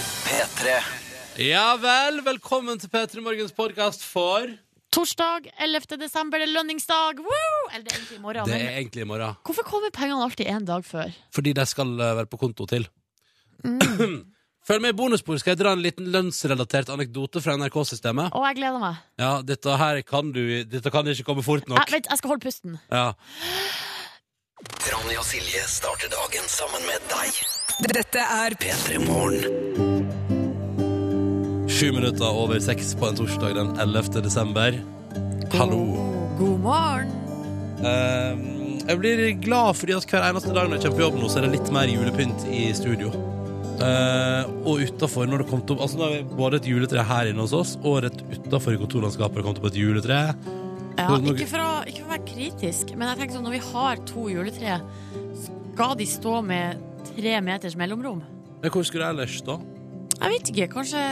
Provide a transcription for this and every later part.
P3. Ja vel, velkommen til P3 Morgens podkast for Torsdag 11. desember, det er lønningsdag! Woo! Eller det er egentlig i morgen. Det Men er egentlig i morgen. hvorfor kommer pengene alltid en dag før? Fordi de skal eh, være på konto til. Følg med i bonusspor, skal jeg dra en liten lønnsrelatert anekdote fra NRK-systemet. Å, jeg gleder meg. Ja, dette her kan du Dette kan ikke komme fort Jeg, nok. vent, jeg skal holde pusten. Ja. Ronny og Silje starter dagen sammen med deg. Dette er P3 Morgen. Sju minutter over seks på en torsdag den 11. desember. Hallo. God morgen. Eh, jeg blir glad fordi at hver eneste dag når jeg kommer på jobb nå, så er det litt mer julepynt i studio. Eh, og utafor, når det kom til Altså, nå har vi både et juletre her inne hos oss, og rett utafor i kontorlandskapet har det kommet opp et juletre. Ja, Nå- nå- ikke, for å, ikke for å være kritisk, men jeg tenker sånn, når vi har to juletre, skal de stå med tre meters mellomrom? Men hvor skulle det ellers stå? Jeg vet ikke, kanskje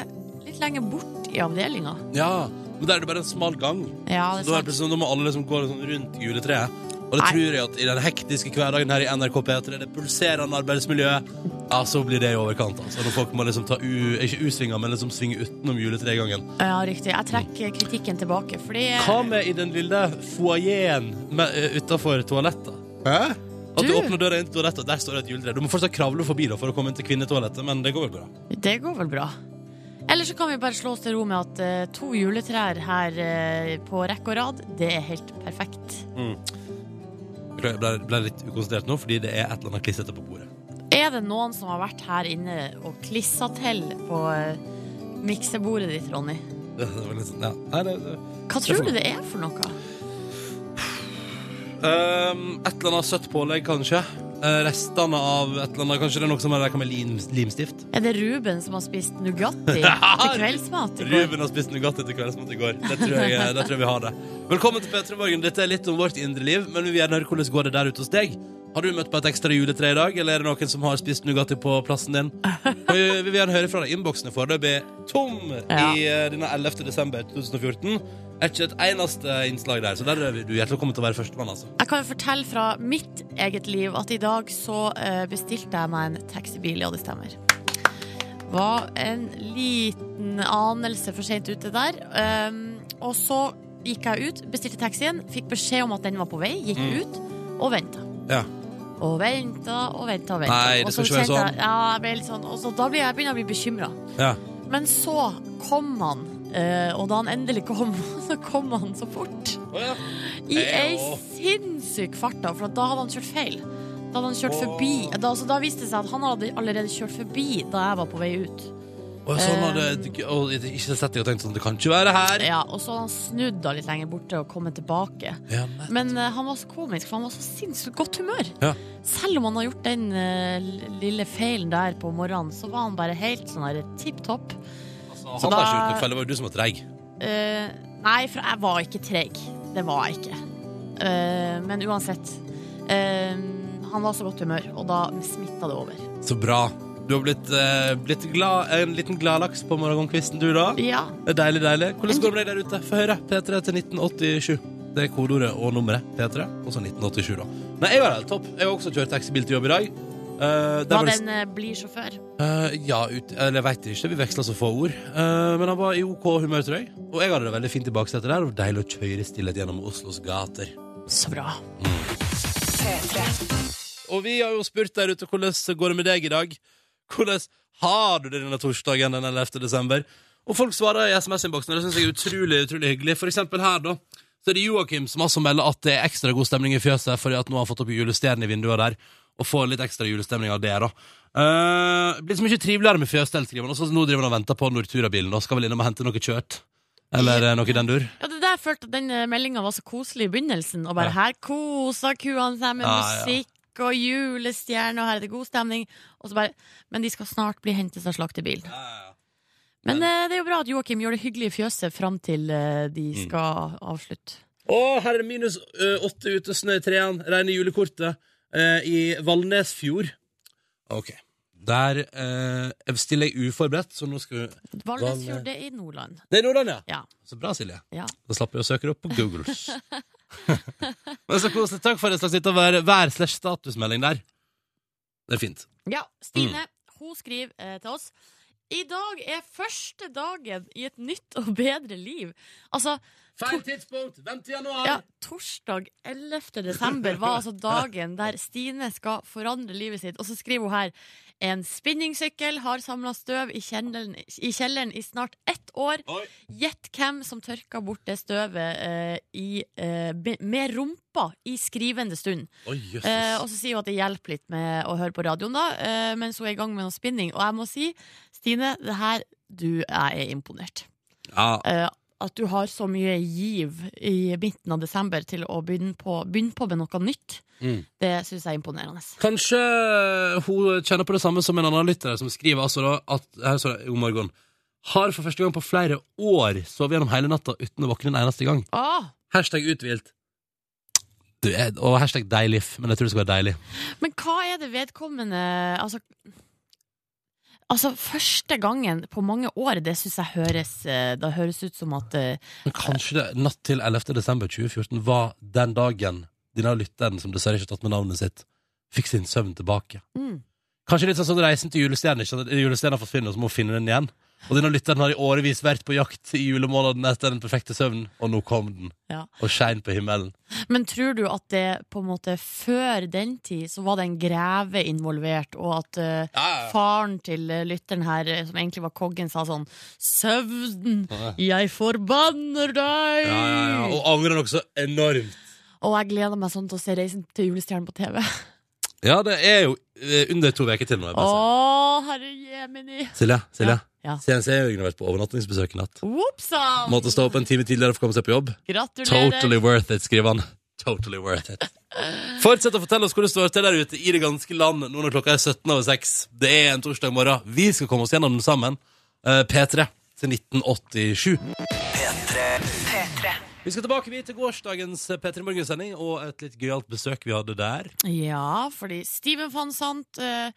litt lenger bort i avdelinga. Ja, men da er det bare en smal gang. Ja, Så det da, er er det sant. sånn, da må alle liksom gå liksom rundt juletreet. Og det Nei. tror jeg at i den hektiske hverdagen her i NRK P3, det pulserende arbeidsmiljøet, ja, så blir det i overkant. Altså. Når folk må liksom ta u, ikke u-svinger, men liksom svinge utenom juletregangen. Ja, riktig. Jeg trekker kritikken tilbake, fordi Hva med i den lille foajeen utafor toalettet? Hæ? At du Du. åpner døra inn til toalettet, og der står det et juletre. Du må fortsatt kravle forbi da for å komme inn til kvinnetoalettet, men det går vel bra. Det går vel bra. Eller så kan vi bare slå oss til ro med at eh, to juletrær her eh, på rekke og rad, det er helt perfekt. Beklager, Jeg ble, ble litt ukonsentrert nå, fordi det er et eller annet klissete på bordet. Er det noen som har vært her inne og klissa til på eh, miksebordet ditt, Ronny? Det var litt sånn, ja. Nei, det, det. Hva tror du det er for noe? Um, et eller annet søtt pålegg, kanskje. Eh, restene av et eller annet Kanskje det er noe som er reka med lim, limstift. Er det Ruben som har spist Nugatti til kveldsmat? i går? Ruben har spist Nugatti til kveldsmat i går. Det tror jeg, det tror jeg vi har det. Velkommen til P3 Morgen. Dette er litt om vårt indre liv, men vi vil gjerne høre hvordan går det der ute hos deg. Har du møtt på et ekstra juletre i dag, eller er det noen som har spist Nugatti på plassen din? Og Vi vi vil gjerne høre fra deg. Innboksen er foreløpig tom Ja. i eh, denne 11. desember 2014. Er ikke et eneste innslag der, så der er du hjertelig velkommen til å være førstemann, altså. Jeg kan jo fortelle fra mitt eget liv at i dag så eh, bestilte jeg meg en taxibil, ja det stemmer. Var en liten anelse for sent ute der. Um, og så gikk jeg ut, bestilte taxien, fikk beskjed om at den var på vei, gikk Mm. ut og venta. Ja. Og venta og venta og venta. Nei, det Og så skal ikke være kjente sånn. Jeg, ja, jeg ble litt sånn. Og så da blir jeg, begynner jeg å bli bekymra. Ja. Men så kom han, eh, og da han endelig kom, så kom han så fort. Å, ja. I ei Eyo. sinnssyk fart, da, for at da hadde han kjørt feil. Da hadde han kjørt forbi da, så da viste det seg at han hadde allerede kjørt forbi da jeg var på vei ut. Og sånn hadde og ikke sett deg og tenkt sånn Det kan ikke være her. eh, Ja, og så hadde han snudd da litt lenger borte og kommet tilbake. Ja, men. Men eh, han var så komisk, for han var så sinnssykt godt humør. Ja. Selv om han har gjort den eh, lille feilen der på morgenen, så var han bare helt sånn her tipp topp. Altså, så han har da- ikke gjort noe feil. Det var jo du som var treig. Eh, nei, for jeg var ikke treg. Det var jeg ikke. Eh, men uansett. eh, han var så godt humør, og da smitta det over. Så bra. Du har blitt, eh, blitt glad, en liten gladlaks på morgenkvisten, du, da. Ja. Det er deilig, deilig. Hvordan går det med deg der ute? Få høre. P3 til 1987. Det er kodeordet og nummeret. P3, og så 1987, da. Nei, jeg var helt topp. Jeg har også kjørt taxibil til jobb i dag. Eh, der Hva var det- den eh, blir sjåfør. Eh, ja, ut, eller jeg vet ikke, vi veksla så få ord. Eh, men han var i OK humør, tror jeg. Og jeg hadde det veldig fint i baksetet der. Og det var deilig å kjøre i stillhet gjennom Oslos gater. Så bra. Og vi har jo spurt der ute hvordan går det med deg i dag. Hvordan har du det denne torsdagen den 11. desember? Og folk svarer i SMS-innboksen, og det syns jeg er utrolig utrolig hyggelig. For eksempel her, da. Så er det Joakim som altså melder at det er ekstra god stemning i fjøset fordi at nå har han fått opp julestjernen i vinduet der. Og får litt ekstra julestemning av det, da. Uh, blitt så mye triveligere med fjøsstell, skriver han. Og så nå driver han og venter på Nortura-bilen, og skal vel innom og hente noe kjørt. Eller eh, noe i den dur. Ja, det der jeg følte at den meldinga var så koselig i begynnelsen. Og bare Ja. her koser kuene seg med Ja, ja. musikk og julestjerne, og her er det god stemning. Og så bare, men de skal snart bli hentet av slaktebil. Men eh, det er jo bra at Joakim gjør det hyggelig i fjøset fram til eh, de Mm. skal avslutte. Å, her er det minus ø, åtte ute, snø i trærne, regne julekortet ø, i Valnesfjord. Ok. Der ø, jeg stiller jeg uforberedt, så nå skal vi Valnesfjord, det er i Nordland. Det er Nordland, ja. Ja. Så bra, Silje. ja. Da slapp jeg å søke det opp på Google. Men så koselig. Takk for en slags liten vær- vær-slash-statusmelding der. Det er fint. Ja, Stine, hun skriver eh, til oss I dag er første dagen i et nytt og bedre liv. Altså, Feil tidspunkt! Vent til januar! ja, torsdag 11. desember var altså dagen der Stine skal forandre livet sitt. Og så skriver hun her en spinningsykkel har samla støv i kjelleren, i kjelleren i snart ett år. Oi. Gjett hvem som tørka bort det støvet eh, i, eh, be- med rumpa i skrivende stund. Oi, jøsses. Eh, og så sier hun at det hjelper litt med å høre på radioen da, eh, mens hun er i gang med noe spinning. Og jeg må si, Stine, det her, du, jeg er imponert. ja. Eh, at du har så mye giv i midten av desember til å begynne på, begynne på med noe nytt, Mm. det syns jeg er imponerende. Kanskje eh, hun kjenner på det samme som en annen lytter som skriver altså da at her står det, God morgen. Har for første gang på flere år sovet gjennom hele natta uten å våkne en eneste gang. Ah, Hashtag uthvilt. Du, jeg- Og hashtag deilig, men jeg tror det skal være deilig. men hva er det vedkommende Altså, altså første gangen på mange år, det syns jeg høres eh, Da høres ut som at eh, Men kanskje det natt til 11. desember 2014 var den dagen denne lytteren, som dessverre ikke har tatt med navnet sitt, fikk sin søvn tilbake. mm, Kanskje litt sånn som reisen til julestjernen, ikke sant? Julestjernen forsvinner, og så må hun finne den igjen. Og denne lytteren har i årevis vært på jakt i julemåneden etter den perfekte søvnen, og nå kom den. ja. og skein på himmelen. Men tror du at det på en måte før den tid så var det en greve involvert, og at eh, faren til eh, lytteren her, eh, som egentlig var kongen, sa sånn Søvnen, jeg forbanner deg! Og angrer nok så enormt. Og jeg gleder meg sånn til å se Reisen til julestjernen på TV. Ja, det er jo eh, under to uker til nå. jeg Å, bare sier. herre jemini! Silje, Silje. Ja. CNC har jo vært på overnattingsbesøk i natt. Whoopsan! Måtte stå opp en time tidligere for å komme seg på jobb. Gratulerer! Totally worth it, skriver han. Totally worth it. Fortsett å fortelle oss hvor det står til der ute i det ganske land nå når klokka er 17 over 6. Det er en torsdag morgen. Vi skal komme oss gjennom den sammen. Eh, P3 til 1987. Vi skal tilbake vi, til gårsdagens P3 Morgen-sending og et litt gøyalt besøk vi hadde der. Ja, fordi Steven van Sant eh,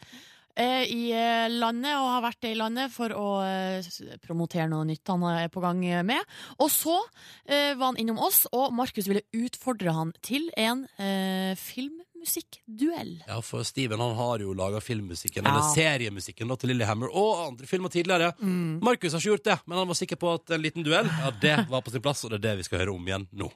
er i eh, landet og har vært det i landet for å eh, s- promotere noe nytt han er på gang med. Og så eh, var han innom oss, og Markus ville utfordre han til en eh, filmmusikkduell. Ja, for Steven han har jo laga filmmusikken, Ja. eller seriemusikken, da, til Lillehammer og andre filmer tidligere. Mm. Markus har ikke gjort det, men han var sikker på at en liten duell Ja, det var på sin plass, og det er det vi skal høre om igjen nå.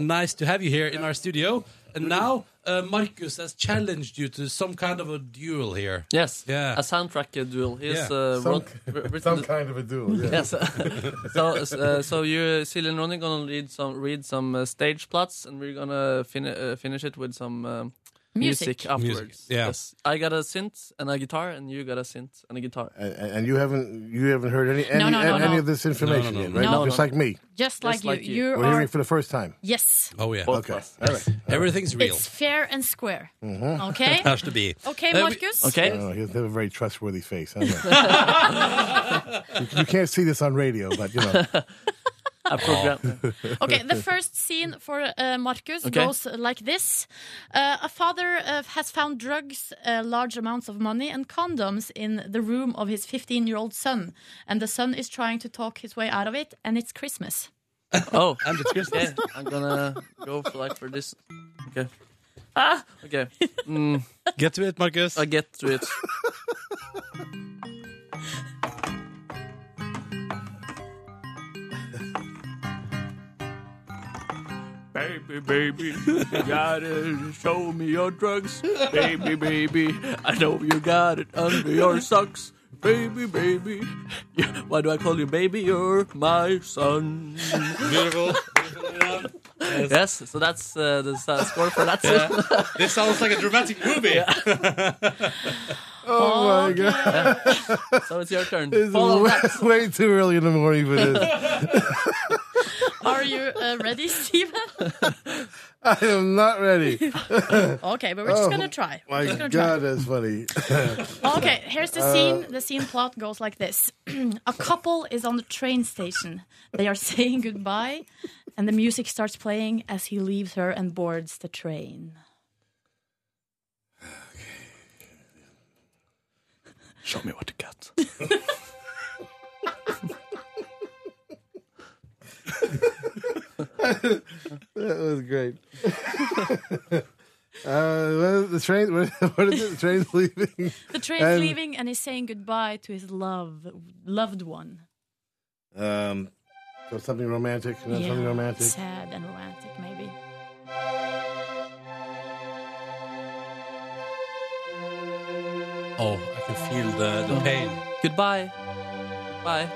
Nice to have you here in our studio. And now uh, Markus has challenged you to some kind of a duel here. Yes, Yeah. a soundtrack uh, duel. He's Yeah. uh, Some, wrote- wr- written some the- kind of a duel. Yeah. Yes. so, uh, so you, Silje and Ronny, gonna read some read some uh, stage plots, and we're gonna fin- uh, finish it with some um Music. music. afterwards. yeah. Yes. I got a synth and a guitar, and you got a synth and a guitar. And, and you haven't you haven't heard any any, No, no, no, any no. of this information No, no, no, yet, right? no. No, Just no. like me, Just like you. like you. You we're hearing it for the first time. Yes. Oh yeah. Both Okay, of all us. right. Everything's real. It's fair and square. OK? Has to be. OK, vi- Markus? Okay. Oh, he doesn't have a very trustworthy face. I don't know. you, you can't see this on radio, but you know. A program. Okay, the first scene for uh, Marcus Okay. goes like this. Uh, a father uh, has found drugs, uh, large amounts of money, and condoms in the room of his 15 year old son. And the son is trying to talk his way out of it, and it's Christmas. Oh, and it's Christmas. Okay. I'm gonna go for like for this. Okay. Ah. Okay. Mm, Get to it, Markus. I get to it. Baby, baby, you gotta show me your drugs. Baby, baby, I know you got it under your socks. Baby, baby, you- why do I call you baby? You're my son. Beautiful. Yes, so that's uh, the s- uh, score for that. This sounds like a dramatic movie. Oh my god, So it's your turn. it's Follow that. way, way too early in the morning for this. Are you uh, ready, Steven? I am not ready. Okay, but we're just gonna try. We're Oh. My just gonna try. god, that's funny. Okay, here's Uh, the scene. The scene plot goes like this A couple is on the train station. They are saying goodbye, and the music starts playing as he leaves her and boards the train. Show me what you got. That was great. Uh, well, the train. What, what is it? The train's leaving. The train's And- leaving and he's saying goodbye to his love, loved one. Um, So something romantic. you know, Yeah, Something romantic. Sad and romantic, maybe. Oh, I can feel the, the pain. Goodbye. Bye.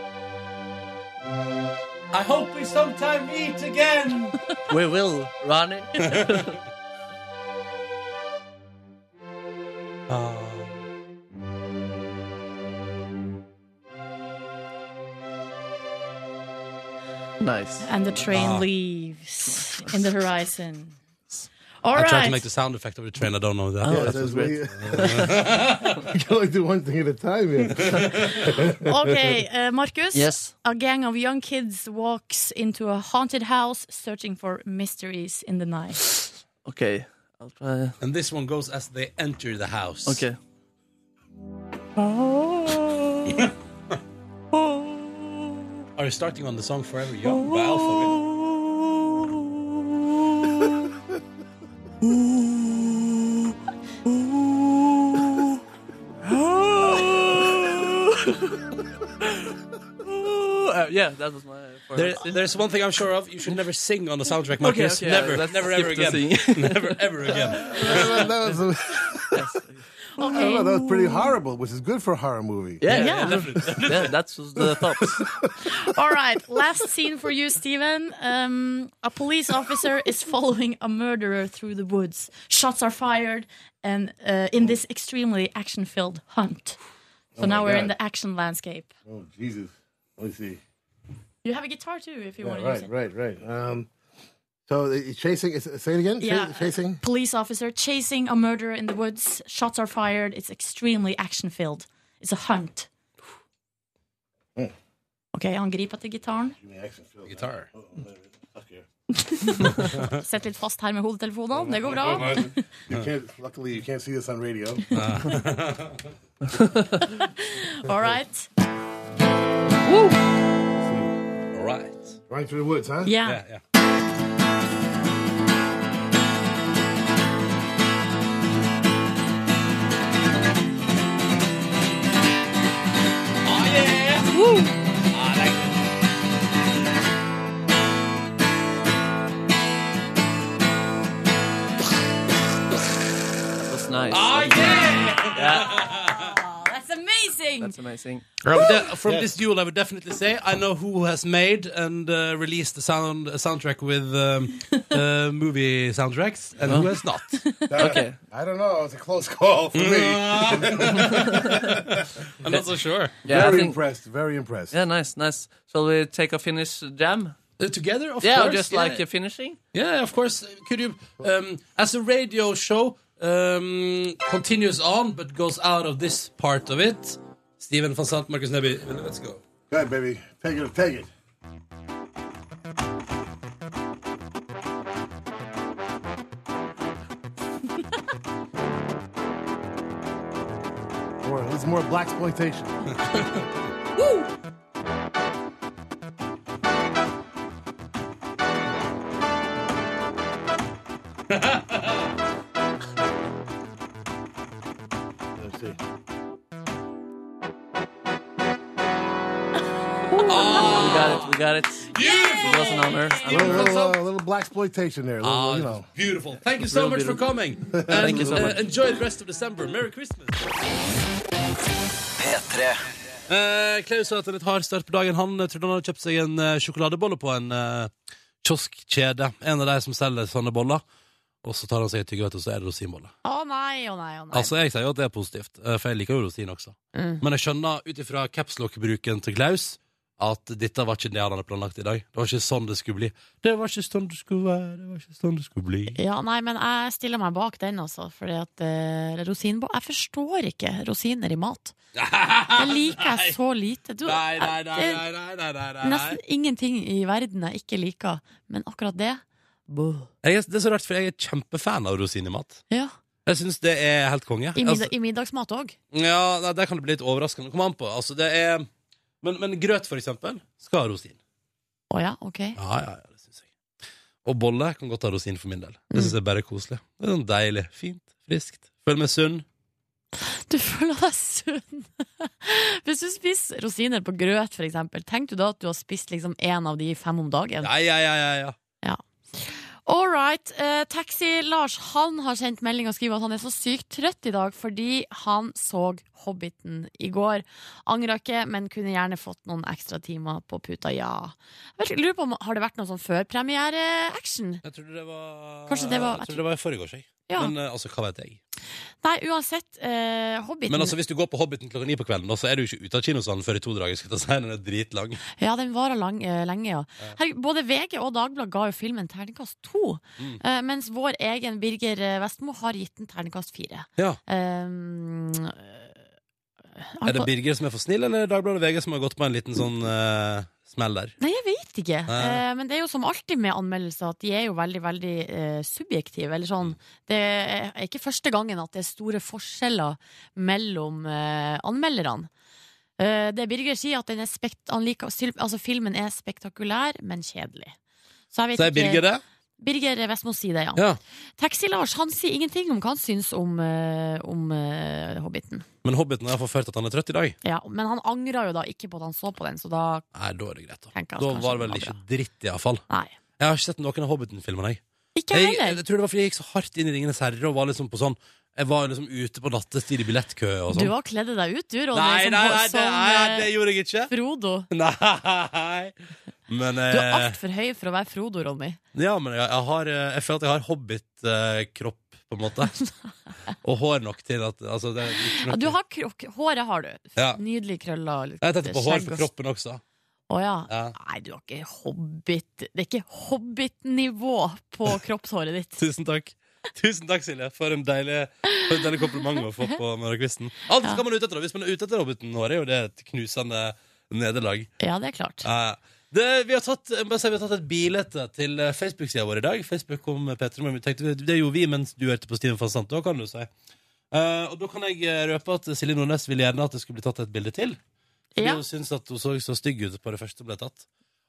I hope we sometime meet again. We will, Ronnie. Um, nice. And the train Ah. leaves in the horizon. All I tried right. to make the sound effect of the train. I don't know that. Oh. Yeah, that's great. We can only do one thing at a time. Here. Okay, uh, Marcus. Yes. A gang of young kids walks into a haunted house searching for mysteries in the night. Okay. I'll try. And this one goes as they enter the house. Okay. Are you starting on the song forever? Young by Alphaville. Uh, yeah, that was my. There, There, there's one thing I'm sure of. You should never sing on the soundtrack, Marcus. okay, never, let's never, skip ever to again. never, ever again. that was, I don't know, Okay. that was pretty horrible, which is good for a horror movie. yeah, Yeah. yeah, yeah, that's the thoughts. All right. Last scene for you, Steven. Um, a police officer is following a murderer through the woods. Shots are fired, and uh, in this extremely action-filled hunt. So now we're in Oh God. the action landscape. Oh Jesus! Let me see. You have a guitar too, if you Yeah, want to use right, it. right, right. Um, so the- chasing. Is, say it again. Cha- Yeah. Chasing. Police officer chasing a murderer in the woods. Shots are fired. It's extremely action-filled. It's a hunt. Hmm. Oh, Ok, angrip etter gitaren. Guitar. Sett litt fast her med hodetelefonene. Det går bra. You can't. Luckily, you can't see this on radio. Uh-huh. All right. All right. Running through the woods, huh? Yeah. yeah. That was nice. That's amazing! That's amazing. From, the- from this duel, I would definitely say I know who has made and uh, released the sound a soundtrack with um, uh, movie soundtracks and who has not. Okay. Mm-hmm. I don't know. It was a close call for me. I'm not so sure. Yeah, I very think. impressed. Very impressed. Yeah, nice, nice. Shall we take a Finnish jam? Uh, together, of yeah, course. or just like a finishing. Yeah, of course. Could you, um, as a radio show um, continues on but goes out of this part of it, Steven van Sant, Marcus Neby, let's go. Go ahead, baby. Take it. Take it. more, it's more black exploitation. Let's see. We got it. We got it. It was an honor. A And little, little, uh, little black exploitation there. A little, Ah, you know. beautiful. Thank you so Real much for beautiful. coming. And, you so uh, much. enjoy the rest of December. Merry Christmas. P3. Eh, Klaus sa at han litt hard start på dagen. Han eh, trodde han hadde kjøpt seg en eh, sjokoladebolle på en eh, kioskkjede. En av de som selger sånne boller. Og så tar han seg et tyggegodt, og så er det rosinbolle. Å Oh nei, å nei, å nei. Altså, jeg sier jo at det er positivt, eh, for jeg liker jo rosin også. Mm. Men jeg skjønner ut ifra capslock-bruken til Klaus at dette var ikke det han hadde planlagt i dag. Det var ikke sånn det skulle bli. Det var ikke sånn det skulle være. Det var ikke sånn det skulle bli. Ja, nei, men jeg stiller meg bak den, altså. Fordi at eh, rosinbo... Jeg forstår ikke rosiner i mat. Det liker jeg så lite. Du, Nei, nei, nei, jeg- det nei, nei, nei, er nei, nei. Nesten ingenting i verden jeg ikke liker, men akkurat det Buh. Jeg er, det er så rart, for jeg er kjempefan av rosin i mat. Ja. Jeg syns det er helt konge. I, Altså- middag, I middagsmat òg. Ja, nei, der kan det bli litt overraskende. Kom an på. Altså, det er... men, men grøt, for eksempel, skal ha rosin. Å ja, ok. Ja, ja, ja, det synes jeg. Og bolle kan godt ha rosin for min del. Det syns jeg bare er koselig. Det er sånn deilig. Fint. Friskt. Føler meg sunn. Du føler deg sunn. Hvis du spiser rosiner på grøt, for eksempel, tenk du da at du har spist liksom én av de fem om dagen? Ja, ja, ja, ja, ja. All right. Eh, Taxi-Lars han har sendt melding og skriver at han er så sykt trøtt i dag fordi han så Hobbiten i går. Angra ikke, men kunne gjerne fått noen ekstra timer på puta, ja. Jeg vet ikke, lurer på om, Har det vært noe sånn førpremiere-action? Jeg trodde det var Kanskje det var- Jeg trodde det var i forgårs, jeg. Ja. Men eh, altså, hva vet jeg. Nei, uansett. Eh, Hobbiten Men altså, hvis du går på Hobbiten klokka ni på kvelden, da, så er du ikke ute av kinosalen før i to dager. Skal jeg ta si, den er dritlang. Ja, den varer lang, eh, lenge, ja. Herregud, både VG og Dagbladet ga jo filmen terningkast to. Mm. eh, mens vår egen Birger eh, Vestmo har gitt den terningkast fire. Ja. Um, Er det Birger som er for snill, eller er det Dagbladet VG som har gått på en liten sånn eh, smell der? Nei, jeg vet ikke. Nei. Eh, men det er jo som alltid med anmeldelser, at de er jo veldig, veldig eh, subjektive. Eller sånn. Mm. Det er ikke første gangen at det er store forskjeller mellom eh, anmelderne. Eh, det Birger sier, at den er spekt, han liker, altså, filmen er spektakulær, men kjedelig. Så jeg vet Sier Birger det? Birger Vestmo sier det, ja. Ja. Taxi-Lars han sier ingenting om hva han syns om, eh, om eh, Hobbiten. Men Hobbiten har forført at han er trøtt i dag? Ja, men han angrer jo da ikke på at han så på den, så da Nei, da er det greit, da. tenker jeg at Da kanskje var den det vel ikke bra. dritt, iallfall. Nei. Jeg har ikke sett noen av Hobbiten-filmene, jeg. Ikke jeg. jeg heller. Jeg tror det var fordi jeg gikk så hardt inn i Ringenes herre og var liksom på sånn Jeg var liksom ute på nattestid i billettkø og Du sånn. har kledd deg ut, du, Ronny, Nei, som, nei, nei, det, som nei, eh, det gjorde jeg ikke. Frodo. Nei. Men, Du er eh, altfor høy for å være Frodo, Ronny. ja, men jeg, jeg, har, eh, jeg føler at jeg har hobbit-kropp, på en måte. Og hår nok til at altså, det, er ikke noe- Ja, Du har krok Håret har du. Ja. Nydelig krøller. Jeg tenkte på hår skjegg på og- kroppen også. Å ja. Ja. Nei, du har ikke hobbit Det er ikke hobbit-nivå på kroppshåret ditt. Tusen takk. Tusen takk, Silje, for en deilig, for en deilig kompliment å få på morgenkvisten. Alt skal man ut etter, da. Hvis man er ute etter Robiten nå, er jo det et knusende nederlag. Ja, det er klart. Eh, det, vi, har tatt, jeg må bare si, vi har tatt et bilete til eh, Facebook-sida vår i dag. Facebook kom med Petra, men vi tenkte, det gjorde vi mens du hørte på Steven van Sant. Da kan du si. Eh, og da kan jeg eh, røpe at Silje Nordnes ville gjerne at det skulle bli tatt et bilde til. Fordi Ja. hun syntes at hun så så stygg ut på det første som ble tatt.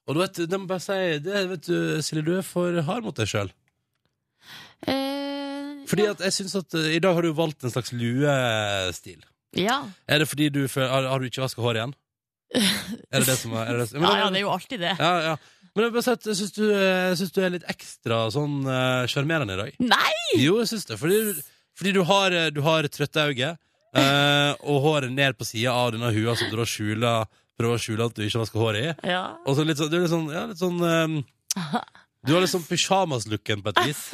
Og du vet, det må jeg bare si, det, vet du, Silje, du er for hard mot deg sjøl. Eh, Fordi ja. at jeg synes at eh, I dag har du valgt en slags luestil. ja. Er det fordi du føler Har, har du ikke vaska hår igjen? Er det det som er, er det det som, Ja, ja, det er jo alltid det. ja, ja. Men jeg, vil bare si at jeg syns du, eh, jeg synes du er litt ekstra sånn eh, sjarmerende i dag. Nei! Jo, jeg syns det. Fordi, du- fordi du har, eh, du har trøtte øyne, eh, og håret ned på sida av denne hua som du da skjuler prøver å skjule at du ikke vasker håret i. Ja. Og så litt sånn, du er litt sånn, ja, litt sånn ehm, Du har litt sånn pyjamas-looken på et vis.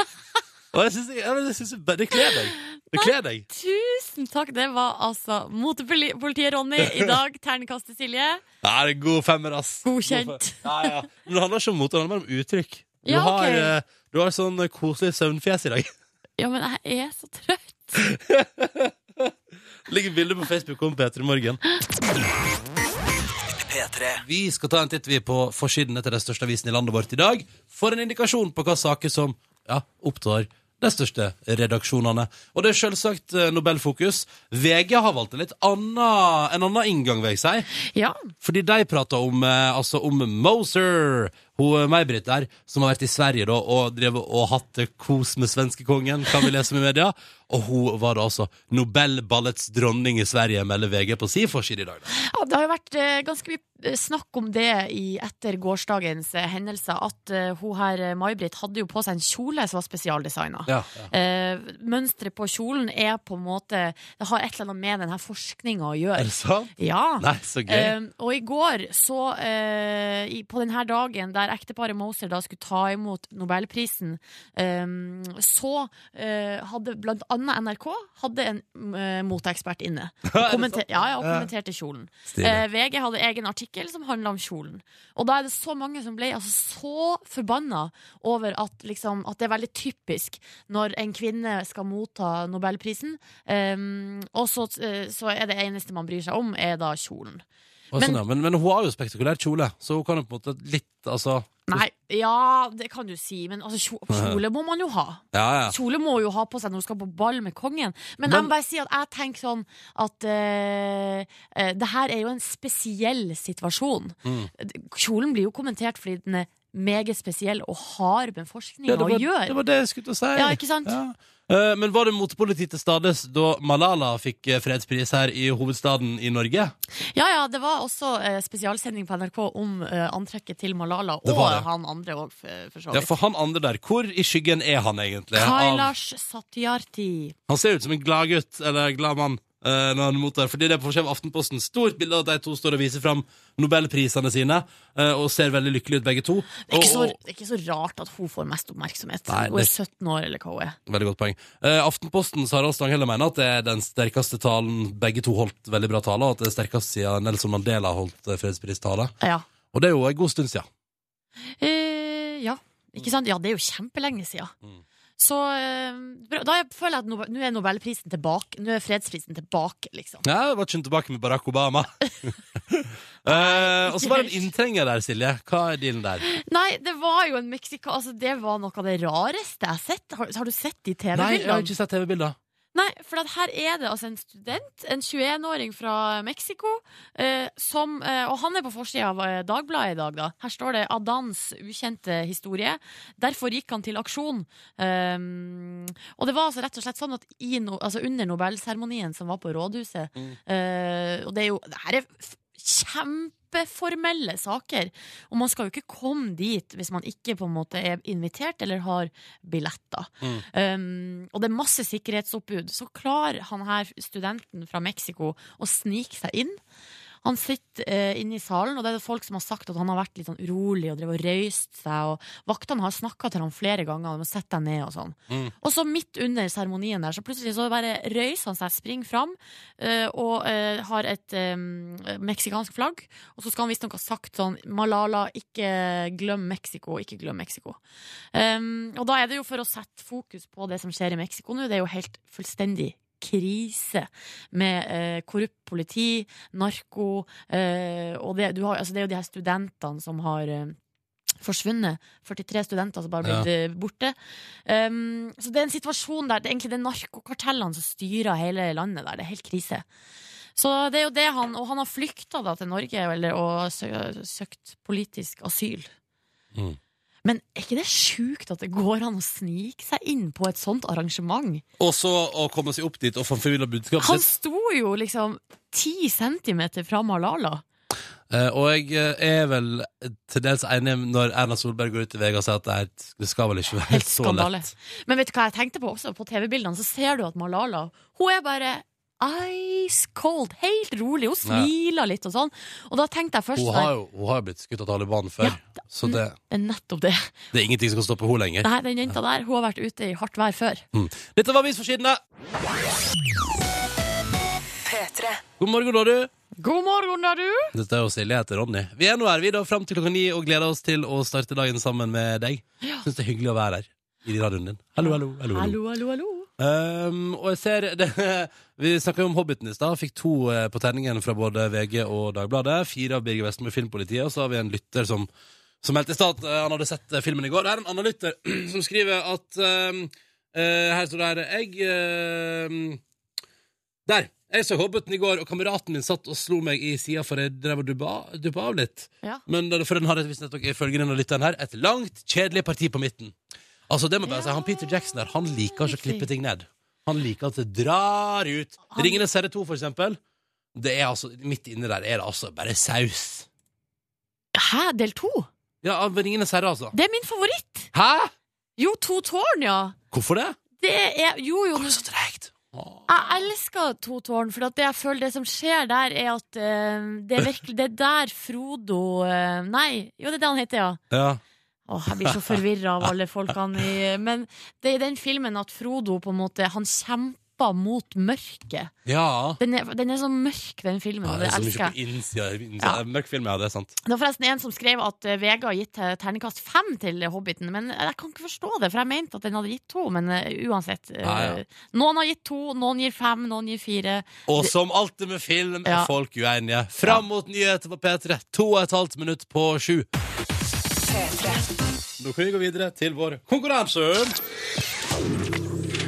Og jeg synes, ja, men jeg synes bare- det kler deg. Det kler deg. Tusen takk. Det var altså Motepolitiet Ronny i dag. Ternekastet Silje. Ja, det er god femmer, ass. God Godkjent. fe- Ja, ja. Men det handler ikke om mote, det handler bare om uttrykk. Du, Ja, har, ok. eh, du har sånn eh, koselig søvnfjes i dag. Ja, men jeg er så trøtt. Det ligger bilder på Facebook om Peter i morgen. P3. Vi skal ta en titt vi på forsidene til den største avisen i landet vårt i dag. For en indikasjon på hva saker som ja, opptar de største redaksjonene. Og det er selvsagt eh, Nobelfokus. VG har valgt en litt annen, en annen inngang, vil jeg si. Ja. Fordi de prater om, eh, altså om Moser, hun eh, May-Britt der, som har vært i Sverige da, og drevet og hatt det kos med svenskekongen, kan vi lese om i media. Og hun var da altså Nobelballets dronning i Sverige, melder VG på si forside i dag. Da. Ja, Det har jo vært eh, ganske mye eh, snakk om det i, etter gårsdagens eh, hendelser. At eh, hun her, eh, May-Britt, hadde jo på seg en kjole som var spesialdesigna. Ja, Eh, mønsteret på kjolen er på en måte Det har et eller annet med denne forskninga å gjøre. Er det sant? Ja. Nei, så gøy. Eh, og i går, så eh, i, på denne dagen der ekteparet Moser da skulle ta imot Nobelprisen, eh, så eh, hadde blant annet NRK hadde en eh, moteekspert inne. Og, kommenter, ja, ja, og kommenterte kjolen. Stilig. Eh, VG hadde egen artikkel som handla om kjolen. Og da er det så mange som ble altså, så forbanna over at, liksom, at det er veldig typisk når en kvinne skal motta Nobelprisen, ehm, og så, eh, så er det eneste man bryr seg om, er da kjolen. Og Men- sånn, ja. men, men hun har jo spektakulær kjole, så hun kan jo på en måte litt altså, Nei, ja, det kan du si, men altså, kjo- kjole må man jo ha. ja, ja. Kjole må jo ha på seg når hun skal på ball med kongen. Men, jeg Men- må bare si at jeg tenker sånn at eh, Mm. eh, det her er jo en spesiell situasjon. Kjolen blir jo kommentert fordi den er meget spesiell og hard med forskninga det, var, å gjøre. det var det jeg skulle til å si. Ja, ikke sant? Ja. Eh, Men var det motpoliti til stades da Malala fikk eh, fredspris her i hovedstaden i Norge? Ja, ja, det var også eh, spesialsending på NRK om eh, antrekket til Malala Det og var det. han andre òg, for, for så Ja, vidt. for han andre der, hvor i skyggen er han egentlig? Av, Kailash Satyarthi. han ser ut som en glad gutt, eller glad mann, eh, når han mottar. Fordi det er på forskjell av Aftenposten. Stort bilde av at de to står og viser fram nobelprisene sine, eh, og ser veldig lykkelige ut begge to. Det er, ikke så, Og- og- det er ikke så rart at hun får mest oppmerksomhet. Nei, hun er det- 17 år, eller hva hun er. Veldig godt poeng. Eh, Aftenpostens Harald Stanghelle mener at det er den sterkeste talen begge to holdt veldig bra tale, og at det er sterkest siden Nelson Mandela holdt eh, fredsprisstale. Ja. Og det er jo en god stund siden. Eh, ja. Ikke sant? ja, det er jo kjempelenge siden. Mm. Så eh, bra. da føler jeg at Nobel- nå er nobelprisen tilbake. Nå er fredsprisen tilbake, liksom. Ja, jeg var ikke tilbake med Barack Obama. Eh, og så var det en inntrenger der, Silje. Hva er dealen der? Nei, det var jo en Mexica... Altså, det var noe av det rareste jeg har sett. Har, har du sett Nei, de jeg har TV-bildene? ikke sett TV-bilder. Nei, for at her er det altså en student, en 21-åring fra Mexico, eh, som eh, Og han er på forsida av eh, Dagbladet i dag, da. Her står det 'Adans ukjente historie'. Derfor gikk han til aksjon. Um, og det var altså rett og slett sånn at i no, altså under Nobelseremonien som var på Rådhuset eh, Og det er jo Det her er f- kjempeformelle saker. Og man skal jo ikke komme dit hvis man ikke på en måte er invitert eller har billetter. Um, og det er masse sikkerhetsoppbud. Så klarer han her studenten fra Mexico å snike seg inn. Han sitter eh, inne i salen, og det er det folk som har sagt at han har vært litt sånn urolig og drev og røyst seg. Og vaktene har snakka til han flere ganger om å sette deg ned og sånn. Mm. Og så midt under seremonien der, så plutselig så bare røyser han seg, springer fram eh, og eh, har et eh, meksikansk flagg. Og så skal han visstnok ha sagt sånn Malala, ikke glem Mexico, ikke glem Mexico. Um, og da er det jo for å sette fokus på det som skjer i Mexico nå. Det er jo helt fullstendig krise med eh, korrupt politi, narko eh, Og det, du har, altså det er jo de her studentene som har eh, forsvunnet. 43 studenter som bare har blitt eh, borte. Um, så det er en situasjon der det er egentlig det er narkokartellene som styrer hele landet der. Det er helt krise. Så det er jo det han Og han har flykta da til Norge eller, og sø søkt politisk asyl. Mm. Men er ikke det sjukt at det går an å snike seg inn på et sånt arrangement? Og så å komme seg opp dit og få formidla budskapet Han sitt. sto jo liksom ti centimeter fra Malala. Eh, og jeg eh, er vel til dels enig når Erna Solberg går ut i VG og sier at det, er, det skal vel ikke være Helt så skandale. lett. Men vet du hva jeg tenkte på også? På TV-bildene så ser du at Malala Hun er bare ice cold. Helt rolig. Hun Ja. smiler litt og sånn. Og da tenkte jeg først Hun sånn, har jo hun har jo blitt skutt av Taliban før, så det, Det er nettopp det. det er ingenting som kan stoppe henne lenger. Nei, den jenta der, hun har vært ute i hardt vær før. Mm. Dette var Avisforsidene. God morgen, da, du. God morgen, da, du! Dette er jo Silje, jeg heter Ronny. Vi er nå her, vi da, fram til klokka ni og gleder oss til å starte dagen sammen med deg. Syns det er hyggelig å være her i radioen din. Hallo, hallo, hallo. hallo. Hallo, hallo, hallo. Um, og jeg ser det, Vi snakka jo om Hobbiten i stad. Fikk to eh, på terningen fra både VG og Dagbladet. Fire av Birger Vestmo i Filmpolitiet, og så har vi en lytter som som meldte i stad at eh, han hadde sett eh, filmen i går. Det er en annen lytter som skriver at um, eh, Her står det her Jeg um, Der! Jeg så Hobbiten i går, og kameraten min satt og slo meg i sida for jeg drev og dubba, dubba av litt. Ja. Men den- for den har et visst nettopp ifølge denne lytteren her et langt, kjedelig parti på midten. Altså det må jeg bare si, han Peter Jackson der, han liker ikke å klippe ting ned. Han liker at det drar ut. Han- Ringene Serre 2, for eksempel. Det er altså, midt inne der er det altså bare saus. Hæ, del to? Ja, av Ringenes herre, altså. Det er min favoritt! Hæ? Jo, To tårn, ja. Hvorfor det? Det er Jo, jo. Hvorfor er det så tregt? Åh. Jeg elsker To tårn, for at det jeg føler det som skjer der, er at eh, det er virkelig Det er der Frodo eh, Nei, jo, det er det han heter, ja. Ja. Åh, jeg blir så forvirra av alle folkene i Men det er i den filmen at Frodo på en måte Han kjemper mot mørket. Ja. Den er, den er så mørk, den filmen. ja og det det er så elsker mye jeg. på innsida. innsida. Ja. Mørk film, ja, det er sant. Det var forresten en som skrev at eh, VG har gitt eh, terningkast fem til Hobbiten, men jeg kan ikke forstå det, for jeg mente at den hadde gitt to, men eh, uansett. eh, Ja, ja. Noen har gitt to, noen gir fem, noen gir fire. Og som alltid med film er Ja. folk uenige. Fram mot nyheter på P3. To og et halvt minutt på sju. Nå kan vi gå videre til vår konkurranse.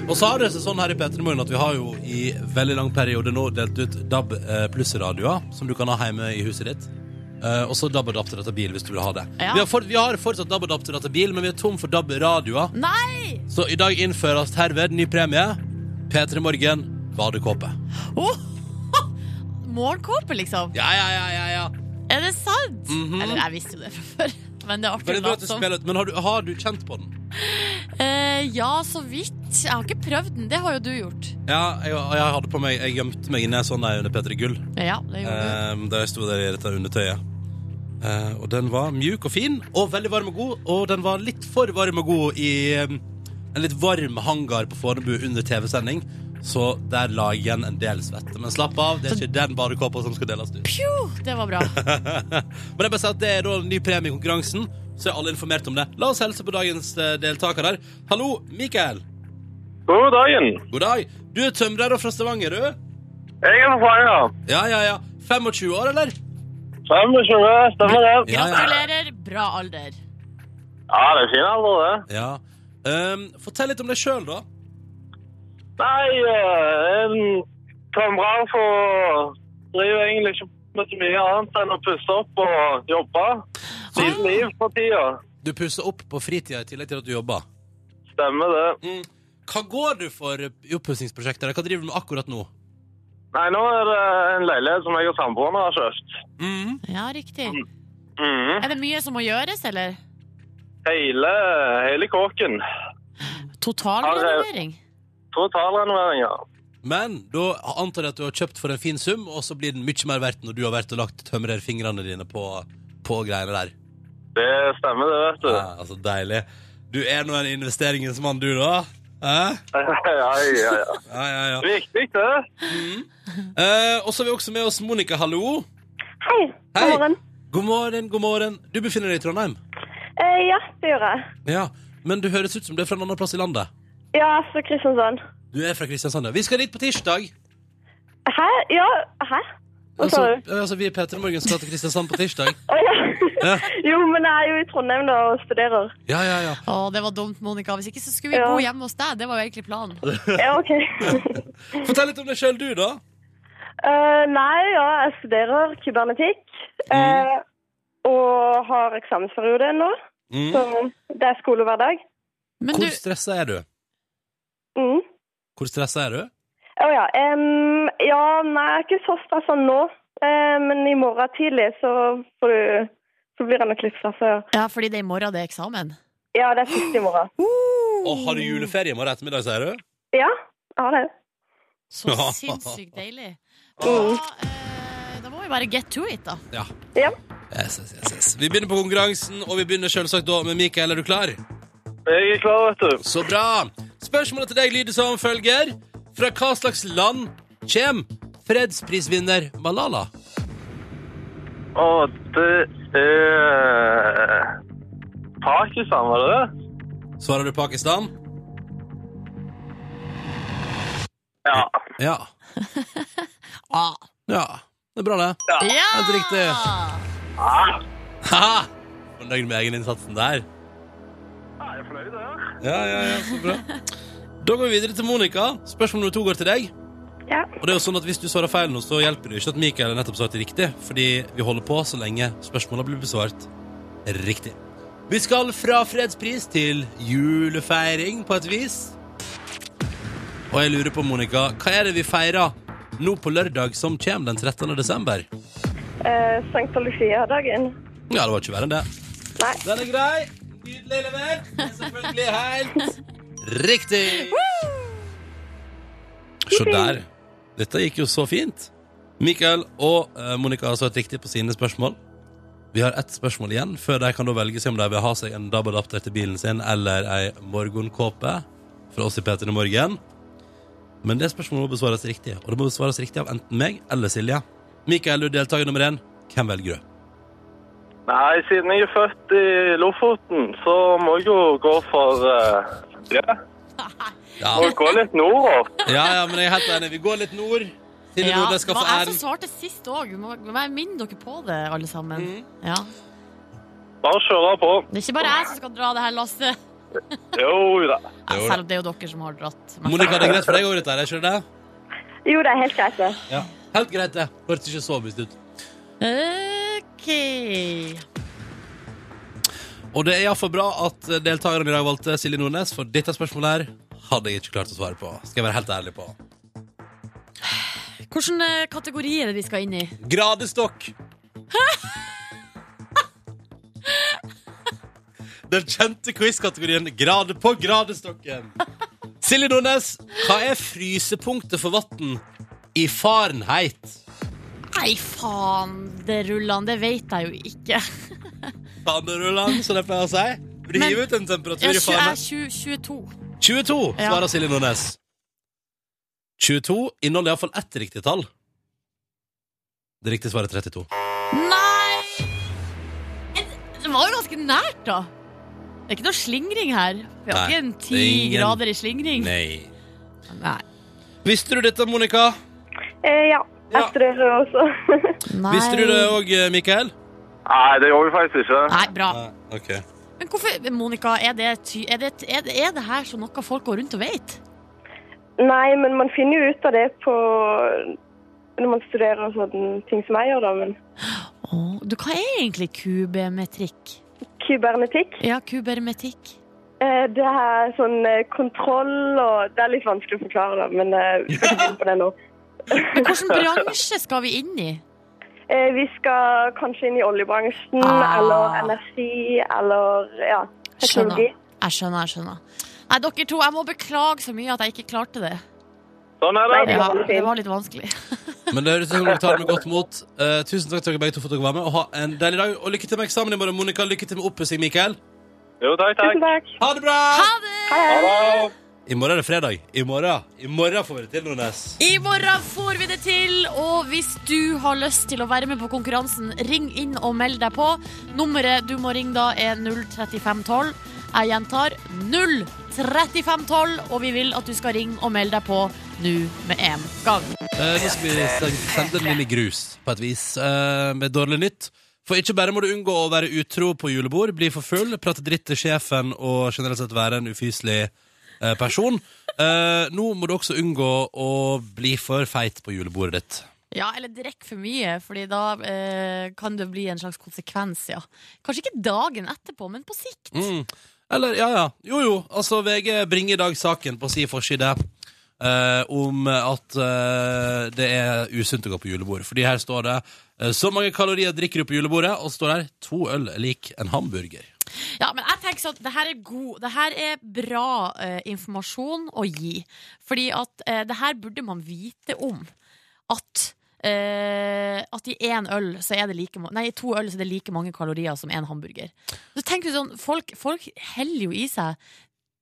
Og så har det seg sånn her i P3 Morgen at vi har jo i veldig lang periode nå delt ut DAB eh, pluss-radioer som du kan ha hjemme i huset ditt. Eh, og så DAB-adapter til dette bil hvis du vil ha det. Ja. Vi, har for, vi har fortsatt DAB-adapter til dette bil, men vi er tom for DAB-radioer. Nei! Så i dag innføres herved ny premie. P3 Morgen, badekåpe. Oh! Morgenkåpe, liksom. Ja, ja, ja, ja, ja. Er det sant? Eller jeg visste jo det fra før. Men det er Men, artig det å er bra at late du som. spiller ut. men har, du, har du kjent på den? Eh, ja, så vidt. Jeg har ikke prøvd den. Det har jo du gjort. Ja, jeg, jeg hadde på meg Jeg gjemte meg inne sånn der under P3 Gull. Ja, det gjorde du. Eh, der jeg sto der i dette undertøyet. Eh, og den var mjuk og fin, og veldig varm og god. Og den var litt for varm og god i eh, en litt varm hangar på Fornebu under TV-sending. Så der la jeg igjen en del svette. Men slapp av, det er ikke den badekåpa som skal deles ut. Pju, det var bra. Men jeg bare sier at det er da en ny premie i konkurransen, så er alle informert om det. La oss helse på dagens eh, deltakere. Hallo, Mikael. God dagen. God dag. Du er tømrer og fra Stavanger, du? Jeg er fra Fanga. Ja, ja, ja. 25 år, eller? 25, stemmer det? Ja, ja. Gratulerer. Bra alder. Ja, det er fin alder, det. ja. Ehm, fortell litt om deg sjøl, da. Nei, eh, en tømrer for driver egentlig ikke med så mye annet enn å pusse opp og jobbe. Sitt liv for tida. Du pusser opp på fritida i tillegg til at du jobber. Stemmer det. Hva går du for i oppussingsprosjektet? eller Hva driver du med akkurat nå? Nei, nå er det en leilighet som jeg og samboeren har kjøpt. Ja, riktig. Mhm. Er det mye som må gjøres, eller? Hele, hele kåken. Totalrenovering? Totalrenoveringer. Men da antar jeg at du har kjøpt for en fin sum, og så blir den mye mer verdt når du har vært og lagt tømrerfingrene dine på, på greiene der. Det stemmer det, vet du. Ja, altså, deilig. Du er nå en investeringens mann, du, da. Hæ? ja, ja, ja. Ja, ja, ja. Viktig, det. Eh, og så har vi også med oss Monica, hallo. Hei, Hei. god morgen. God morgen, god morgen. Du befinner deg i Trondheim? Eh, ja, det gjør jeg. Ja. Men du høres ut som du er fra en annen plass i landet. Ja, fra Kristiansand. Du er fra Kristiansand, ja. Vi skal dit på tirsdag. Hæ? Ja, hæ? Hva Altså, sa du? altså, vi i P3 Morgen skal til Kristiansand på tirsdag. Å ja. Ja, Jo, men jeg er jo i Trondheim da og studerer. ja, ja. ja. Å, det var dumt, Monica. Hvis ikke så skulle vi Ja. bo hjemme hos deg. Det var jo egentlig planen. Ja, ok. Fortell litt om deg sjøl, du, da. Eh, nei, ja, jeg studerer kybernetikk. Mm. eh, og har eksamensperiode nå, så det er skole hver dag. Men Mm. Hvor du, stressa er du? Mm. Hvor stressa er du? Å ja. em, ja, nei, jeg er ikke så stressa nå, eh, men i morgen tidlig så, får du, så blir jeg nok litt stressa. Ja. ja, fordi det er i morgen det er eksamen. ja, det er siste i morgen. Og har du juleferie i morgen ettermiddag, sier du? Ja, jeg har det. Så sinnssykt deilig. Da, eh, da må vi bare get to it, da. Ja. Ja. Yes, yes, yes, yes. Vi begynner på konkurransen, og vi begynner selvsagt da med Mikael. Er du klar? Jeg er klar, vet du. Så bra. Spørsmålet til deg lyder som følger. Fra hva slags land kjem fredsprisvinner Malala? Og det er eh, Pakistan, var det det? Svarer du Pakistan? Ja. Ja. Ah. Ja. Det er bra, det. Ja! Helt riktig. Ha! Fornøyd med egeninnsatsen der? Jeg er fornøyd, ja. Ja, ja, ja, så bra. Da går vi videre til Monica. Spørsmål nummer to går til deg. Ja. Og det er jo sånn at Hvis du svarer feil nå, så hjelper det jo ikke at Mikael nettopp svarte riktig, fordi vi holder på så lenge spørsmåla blir besvart riktig. Vi skal fra fredspris til julefeiring, på et vis. Og jeg lurer på, Monica, hva er det vi feirer nå på lørdag som kommer den 13. desember? Eh, Sankta Lucia-dagen. Ja, det var ikke verre enn det. Nei. Den er grei. Nydelig levert. Det er Selvfølgelig helt riktig. Se der. Dette gikk jo så fint. Mikael og eh, Monica har svart riktig på sine spørsmål. Vi har ett spørsmål igjen før de kan da velge seg om de vil ha seg en DAB-adapter til bilen sin eller ei morgenkåpe fra oss i P3 Morgen. Men det spørsmålet må besvares riktig, og det må besvares riktig av enten meg eller Silje. Mikael, du er deltaker nummer én. Hvem velger du? Nei, siden jeg er født i Lofoten, så må jeg jo gå for eh, Ja, Ja, må gå litt nordover. Ja, ja, men jeg er helt enig. Vi går litt nord. Silje Ja, Nordnes det skal var få jeg som æren. svarte sist òg. Minn dere på det, alle sammen. Mm. Ja. Bare kjøre på. Det er ikke bare jeg som skal dra det her lasset. Jo da. Ja, Jo da. selv om det er jo dere som har dratt. Men- Monica, det er greit for deg òg, dette her? er Ikke det? Jo, det er helt greit, det. Helt greit, det. Hørtes ikke så bust ut. OK Og det er iallfall bra at deltakerne i dag valgte Silje Nordnes, for dette spørsmålet her hadde jeg ikke klart å svare på. Skal jeg være helt ærlig på. Hvilken eh, kategori er det vi skal inn i? Gradestokk. Den kjente quiz-kategorien Grad på gradestokken. Silje Nordnes, hva er frysepunktet for vann i Fahrenheit? Nei, faen, det ruller han. Det vet jeg jo ikke. Panderullan, som de pleier å si. Riv ut en temperatur Jeg i er Fahrenheit. 20, 22. 22, Ja. svarer Silje Nordnes. 22 inneholder iallfall ett riktig tall. Det riktige svaret er 32. Nei! Det var jo ganske nært, da. Det er ikke noe slingring her. Vi har Nei, ikke en det er ti ingen- grader i slingring. Nei. Nei. Visste du dette, Monica? Eh, ja. Jeg studerer også. Visste du det eh, òg, Mikael? Nei, det gjør vi faktisk ikke. Nei, bra. Ok. Men hvorfor, Monica, er det, ty er, det, er, det, er det her så noe folk går rundt og vet? Nei, men man finner jo ut av det på når man studerer sånne ting som jeg gjør, da. Men Å, Du, hva er egentlig kubemetrikk? kybernetikk, Ja, kubermetikk. eh, det er sånn eh, kontroll og Det er litt vanskelig å forklare, da, men eh, vi skal ikke begynne på det nå. Men hvilken bransje skal vi inn i? Eh, Vi skal kanskje inn i oljebransjen Ah. eller energi eller ja, teknologi. Skjønner. Jeg skjønner, jeg skjønner. Nei, dere to, jeg må beklage så mye at jeg ikke klarte det. Sånn er Ja, det. det var litt vanskelig. Men det høres ut som dere tar det med godt mot. Eh, tusen takk til dere begge to for at dere var med. Og ha en deilig dag. Og lykke til med eksamen i morgen, Monica. Lykke til med oppussing, Mikael. Jo, takk, Tusen takk. takk. Ha det bra! Ha det. I morgen er det fredag. I morgen I morgen får vi det til, Nordnes. I morgen får vi det til, og hvis du har lyst til å være med på konkurransen, ring inn og meld deg på. Nummeret du må ringe da er 03512. Jeg gjentar 03512, og vi vil at du skal ringe og melde deg på nå med en gang. Eh, nå skal vi sende- sende den inn i grus, på et vis, eh, med dårlig nytt. For ikke bare må du unngå å være utro på julebord, bli for full, prate dritt til sjefen og generelt sett være en ufyselig eh, person. Eh, nå må du også unngå å bli for feit på julebordet ditt. Ja, eller drikk for mye, Fordi da eh, kan det bli en slags konsekvens, ja. Kanskje ikke dagen etterpå, men på sikt. Mm. Eller, ja, ja. Jo, jo. Altså, VG bringer i dag saken på si forside eh, om at eh, det er usunt å gå på julebord. Fordi her står det eh, så mange kalorier drikker du på julebordet, og så står det her to øl er lik en hamburger. Ja, men jeg tenker sånn at det her er god Det her er bra eh, informasjon å gi. Fordi at eh, det her burde man vite om. At eh, at i én øl så er det like ma- Nei, i to øl så er det like mange kalorier som én hamburger. Så tenker du sånn, Folk, folk heller jo i seg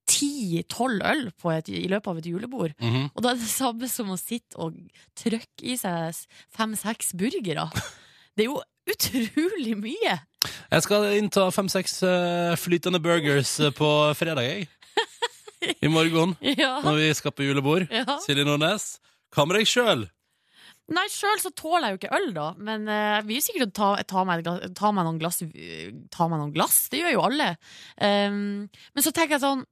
ti-tolv øl på et, i løpet av et julebord. Mhm. Og da er det samme som å sitte og trykke i seg fem-seks burgere. Det er jo utrolig mye! Jeg skal innta fem-seks eh, flytende burgers eh, på fredag, jeg. I morgen, Ja. når vi skal på julebord. Ja. Silje Nordnes, hva med deg sjøl? Nei, sjøl så tåler jeg jo ikke øl, da. Men eh, vi er sikkert å ta, ta, meg, et glass- ta meg noen glass. eh, Ta meg noen glass. Det gjør jo alle. Ehm, men så tenker jeg sånn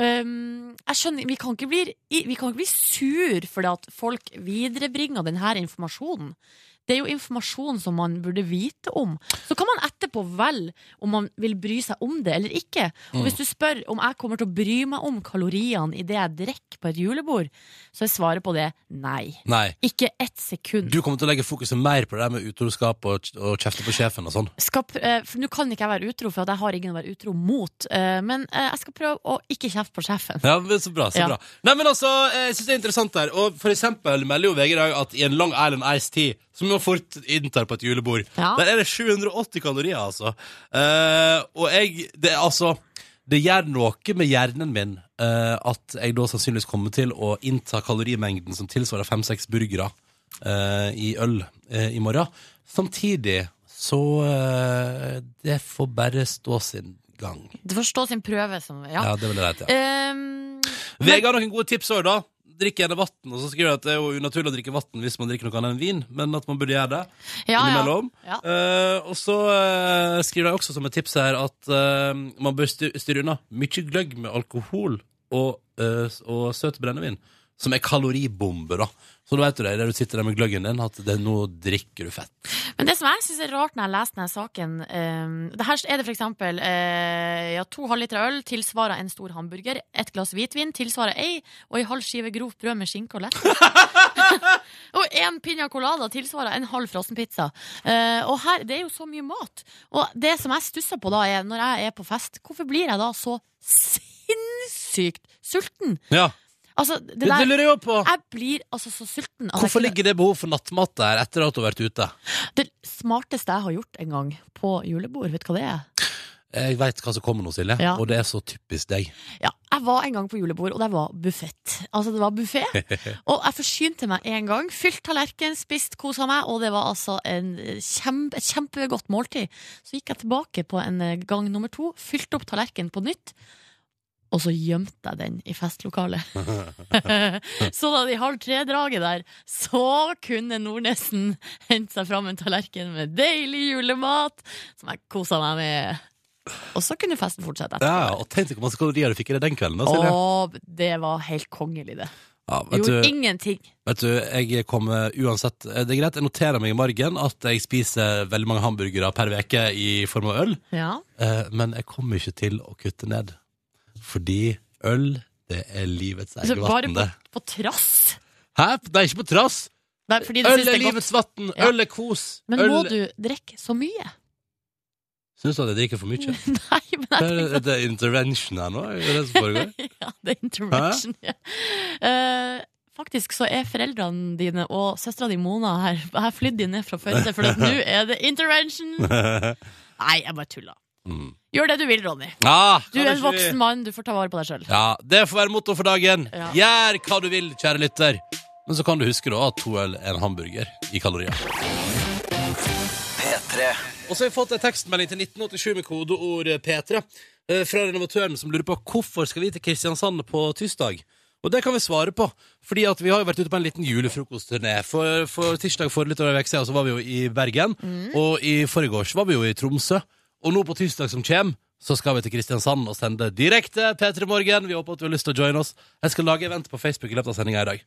ehm, Jeg skjønner, vi kan ikke bli, i- vi kan ikke bli sur fordi at folk viderebringer denne informasjonen. Det er jo informasjon som man burde vite om. Så kan man etterpå velge om man vil bry seg om det eller ikke. Og hvis du spør om jeg kommer til å bry meg om kaloriene i det jeg drikker på et julebord, så er svaret på det nei. Nei. Ikke ett sekund. Du kommer til å legge fokuset mer på det der med utroskap og, og kjefte på sjefen og sånn. Skal pr eh, for Nå kan ikke jeg være utro, for at jeg har ingen å være utro mot. eh, Men eh, jeg skal prøve å ikke kjefte på sjefen. Ja, men Så bra. så Ja. bra Nei, men altså, eh, jeg synes det er interessant der. Og for eksempel melder jo VG i dag at i en Long Island Ice Tea, som jo fort inntar på et julebord, Ja. der er det 780 kalorier, altså. Eh, og jeg Det er altså Det gjør noe med hjernen min eh, at jeg da sannsynligvis kommer til å innta kalorimengden som tilsvarer fem-seks burgere eh, i øl eh, i morgen. Samtidig så eh, Det får bare stå sin gang. Du får stå sin prøve som Ja. Ja, det vil jeg rett, ja. Ehm, VG har noen gode tips òg, da. Drikk gjerne vann. Og så skriver de at det er jo unaturlig å drikke vann hvis man drikker noe annet enn vin, men at man burde gjøre det ja, ja. innimellom. Ja. Eh, og så eh, skriver de også som et tips her at eh, man bør styr- styre unna mye gløgg med alkohol og, eh, s- og søt brennevin, som er kaloribomber, da. Så da vet du det, der du sitter der med gløggen din, at det, nå drikker du fett. Men det som jeg syns er rart når jeg leser denne saken eh, det Her er det for eksempel eh, ja, to halvliter øl tilsvarer en stor hamburger, et glass hvitvin tilsvarer ei, og ei halv skive grovt brød med skinke og lett. og en piña colada tilsvarer en halv frossenpizza. Eh, og her, det er jo så mye mat. Og det som jeg stusser på da, er når jeg er på fest, hvorfor blir jeg da så sinnssykt sulten? Ja. Altså, det, Det- det lurer jeg på. Jeg blir altså så sulten. at jeg Hvorfor kunne- ligger det behov for nattmat der etter at du har vært ute? Det smarteste jeg har gjort en gang på julebord, vet du hva det er? Jeg veit hva som kommer nå, Silje, Ja. og det er så typisk deg. Ja, jeg var en gang på julebord, og det var buffett. Altså, det var buffé. Og jeg forsynte meg en gang. Fylt tallerken, spist, kosa meg, og det var altså en eh, kjempe, et kjempegodt måltid. Så gikk jeg tilbake på en eh, gang nummer to, fylte opp tallerken på nytt, og så gjemte jeg den i festlokalet. så da de halv tre-draget der, så kunne Nordnesen hente seg fram en tallerken med deilig julemat, som jeg kosa meg med. Og så kunne festen fortsette etterpå. Ja, og Tenk deg hvor mange kalorier du fikk i deg den kvelden. da, Silje. Åh, det var helt kongelig, det. Ja, vet, Gjorde du, ingenting. vet du, jeg kommer uansett eh, Det er greit, jeg noterer meg i margen at jeg spiser veldig mange hamburgere per veke i form av øl, Ja. eh, men jeg kommer ikke til å kutte ned. Fordi øl, det er livets Altså, eget bare vann, på, det. på trass. Hæ? Nei, ikke på trass! Nei, fordi du Øl synes det er er godt. livets vann! Ja. Øl er kos! Men øl... må du drikke så mye? Syns du at jeg drikker for mye? Nei, men jeg Er tenker det- det er intervention her nå? Er det det som foregår? Ja, det er intervention. Ja. Eh, faktisk så er foreldrene dine og søstera di Mona her. Jeg har flydd de ned fra Førde, for at nå er det intervention! Nei, jeg bare tulla. Mm. Gjør det du vil, Ronny. Ah, Du kan er en ikke vi- voksen mann, du får ta vare på deg sjøl. Ja, det får være motto for dagen. Ja. Gjør hva du vil, kjære lytter. Men så kan du huske da at to øl er en hamburger i kalorier. P3. Og så har vi fått en tekstmelding til 1987 med kodeord P3 eh, fra renovatøren som lurer på hvorfor skal vi til Kristiansand på tirsdag. Og det kan vi svare på, fordi at vi har jo vært ute på en liten julefrokostturné. For, for tirsdag for litt over en uke siden så var vi jo i Bergen, og i forgårs var vi jo i Tromsø. Og nå på tirsdag som kommer, så skal vi til Kristiansand og sende direkte P3 Morgen. Vi håper at du har lyst til å joine oss. Jeg skal lage event på Facebook i løpet av sendinga i dag.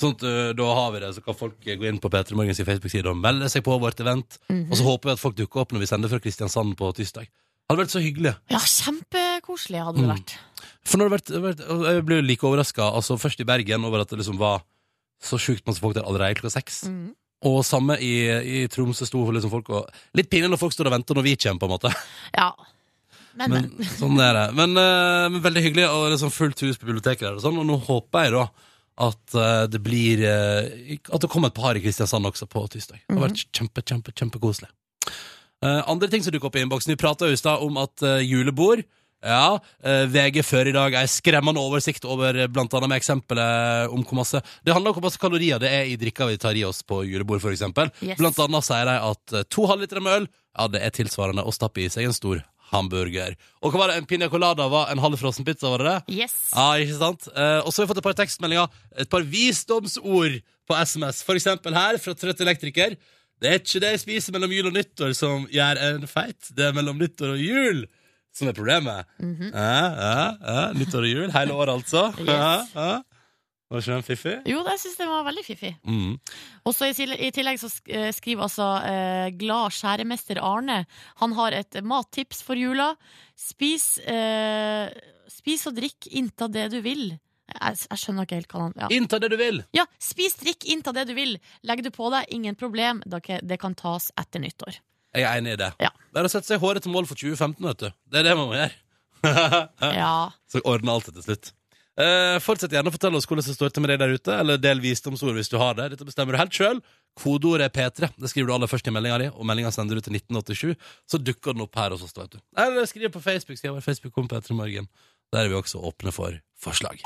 Sånn at eh, da har vi det, så kan folk eh, gå inn på P3 Morgens Facebook-side og melde seg på vårt event. Mhm. Og så håper vi at folk dukker opp når vi sender fra Kristiansand på tirsdag. Hadde vært så hyggelig. Ja, kjempekoselig hadde det Mm. vært. For når det har vært, vært og Jeg ble jo like overraska, altså først i Bergen, over at det liksom var så sjukt masse folk der allerede klokka seks. Mm. Og samme i, i Tromsø sto liksom folk og Litt pinlig når folk står og venter når vi kommer, på en måte. Ja. Men, eh, Men, men. sånn er det. Men, eh, men veldig hyggelig, og liksom fullt hus på biblioteket der og sånn. Og nå håper jeg da at eh, det blir eh, At det kommer et par i Kristiansand også på tirsdag. Det har vært kjempe, kjempe, kjempekoselig. Eh, andre ting som dukker opp i innboksen. Vi prata i stad om at eh, julebord ja, eh, VG før i dag er skremmende oversikt over eh, blant annet med eksempelet eh, om hvor masse Det handler om hvor masse kalorier det er i drikka vi tar i oss på julebord, for eksempel. Yes. Blant annet sier de at eh, to halvliter med øl, ja, det er tilsvarende å stappe i seg en stor hamburger. Og hva var det? En piña colada var en halvfrossen pizza, var det det? Yes. Ja, ikke sant? Eh, og så har vi fått et par tekstmeldinger, et par visdomsord på SMS. For eksempel her, fra Trøtt elektriker. Det er ikke det jeg spiser mellom jul og nyttår som gjør en feit. Det er mellom nyttår og jul som er problemet. Mhm. ja, ja, ja. Nyttår og jul, hele året altså. Ja, ja. Var ikke den fiffig? Jo, det syns jeg var veldig fiffig. Mm. Og så i til- i tillegg så sk- eh, skriver altså eh, glad skjæremester Arne Han har et mattips for jula. Spis, eh, spis og drikk innta det du vil. Jeg, jeg skjønner ikke helt hva han ja. Innta det du vil! Ja, spis, drikk, innta det du vil. Legg du på deg, ingen problem. Da ke- Det kan tas etter nyttår. Jeg er enig i det. Ja. Det er å sette seg håret til mål for 2015, vet du. Det er det man må gjøre. Ja. Så ordner alt det til slutt. Eh, fortsett gjerne å fortelle oss hvordan det står til med deg der ute, eller del visdomsord hvis du har det. Dette bestemmer du helt sjøl. Kodeordet er P3. Det skriver du aller først i meldinga di, og meldinga sender du til 1987. Så dukker den opp her hos oss, da, vet du. Eller skriv på Facebook. Skriv på Facebook kom P3 Morgen. Der er vi også åpne for forslag.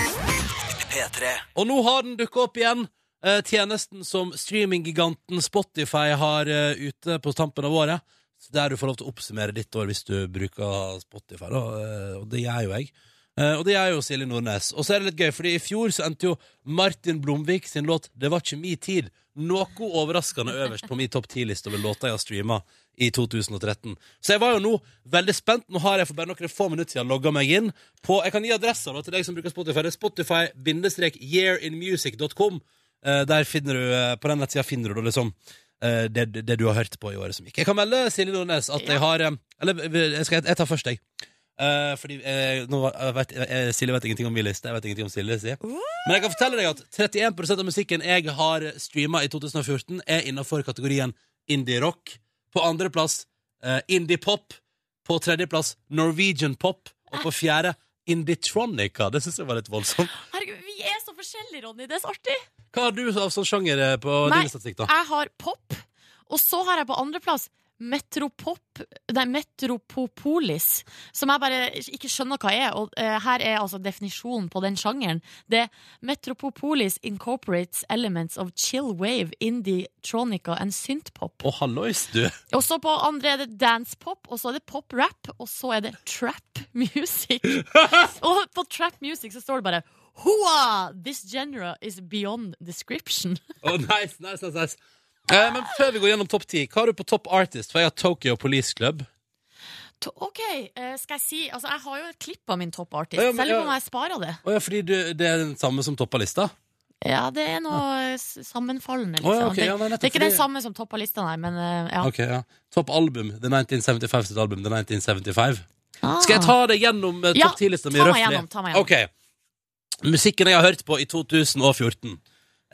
P3. Og nå har den dukka opp igjen. Eh, tjenesten som streaminggiganten Spotify har eh, ute på tampen av året. Så Der du får lov til å oppsummere ditt år hvis du bruker Spotify. Da. Eh, og det gjør jo jeg. Eh, og det gjør jo Silje Nordnes. Og så er det litt gøy, fordi i fjor så endte jo Martin Blomvik sin låt 'Det var ikke mi tid' noe overraskende øverst på min topp 10-liste over låter jeg har streama i 2013. Så jeg var jo nå veldig spent. Nå har jeg for bare noen få minutter siden logga meg inn på Jeg kan gi adressa da, til deg som bruker Spotify. Det er Spotify-yearinmusic.com. Eh, Der finner du, eh, På den nettsida finner du da liksom eh, det, det du har hørt på i året som gikk. Jeg kan melde Silje Nordnes at jeg har eh, Eller jeg, skal, jeg tar først, jeg. Eh, fordi eh, nå vet, eh, Silje vet ingenting om min liste. Jeg vet ingenting om Silje sier. Men jeg kan fortelle deg at 31 av musikken jeg har streama i 2014, er innafor kategorien indie-rock. På andreplass uh, indie-pop. På tredjeplass Norwegian pop. Og på fjerde indie-tronica. Det syns jeg var litt voldsomt. Herregud, vi er så forskjellige, Ronny. Det er så artig. Hva har du av sånn sjanger eh, på Nei, din statistikk, da? jeg har pop, og så har jeg på andreplass Metropop Nei, Metropopolis, som jeg bare ikke skjønner hva er. Og eh, her er altså definisjonen på den sjangeren. Det er Metropopolis incorporates elements of chill wave, indie, tronica and synthpop. Å, hallois, du. Og så på andre er det dancepop, og så er det pop-rap, og så er det trap music. og på trap music så står det bare Hoa! This genre is beyond description. Å, nice, nice, nice, nice. Eh, men før vi går gjennom topp ti, hva har du på topp artist? For jeg har Tokyo Police Club. To- OK, eh, skal jeg si Altså, jeg har jo et klipp av min top artist. Ja, Ja, men- Selv om ja. jeg sparer det. Å ja, fordi du, det er den samme som toppa lista? Ja, det er noe eh, s- Å, sammenfallende, liksom. ja, ok, ja, nei, det, nettopp, det er ikke fordi- den samme som toppa lista, nei, men eh, ja. Ok, ja. Topp album. The 1975 sitt album. The 1975. Ah. Skal jeg ta deg gjennom eh, Ja, topp 10-lista mi ta meg røftlig? gjennom, ta meg gjennom. Ok. Musikken jeg har hørt på i 2014.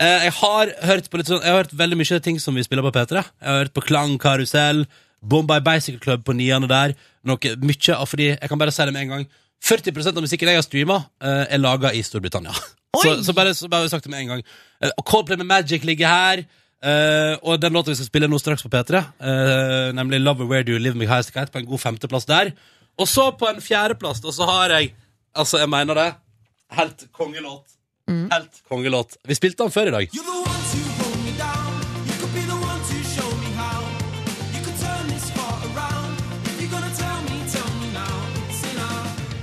Eh, jeg har hørt på litt sånn Jeg har hørt veldig mye ting som vi spiller på P3. Jeg har hørt på Klang Karusell, Bombay Bicycle Club på niende der. Noe mye av fordi Jeg kan bare si det med en gang. 40 av musikken jeg har streama, eh, er laga i Storbritannia. Så, så bare, så bare sagt det med en gang. Eh, og Coldplay med Magic ligger her. eh, og den låta vi skal spille nå straks på P3, eh, nemlig Love Where Do You Live Me Highest Kite, på en god femteplass der. Og så på en fjerdeplass, da, så har jeg Altså, jeg mener det. Helt kongelåt. Helt kongelåt. Vi spilte den før i dag.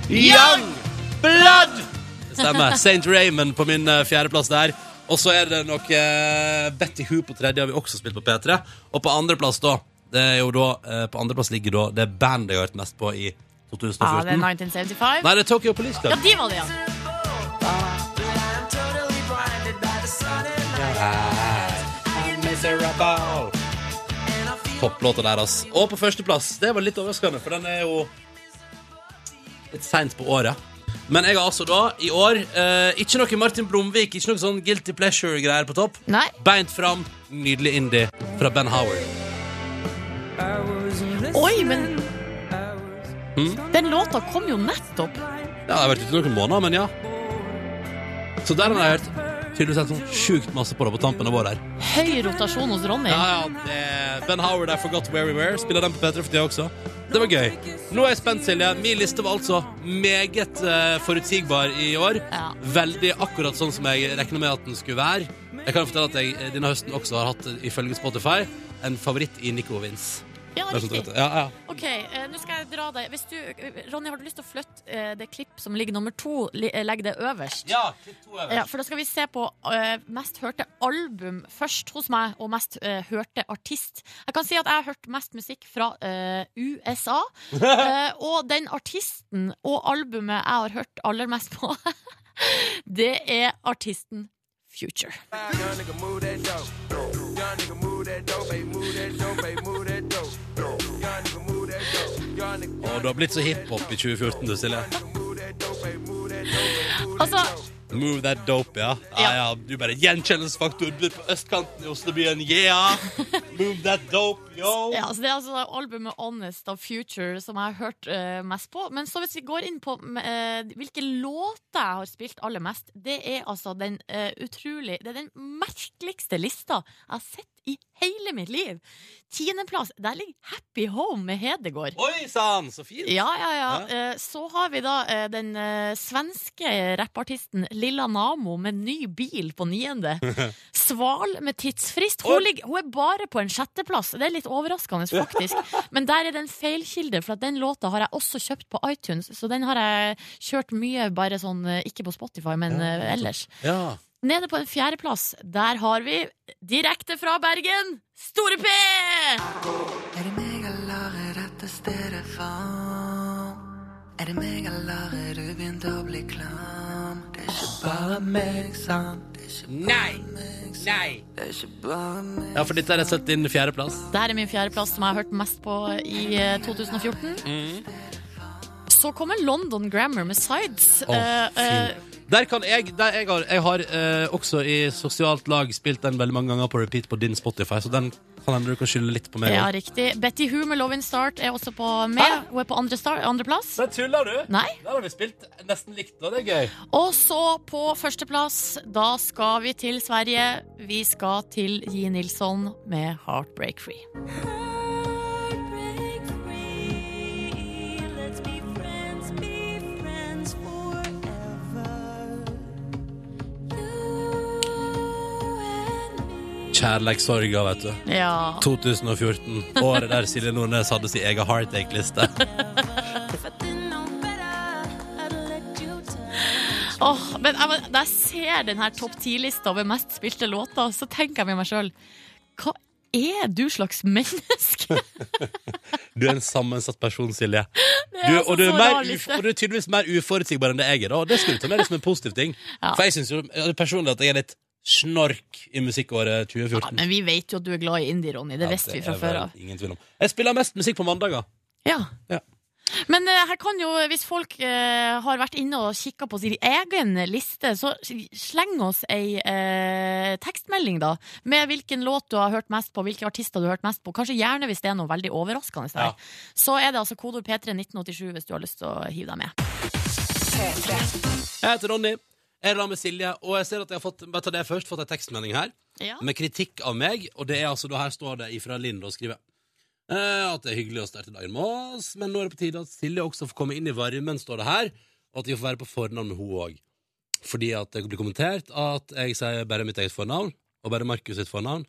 Young Blood! Det Stemmer. St. Raymond på min eh, fjerdeplass der. Og så er det nok eh, Betty Who på tredje, har vi også spilt på P3. Og på andreplass, da det er jo da, eh, På andreplass ligger da det bandet jeg har hørt mest på i 2014. ja, det er 1975. Nei, det er Tokyo Police Club. Ja, de var det, ja. Topplåta deres. Og på førsteplass. Det var litt overraskende, for den er jo litt seint på året. Men jeg har altså da, i år, eh, ikke noe Martin Blomvik, ikke noe sånn Guilty Pleasure-greier på topp. Nei. Beint fram, nydelig indie fra Ben Howard. Oi, men Hm? den låta kom jo nettopp. Ja, det har vært ute noen måneder, men ja. Så der har jeg hørt tydeligvis helt sånn sjukt masse på det på tampen av året her. Høy rotasjon hos Ronny. Ja, ja, det, Ben Howard, I Forgot Where We Were. Spiller den på P3 for det også. Det var gøy. Nå er jeg spent, Silje. Min liste var altså meget eh, forutsigbar i år. Veldig akkurat sånn som jeg regna med at den skulle være. Jeg kan fortelle at jeg eh, denne høsten også har hatt, eh, ifølge Spotify, en favoritt i Nico Vins. Ja, Det er sånn riktig. at- Ja, ja. Ok, eh, nå skal jeg dra deg Hvis du, eh, Ronny, har du lyst til å flytte eh, det klipp som ligger nummer to? li- eh, Legg det øverst. Ja, klipp to øverst. Ja, for da skal vi se på eh, mest hørte album først hos meg, og mest eh, hørte artist. Jeg kan si at jeg har hørt mest musikk fra eh, USA. eh, og den artisten og albumet jeg har hørt aller mest på, det er artisten Future. Og du har blitt så hiphop i 2014, du, Silje. Altså, Move that dope, ja. Ja, ja. Du bare gjenkjennelsesfaktor bor på østkanten i Oslobyen. Yeah! Move that dope, yo! Ja, altså det er altså albumet Honest av Future som jeg har hørt eh, mest på. Men så hvis vi går inn på eh, hvilke låter jeg har spilt aller mest, det er altså den eh, utrolig Det er den merkeligste lista jeg har sett i hele mitt liv. Tiendeplass, der ligger Happy Home med Hedegård. Oi sann, så fint! Ja, ja, ja. Eh, Så har vi da eh, den eh, svenske rappartisten Lilla Namo med ny bil på niende. Sval med tidsfrist. Hun, ligger, hun er bare på en sjetteplass. Det er litt overraskende, faktisk. Men der er det en feilkilde, for at den låta har jeg også kjøpt på iTunes. Så den har jeg kjørt mye, bare sånn eh, Ikke på Spotify, men eh, ellers. Ja. Nede på en fjerdeplass, der har vi, direkte fra Bergen, Store P! Er det meg eller er dette stedet for Er det meg eller er du begynt å bli klam? Det er ikke bare meg, sant? Det er ikke bare Nei! meg, sant? Nei! Det er ikke bare meg Ja, for dette er rett og slett din fjerdeplass. Dette er min fjerdeplass som jeg har hørt mest på i eh, 2014. Mm. Så kommer London Grammar med Sides. Å, Eh, eh, Der kan jeg der Jeg har, jeg har eh, også i sosialt lag spilt den veldig mange ganger på repeat på din Spotify, så den kan hende du kan skylde litt på meg. ja, også. riktig. Betty Who med Love In Start er også på med. Hun er på andre star- andreplass. Andre tuller du? Nei. Der har vi spilt nesten likt, og det er gøy. Og så på førsteplass, da skal vi til Sverige. Vi skal til Ji Nilsson med Heartbreak Free. Kjærleikssorga, vet du. Ja. 2014. Året der Silje Nordnes hadde sin egen heartache-liste. Åh, men jeg, må- da jeg ser den her topp 10-lista over mest spilte låter, så tenker jeg med meg sjøl Hva er du slags menneske? Du er en sammensatt person, Silje. Det er Du, altså og, du er så mer rar uf, liste. og du er tydeligvis mer uforutsigbar enn det jeg er. Da. Og Det skulle du ta med deg som en positiv ting. Ja. For jeg syns jo jeg- personlig at jeg er litt snork i musikkåret 2014. Men vi vet jo at du er glad i indie, Ronny. Det visste vi fra er vel før av. Ingen tvil om. Jeg spiller mest musikk på mandager. Ja. Ja. Men eh, her kan jo, hvis folk eh, har vært inne og kikka på sin egen liste, så sleng oss ei eh, tekstmelding, da. Med hvilken låt du har hørt mest på, hvilke artister du har hørt mest på. Kanskje gjerne hvis det er noe veldig overraskende der. Så er det altså kodeord P3 1987 hvis du har lyst til å hive deg med. Jeg heter Ronny. Jeg er da med Silje, og jeg ser at jeg har fått bare ta det først, fått en tekstmelding her Ja. med kritikk av meg. Og det er altså, da her står det ifra Lind og skriver eh, at det er hyggelig å starte dagen med oss, men nå er det på tide at Silje også får komme inn i varmen, står det her, og at vi får være på fornavn med henne òg. Fordi at det blir kommentert at jeg sier bare mitt eget fornavn, og bare Markus sitt fornavn,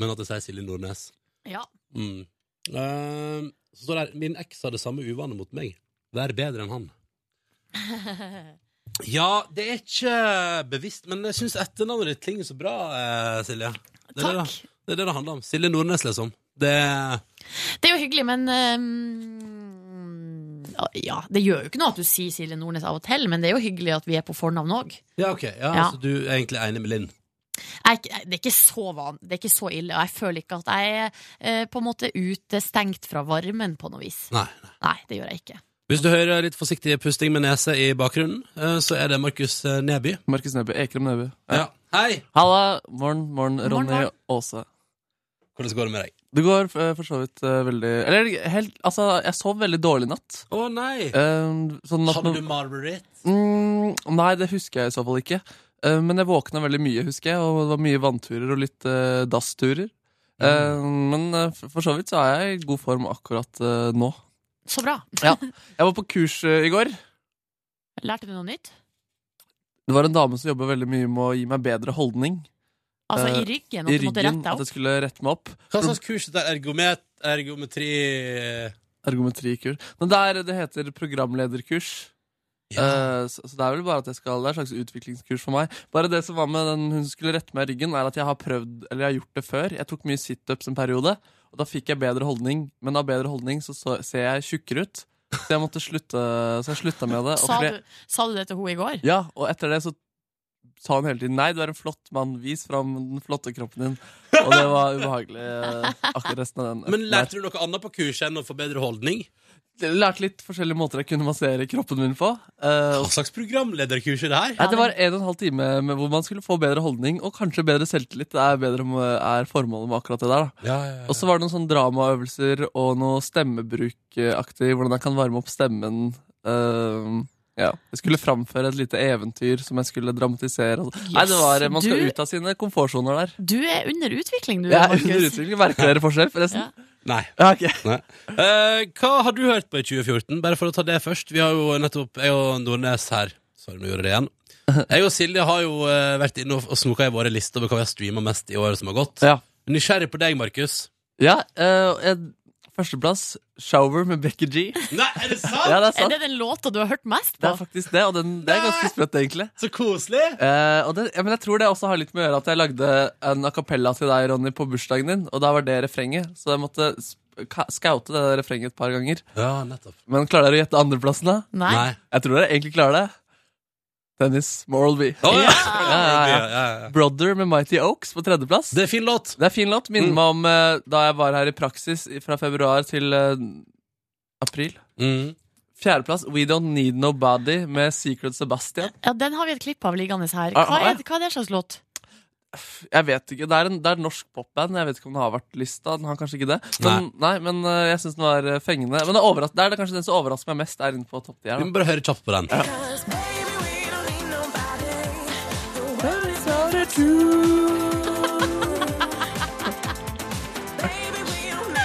men at jeg sier Silje Nordnes. Ja. Mm. Eh, så står det her Min eks har det samme uvanet mot meg. Vær bedre enn han. Ja, det er ikke bevisst, men jeg syns etternavnet ditt klinger så bra, eh, Silje. Det er Takk. Det, det er det det handler om. Silje Nordnes, liksom. Det Det er jo hyggelig, men eh, ja, Det gjør jo ikke noe at du sier Silje Nordnes av og til, men det er jo hyggelig at vi er på fornavn òg. Ja, ok. Ja, Ja. Så du er egentlig enig med Linn? jeg, er ikke- det er ikke så van, det er ikke så ille, og jeg føler ikke at jeg er eh, på en måte utestengt fra varmen på noe vis. Nei. Nei, det gjør jeg ikke. Hvis du hører litt forsiktig pusting med nese i bakgrunnen, eh, så er det Markus eh, Neby. Markus Neby, Ekrem Neby. Ja. Hei! Halla! Morgen, morgen, Morgen, Ronny morgen. Aase. Hvordan går det med deg? Det går eh, for så vidt eh, veldig Eller helt Altså, jeg sov veldig dårlig i natt. Å nei! Eh, sånn at Hadde nå- du mareritt? Mm, nei, det husker jeg i så fall ikke. Eh, men jeg våkna veldig mye, husker jeg, og det var mye vannturer og litt eh, dassturer. Eh, men eh, for- for så vidt så er jeg i god form akkurat eh, nå. Så bra. Ja. Jeg var på kurs eh, i går. Lærte du noe nytt? Det var en dame som jobber veldig mye med å gi meg bedre holdning. Altså, Eh, i ryggen, at du måtte rette deg At jeg skulle rette meg opp. Hva slags kurs er det? Ergomet, ergometri eh, Ergometrikurs. Men det, er, det heter programlederkurs. Eh, så, så det er vel bare at jeg skal Det er et slags utviklingskurs for meg. Bare det som var med den hun som skulle rette meg i ryggen, er at jeg har prøvd Eller jeg har gjort det før. Jeg tok mye situps en periode, og da fikk jeg bedre holdning. Men av bedre holdning så, så ser jeg tjukkere ut. Så jeg måtte slutte Så jeg slutta med det. opp? og Sa fordi- du, sa du det til henne i går? ja, og etter det så sa hun hele tiden Nei, du er en flott mann, vis fram den flotte kroppen din Og det var ubehagelig eh, Akkurat resten av den Men lærte du noe annet på kurset enn å få bedre holdning? Jeg lærte litt forskjellige måter jeg kunne massere kroppen min på Hva slags programlederkurs er det her? Nei, det var en og en halv time med hvor man skulle få bedre holdning Og kanskje bedre selvtillit Det er, bedre, med- er formålet med akkurat det der da. Ja, ja, ja. Og så var det noen sånne dramaøvelser Og noe stemmebrukaktig Hvordan jeg kan varme opp stemmen eh, ja. Jeg skulle framføre et lite eventyr Som jeg skulle dramatisere og så- Nei, det var, man skal du- ut av sine komfortsoner der Du er under utvikling, du, Jeg er Markus. under utvikling, merker dere forskjell forresten? Nei. ok. Eh, hva har du hørt på i 2014? Bare for å ta det først. Vi har jo nettopp Jeg og Nordnes her. Sorry, nå gjorde jeg det igjen. Jeg og Silje har jo eh, vært inne og og snoka i våre lister over hva vi har streama mest i året som har gått. Nysgjerrig på deg, Markus. Ja, eh, en- Førsteplass, Shower med Becky G Nei, er det sant? Ja, det er sant det den låta du har hørt mest Det på? er faktisk det, og den, det er ganske sprøtt, egentlig. Eh, Så koselig! og det, ja, men jeg tror det også har litt med å gjøre at jeg lagde en a cappella til deg, Ronny, på bursdagen din, og da var det refrenget. Så jeg måtte sp- ka- skaute det der refrenget et par ganger. Ja, nettopp. Men klarer dere å gjette andreplassen, da? Nei. Nei. Jeg tror dere egentlig klarer det. Dennis Moralby. ja. Ja, ja, Ja, ja, ja. ja. Brother med Mighty Oaks på tredjeplass. Det Mm. er fin låt. Det er fin låt. Minner meg om eh, da jeg var her i praksis i- fra februar til eh, april. Mm. Fjerdeplass We Don't Need Nobody med Secret Sebastian. Ja, den har vi et klipp av liggende her. Ah, Hva ah, ja. er, hva er det slags låt? Jeg vet ikke, Det er en, det er en norsk popband. Jeg vet ikke om den har vært lista. Den har kanskje ikke det Men, nei. men eh, jeg syns den var eh, fengende. Men det er, overras- det er det kanskje den som overrasker meg mest, er inne på topp 10. her, da. Vi må bare høre kjapt på den.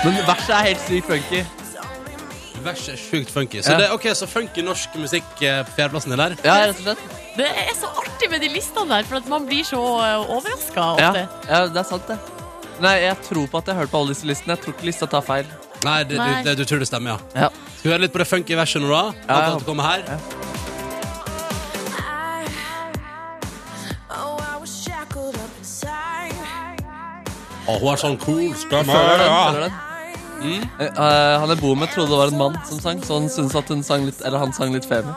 Men verset er helt sykt funky. Verset er sjukt funky. Så, Ja. det, ok, så funky norsk musikk eh, på fjerdeplassen din der? Ja, rett og slett. Det er så artig med de listene der, for at man blir så eh, overraska Ja, ofte. ja, det er sant, det. Nei, jeg tror på at jeg har hørt på alle disse listene. Jeg tror ikke lista tar feil. Nei, det, du, Nei. det, du tror det stemmer, ja. Skal vi høre litt på det funky verset nå, da? Ja, Antar ja. at det kommer her. Å, hun har sånn cool Jeg stemme. føler den. Føler den. Eh, eh, han jeg bor med, trodde det var en mann som sang, så han syntes at hun sang litt, eller han sang litt femi.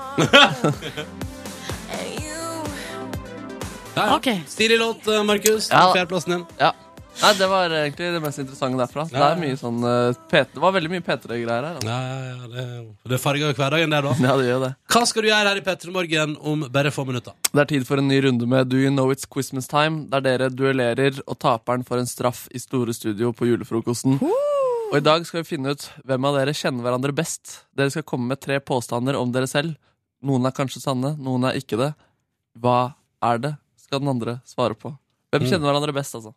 Ja, ja. Stilig låt, eh, Markus. Ja. Fjerdeplassen din. ja. Nei, det var eh, egentlig det mest interessante derfra. Det, Ja. er mye sånn, eh, P- det var veldig mye P3-greier her. altså. Ja, ja, ja, det, det farger jo hverdagen, det, da. Ja, det gjør det. Hva skal du gjøre her i P3 Morgen om bare få minutter? Det er tid for en ny runde med Do You Know It's Christmas Time, der dere duellerer, og taperen får en straff i Store Studio på julefrokosten. Og i dag skal vi finne ut hvem av dere kjenner hverandre best. Dere skal komme med tre påstander om dere selv. Noen er kanskje sanne, noen er ikke det. Hva er det, skal den andre svare på. Hvem Mm. kjenner hverandre best, altså?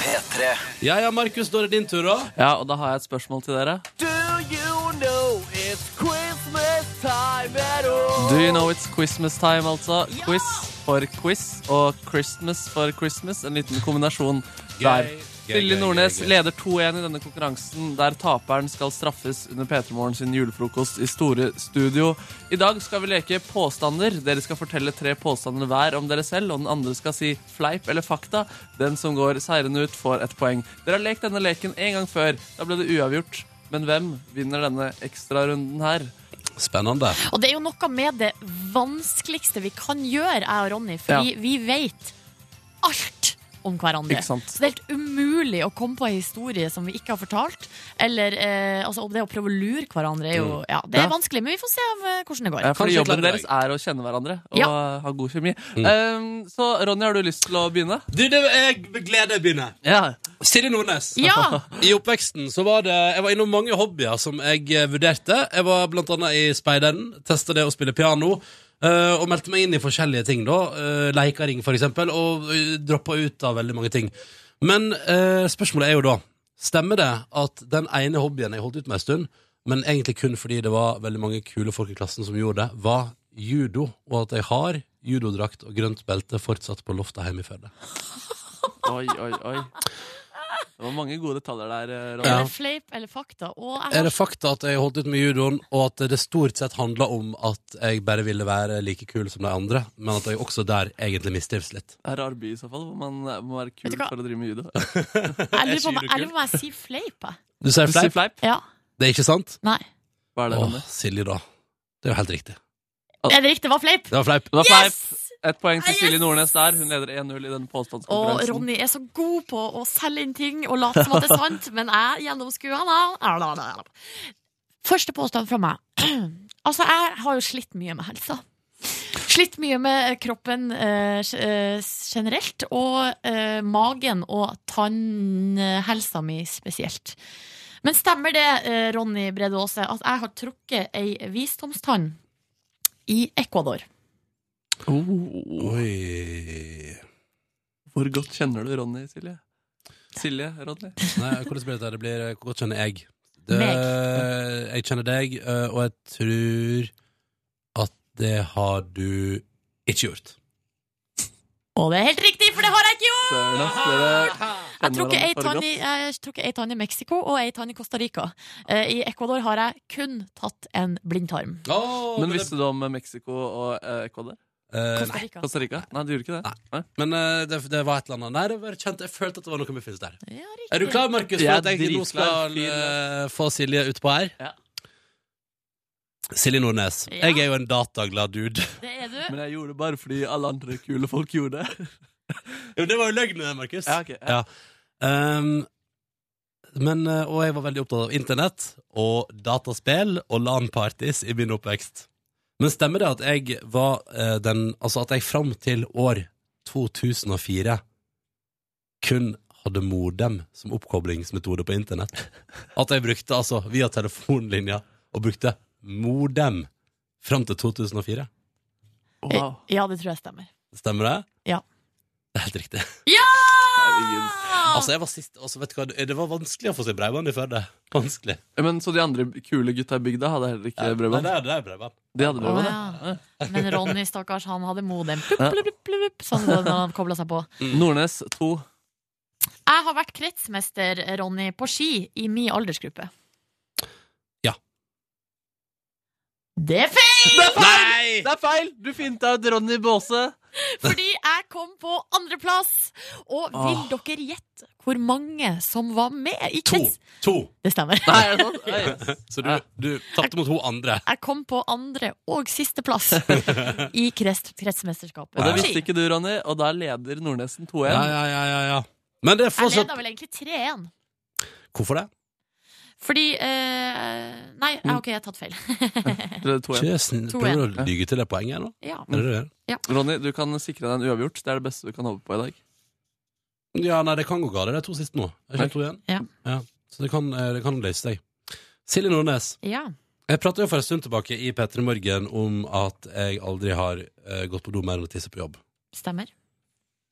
P3. Ja, ja, Markus, da er det din tur, da. Ja, og da har jeg et spørsmål til dere. Do you know it's Christmas time at all? Do you know it's Christmas time, altså? Quiz for quiz og Christmas for Christmas. En liten kombinasjon der. Gøy, gøy, Silje gøy, Nordnes gøy, gøy. leder 2-1 i denne konkurransen, der taperen skal straffes under P3morgen sin julefrokost i Store Studio. I dag skal vi leke påstander. Dere skal fortelle tre påstander hver om dere selv, og den andre skal si fleip eller fakta. Den som går seirende ut, får et poeng. Dere har lekt denne leken en gang før. Da ble det uavgjort. Men hvem vinner denne ekstrarunden her? Spennende. Og det er jo noe med det vanskeligste vi kan gjøre, jeg og Ronny, fordi Ja. vi vet alt om hverandre. Ikke sant. Så det er helt umulig å komme på en historie som vi ikke har fortalt. Eller eh, altså, om det å prøve å lure hverandre er jo Mm. Ja, det er Ja. vanskelig, men vi får se om, eh, hvordan det går. Ja, fordi jobben deres er å kjenne hverandre og Ja. ha god kjemi. Mm. Um, så Ronny, har du lyst til å begynne? Du, det jeg med glede begynner. Silje Nordnes. Ja. I oppveksten så var det Jeg var innom mange hobbyer som jeg eh, vurderte. Jeg var blant annet i Speideren. Testa det å spille piano. eh, og meldte meg inn i forskjellige ting, da. Uh, Leikaring, for eksempel. Og uh, droppa ut av veldig mange ting. Men eh, spørsmålet er jo da Stemmer det at den ene hobbyen jeg holdt ut med en stund, men egentlig kun fordi det var veldig mange kule folk i klassen som gjorde det, var judo, og at jeg har judodrakt og grønt belte fortsatt på loftet hjemme i Førde? Oi, oi, oi. Det var mange gode detaljer der, eh, Ronny. Er det fleip eller fakta? Og jeg Er har det fakta at jeg holdt ut med judoen, og at det stort sett handla om at jeg bare ville være like kul som de andre, men at jeg også der egentlig mistrives litt? Det er rar by i så fall, hvor man eh, må være kul du hva? for å drive med judo. Jeg lurer på om jeg- jeg lurer på om jeg sier fleip, jeg. Du sier Du sier fleip? fleip? Ja. Det er ikke sant? Nei. Hva er det, Åh, Ronny? Silje, da. Det er jo helt riktig. Er det riktig? Det var fleip. Det var fleip. Det var fleip. Et poeng til Silje Nordnes der. Hun leder 1-0 i denne Ah, Og påstandskonkurransen. Ronny er så god på å selge inn ting og late som at det er sant, men jeg gjennomskuer han. Første påstand fra meg. Altså, jeg har jo slitt mye med helsa. Slitt mye med kroppen eh, g- eh, generelt, og eh, magen og tannhelsa mi spesielt. Men stemmer det, eh, Ronny Brede Aase, at jeg har trukket ei visdomstann i Ecuador? Oi Oh, Hvor godt kjenner du Ronny, Silje? Silje, Ronny? Nei, hvordan blir dette? Det blir eh, Hvor godt kjenner jeg? Det, Meg. jeg kjenner deg, eh, og jeg tror at det har du ikke gjort. Og det er helt riktig, for det har jeg ikke gjort! Søren, ass. Dere Jeg tror ikke ei kjenner hverandre for tann i, eh, godt. jeg tror ikke ei tann i Mexico og ei tann i Costa Rica. Eh, I Ecuador har jeg kun tatt en blindtarm. Men visste du om eh, Mexico og eh, Ecuador? Eh, Costa Rica. Costa Rica? Nei, du gjorde ikke det? Men eh, det, det var et eller annet der. Jeg, bare kjente, jeg følte at det var noe muffins der. riktig. er du klar, Markus, for Jeg er at jeg nå dritklar. skal eh, få Silje utpå her? Silje Nordnes. Ja. Jeg er jo en dataglad dude. Det er du. Men jeg gjorde det bare fordi alle andre kule folk gjorde det. jo, det var jo løgn, Markus. Ja, ok, ja. Ja. Ehm, men, eh, og jeg var veldig opptatt av internett og dataspill og LAN-parties i min oppvekst. Men stemmer det at jeg var eh, den Altså at jeg fram til år 2004 kun hadde modem som oppkoblingsmetode på internett? At jeg brukte altså via telefonlinja og brukte modem fram til 2004? Eh, Ja, det tror jeg stemmer. Stemmer det? Ja. Det er helt riktig. Ja! Altså, jeg var sist altså, vet du hva, Det var vanskelig å få seg bredbånd i Førde. Vanskelig. Men Så de andre kule gutta i bygda hadde heller ikke Nei, bredbånd? det er, det er bredbånd. De hadde bredbånd, ja. Å, ja. Men Ronny, stakkars, han hadde modem. Plupp, Ja. plupp, plupp, plupp, sånn det var når han kobla seg på. Nordnes 2. Jeg har vært kretsmester, Ronny, på ski i min aldersgruppe. Ja. Det er feil! Det er feil! Det er feil! Du finta ut Ronny Baase. Fordi jeg kom på andreplass! Og vil Åh. dere gjette hvor mange som var med i To. krets? to. Det stemmer. Nei, er det sant? Nei. Så du, du tapte mot hun andre. Jeg kom på andre- og sisteplass i krets kretsmesterskapet. Og det på ski. visste ikke du, Ronny, og da leder Nordnesen 2-1. Ja, ja, ja, ja, ja. Men det er Jeg fortsatt leda vel egentlig 3-1. Hvorfor det? Fordi eh, Nei, eh, ok, jeg har tatt feil. Kjøsen, 2-1. prøver du å lyge til det poenget her nå? Ja. Er det det du gjør? Ronny, du kan sikre deg en uavgjort. Det er det beste du kan håpe på i dag. Ja, nei, det kan gå galt. Det er to siste nå. Er det ikke to igjen? Ja. Ja. Så det kan, eh, det kan løse seg. Silje Nordnes. ja. Jeg pratet jo for en stund tilbake i P3 Morgen om at jeg aldri har eh, gått på do mer enn å tisse på jobb. Stemmer.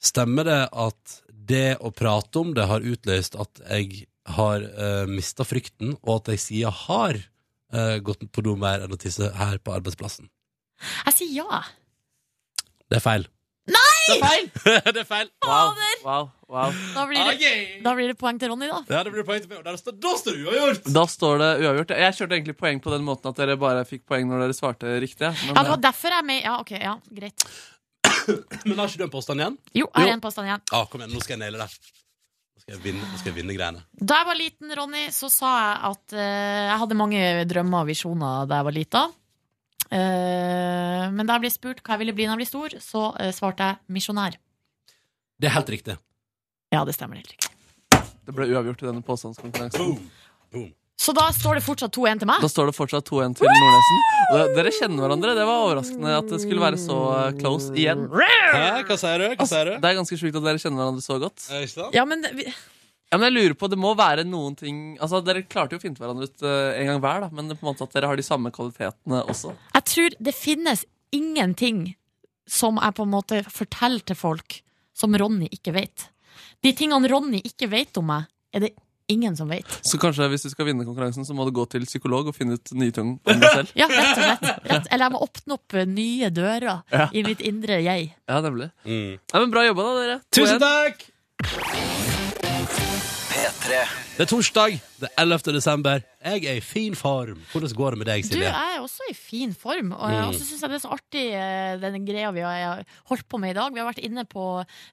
Stemmer det at det å prate om det har utløst at jeg har uh, mista frykten, og at jeg sier jeg har eh, gått på do mer enn å tisse her på arbeidsplassen? Jeg sier ja. Det er feil. Nei! det er feil. Wow, wow, wow. Da Ah, blir, det, da blir det poeng til Ronny, da. Ja, det blir poeng til meg. Der står- Da står det uavgjort! Da står det uavgjort. Jeg kjørte egentlig poeng på den måten at dere bare fikk poeng når dere svarte riktig. Ja, det var derfor jeg er med. Ja, ok, ja, greit. Men har ikke du en påstand igjen? Jo, jeg har en påstand igjen. Ah, kom igjen, nå skal jeg naile det. Nå skal jeg vinne, nå skal jeg vinne greiene. Da jeg var liten, Ronny, så sa jeg at eh, jeg hadde mange drømmer og visjoner da jeg var lita. Eh, men da jeg ble spurt hva jeg ville bli når jeg ble stor, så eh, svarte jeg misjonær. Det er helt riktig. Ja, det stemmer helt riktig. eh, Det ble uavgjort i denne påstandskonkurransen. Så da står det fortsatt 2-1 til meg. Da står det fortsatt 2-1 til Nordnesen. Og det- dere kjenner hverandre. Det var overraskende at det skulle være så eh, close igjen. Hæ? Hva sier du? Hva sier du? Det er ganske sjukt at dere kjenner hverandre så godt. Eh, Ikke sant? Ja, men vi, Ja, men jeg lurer på, det må være noen ting Altså, Dere klarte jo å finne hverandre ut eh, en gang hver, da men det er på en måte at dere har de samme kvalitetene også. jeg tror det finnes ingenting som jeg på en måte forteller til folk som Ronny ikke vet. De tingene Ronny ikke vet om meg, er det ingen som vet. Så kanskje hvis du skal vinne konkurransen, så må du gå til psykolog og finne ut nye ting om deg selv. Ja, rett og slett. Rett, eller jeg må åpne opp eh, nye dører Ja. i mitt indre jeg. Ja, nemlig. Nei, men Bra jobba, da, dere. Tusen 2-1. takk! P3. Det er torsdag, det er 11. desember. Jeg er i fin form. Hvordan går det med deg, Du jeg Silje? er også i fin form, og Mm. og så syns jeg det er så artig eh, den greia vi har holdt på med i dag. Vi har vært inne på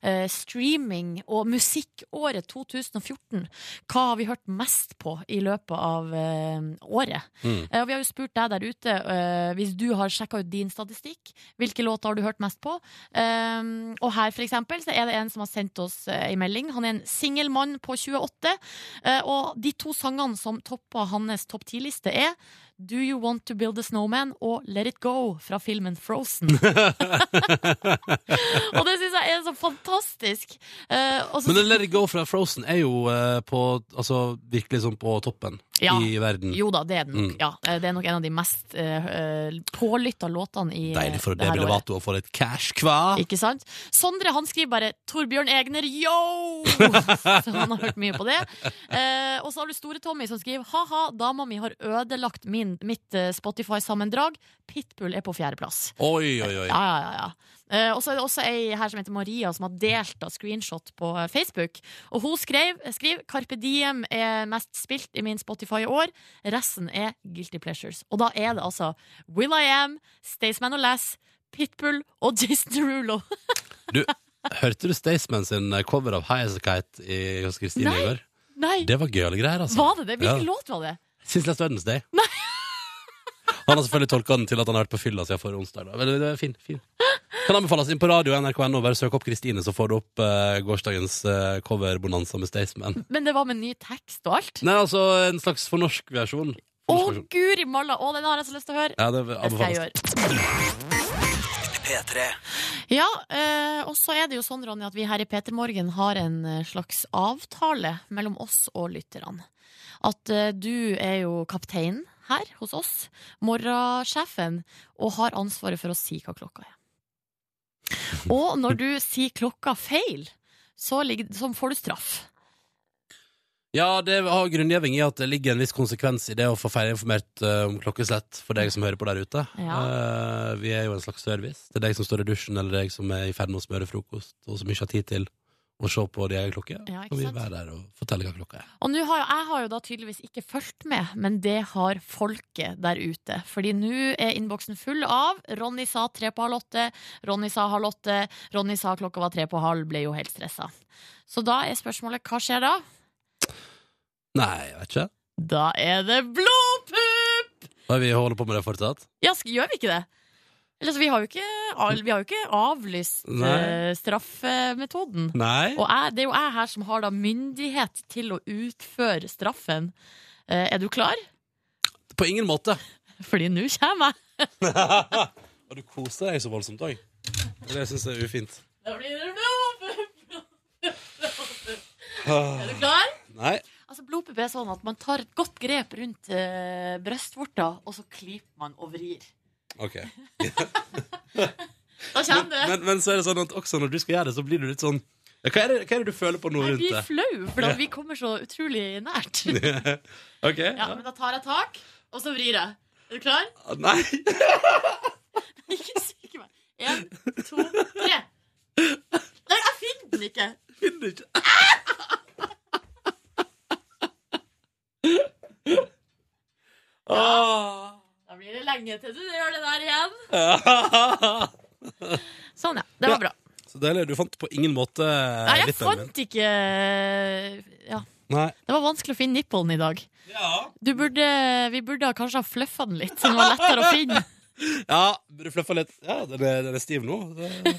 eh, streaming og musikkåret 2014. Hva har vi hørt mest på i løpet av eh, året? Mm. Eh, og vi har jo spurt deg der ute, eh, hvis du har sjekka ut din statistikk, hvilke låter har du hørt mest på? Um, og her for eksempel så er det en som har sendt oss eh, en melding. Han er en singel mann på 28. eh, og de to sangene som topper hans topp 10-liste, er Do You Want To Build A Snowman og Let It Go fra filmen Frozen. og det syns jeg er så fantastisk! Eh, og så- Men den Let It Go fra Frozen er jo eh, på, altså, virkelig sånn på toppen Ja. i verden. Jo da, det er den nok. Mm. Ja, eh, det er nok en av de mest uh, pålytta låtene i eh, Deilig for det det her året. Levato å få litt cash, hva? Ikke sant? Sondre han skriver bare 'Torbjørn Egner, yo!' Så han har hørt mye på det. Eh, og så har du Store-Tommy som skriver 'Ha-ha, dama mi har ødelagt min, mitt eh, Spotify-sammendrag'. Pitbull er på fjerdeplass. Oi, oi, oi. Ja, ja, ja, ja. Eh, og så er det også ei her som heter Maria, som har delt da screenshot på eh, Facebook. Og hun skrev, skriver 'Carpe Diem er mest spilt i min Spotify i år'. Resten er Guilty Pleasures. Og da er det altså Will I Am, Staysman og Lass, Pitbull og Jason Derulo. Du, hørte du Staysman sin eh, cover av High As A Kite i, hos Kristine i Nei, går? Nei! Det var gøyale greier, altså. Var det det? Hvilken Ja. låt var det? Since Last Wednesday. han har selvfølgelig tolka den til at han har vært på fylla siden forrige onsdag. Da. Vel, Det er fin, fin. Kan anbefales inn på radio nrk.no. Bare søk opp Kristine, så får du opp eh, gårsdagens eh, coverbonanza med Staysman. Men det var med ny tekst og alt. Nei, altså en slags fornorsk versjon. Å, guri malla! Å, den har jeg så lyst til å høre. Ja, det Det skal jeg anbefales. gjøre. Ja, eh, og så er det jo sånn, Ronny, at vi her i Peter Morgen har en eh, slags avtale mellom oss og lytterne. At eh, du er jo kapteinen her hos oss, morgensjefen, og har ansvaret for å si hva klokka er. Og når du sier klokka feil, så, ligger, så får du straff. Ja, det har grunngjeving i at det ligger en viss konsekvens i det å få feilinformert eh, om klokkeslett for deg som hører på der ute. Eh, vi er jo en slags service til deg som står i dusjen, eller deg som er i ferd med å smøre frokost, og som ikke har tid til å se på de egen klokke. Ja, ikke kan vi sant? være der og fortelle hva klokka er. Og nå har jo, jeg har jo da tydeligvis ikke fulgt med, men det har folket der ute. Fordi nå er innboksen full av Ronny sa tre på halv åtte, Ronny sa halv åtte, Ronny sa klokka var tre på halv, ble jo helt stressa. Så da er spørsmålet hva skjer da? Nei, jeg vet ikke. Da er det blodpupp! Nei, vi holder på med det fortsatt. Ja, sk- gjør vi ikke det? Eller, så vi har jo ikke, al- vi har jo ikke avlyst Nei. eh, straffemetoden. Nei. Og jeg, det er jo jeg her som har da myndighet til å utføre straffen. Eh, er du klar? På ingen måte. Fordi nå kommer jeg. og du koser deg så voldsomt òg. Det syns jeg er ufint. Da blir det blodpupp! Er du klar? Ah, Nei. Altså, blodpupp er sånn at man tar et godt grep rundt eh, brystvorta, og så klyper man og vrir. Ok. Da Men, kommer det. men, men så er det sånn at også når du skal gjøre det, så blir du litt sånn Hva er det, hva er det du føler på nå Jeg rundt blir det? flau, for da Ja. vi kommer så utrolig nært. ok. Ja, men da tar jeg tak, og så vrir jeg. Er du klar? Ah, Nei. Ikke syk meg. En, to, tre. Nei, jeg finner den ikke. Finner den ikke. Åh. Da blir det lenge til du gjør det der igjen. sånn, ja. Det var bra. Så deilig. Du fant på ingen måte Nei, jeg rytmen din. fant ikke Ja. Nei. Det var vanskelig å finne nippelen i dag. Du burde, vi burde ha- kanskje ha fluffa den litt, så den var lettere å finne. Ja, burde fluffa litt. Ja, den er, den er stiv nå. Det-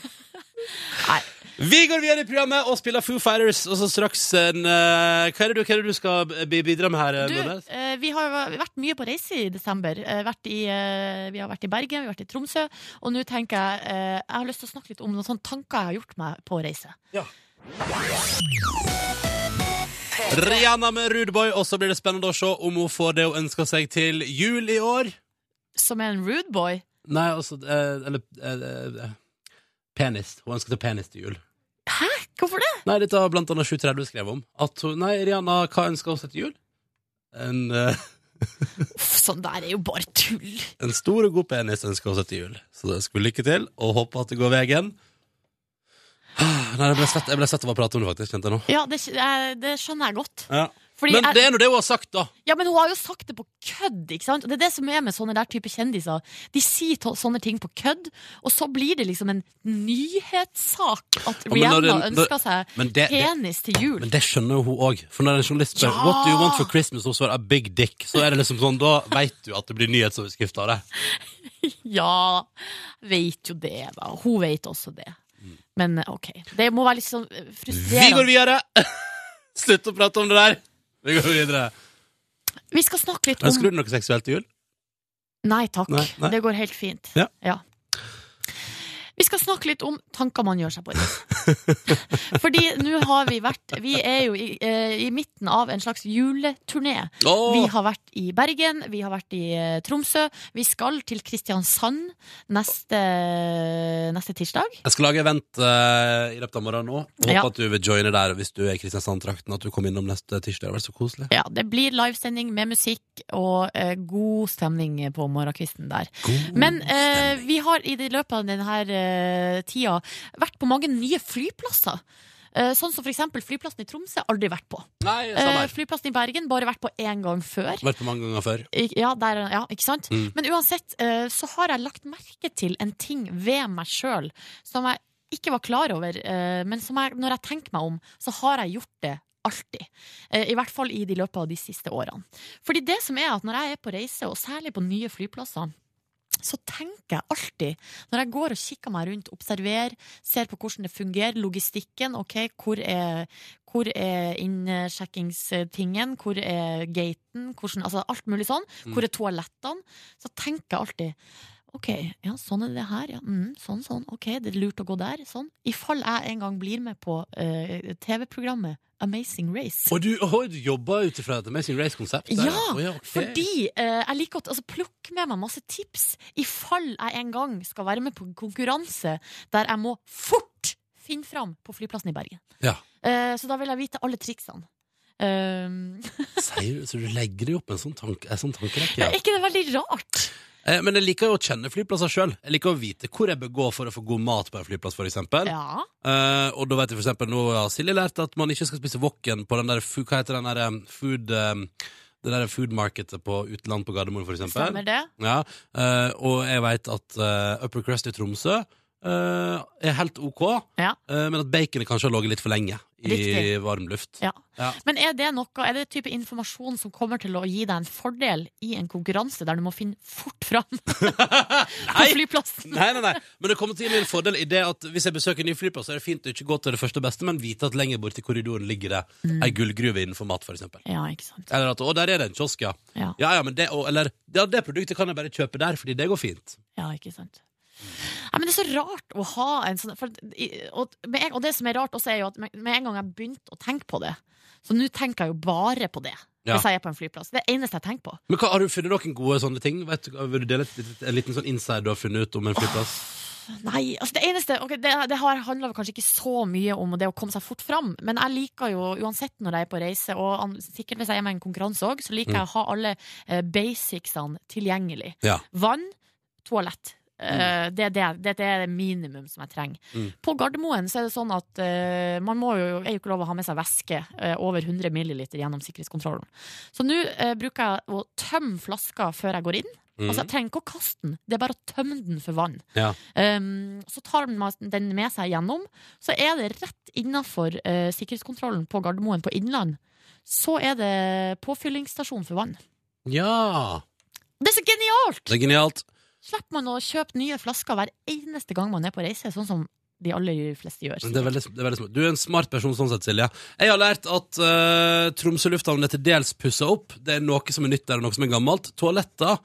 Vi går videre i programmet og spiller Foo Fighters, og så straks en eh, Hva er det du, hva er det du skal b- bidra med her? eh, Du, Nordnes? eh, vi har jo vært mye på reise i desember. Eh, vært i, eh, vi har vært i Bergen, vi har vært i Tromsø. Og nå tenker jeg eh, Jeg har lyst til å snakke litt om noen sånne tanker jeg har gjort meg på reise. Rihanna med Rudeboy, og så blir det spennende å se om hun får det hun ønsker seg til jul i år. Som er en rude boy. Nei, altså eh, Eller eh, eh, Penis. Hun ønsker seg penis til jul. Hæ? Hvorfor det? Nei, dette har blant annet 730 skrevet om. At hun, nei, Rihanna, hva ønsker hun seg til jul? En, eh, Uff, sånn der er jo bare tull. en stor og god penis ønsker hun seg til jul. Så det skal vi lykke til, og håpe at det går veien. Ah, Nei, jeg ble svett, jeg ble svett av å prate om det, faktisk. Kjente jeg nå. Ja, det, eh, det skjønner jeg godt. Ja. Fordi Men jeg- det er nå det hun har sagt, da. Ja, men hun har jo sagt det på kødd, ikke sant? Og det er det som er med sånne der type kjendiser. De sier to- sånne ting på kødd, og så blir det liksom en nyhetssak at Ja, men når Rihanna det- når- ønsker seg men det- det- penis til jul. Men det skjønner jo hun òg. For når en journalist spør Ja! What do you want for Christmas, og hun svarer a big dick, så er det liksom sånn, da veit du at det blir nyhetsoverskrift av det. Ja, vet jo det, da. Hun vet også det. Men eh, OK. Det må være litt sånn eh, frustrerende. Vi går videre! Slutt å prate om det der! Vi går videre. Vi skal snakke litt om Ønsker du deg noe seksuelt til jul? Nei takk, Nei, nei. det går helt fint. Ja. Vi skal snakke litt om tanker man gjør seg på reise. Fordi nå har vi vært Vi er jo i, eh, i midten av en slags juleturné. Åh! Vi har vært i Bergen, vi har vært i eh, Tromsø. Vi skal til Kristiansand neste, neste tirsdag. Jeg skal lage event eh, i løpet av morgenen nå. Håper Ja. at du vil joine der og hvis du er i Kristiansand-trakten. At du kommer innom neste tirsdag. Det hadde vært så koselig. Ja, det blir livesending med musikk og eh, god stemning på morgenkvisten der. Men eh, vi har i det løpet av denne her, eh, tida vært på mange nye flyplasser. Eh, Sånn som for eksempel flyplassen i Tromsø har jeg aldri vært på. Nei, samme her. Eh, Flyplassen i Bergen bare vært på én gang før. Vært på mange ganger før. Ik- Ja, der, ja ikke sant? Mm. Men uansett eh, så har jeg lagt merke til en ting ved meg sjøl som jeg ikke var klar over, eh, men som jeg, når jeg tenker meg om, så har jeg gjort det alltid. Eh, I hvert fall i de løpet av de siste årene. Fordi det som er at når jeg er på reise, og særlig på nye flyplasser, så tenker jeg alltid, når jeg går og kikker meg rundt, observerer, ser på hvordan det fungerer, logistikken, ok, hvor er, hvor er innsjekkingstingen, hvor er gaten, hvordan, altså alt mulig sånn, Mm. hvor er toalettene, så tenker jeg alltid, ok, ja, sånn er det her, ja, mm, sånn, sånn, ok, det er lurt å gå der, sånn. I fall jeg en gang blir med på eh, TV-programmet Amazing Race. Og du, oh, du jobber ut ifra et Amazing Race-konsept? der, Ja, Å, ok. fordi eh, jeg liker å altså, plukke med meg masse tips i fall jeg en gang skal være med på en konkurranse der jeg må fort finne fram på flyplassen i Bergen. Ja. Eh, så da vil jeg vite alle triksene. Eh, Sier du, så du legger deg opp en sånn, tank, en sånn tankerekke? er ikke det veldig rart? Eh, Men jeg liker jo å kjenne flyplasser sjøl. Jeg liker å vite hvor jeg bør gå for å få god mat på en flyplass, f.eks. Ja. Eh, og da vet jeg for eksempel, nå har Silje lært at man ikke skal spise wokken på den der fu- Hva heter den der um, food um, det der food marketet på utenland på Gardermoen, for eksempel. Stemmer det. Ja, eh, og jeg vet at eh, Upper Crust i Tromsø eh, er helt ok, eh, men at baconet kanskje har ligget litt for lenge i Riktig. varm luft. Ja. Ja. Men er det noe, er det type informasjon som kommer til å gi deg en fordel i en konkurranse der du må finne fort fram? Nei. Nei, nei, nei. Men det kommer til å gi meg en fordel i det at hvis jeg besøker en ny flyplass, så er det fint å ikke gå til det første og beste, men vite at lenger borte i korridoren ligger det Mm. ei gullgruve innenfor mat, for eksempel. Ja, ikke sant. Eller at 'Å, der er det en kiosk, ja'. Ja. ja, ja men det, og, eller ja, 'Det produktet kan jeg bare kjøpe der, fordi det går fint'. Ja, ikke sant. Nei, men Det er så rart å ha en sånn for, i- og, med en, og det som er rart også, er jo at med med en gang jeg begynte å tenke på det Så nå tenker jeg jo bare på det Ja. hvis jeg er på en flyplass. Det er det eneste jeg tenker på. Men hva, Har du funnet noen gode sånne ting? Vet, du- vil du dele et, litt- en liten sånn inside du har funnet ut om en flyplass? Nei, altså det eneste ok, Det, det har handla kanskje ikke så mye om det å komme seg fort fram, men jeg liker jo, uansett når jeg er på reise, og an- sikkert hvis jeg er med i en konkurranse òg, så liker jeg å ha alle eh, basicsene tilgjengelig. Ja. Vann, toalett. Eh, det, er det, det er det minimum som jeg trenger. Mm. På Gardermoen så er det sånn at eh, man må jo, er jo ikke lov å ha med seg væske eh, over 100 milliliter gjennom sikkerhetskontrollen. Så nå eh, bruker jeg å tømme flaska før jeg går inn. Mm. Altså Jeg trenger ikke å kaste den, det er bare å tømme den for vann. Ja. Um, så tar den mas- den med seg gjennom. Så er det rett innafor eh, sikkerhetskontrollen på Gardermoen på Innland. Så er det påfyllingsstasjon for vann. ja. Det er så genialt! Det er genialt. Slipper man å kjøpe nye flasker hver eneste gang man er på reise, sånn som de aller fleste gjør. Det er veldig, det er veldig smart. Du er en smart person sånn sett, Silje. Jeg har lært at eh, Tromsø lufthavn er til dels pussa opp. Det er noe som er nytt der, og noe som er gammelt. Toaletter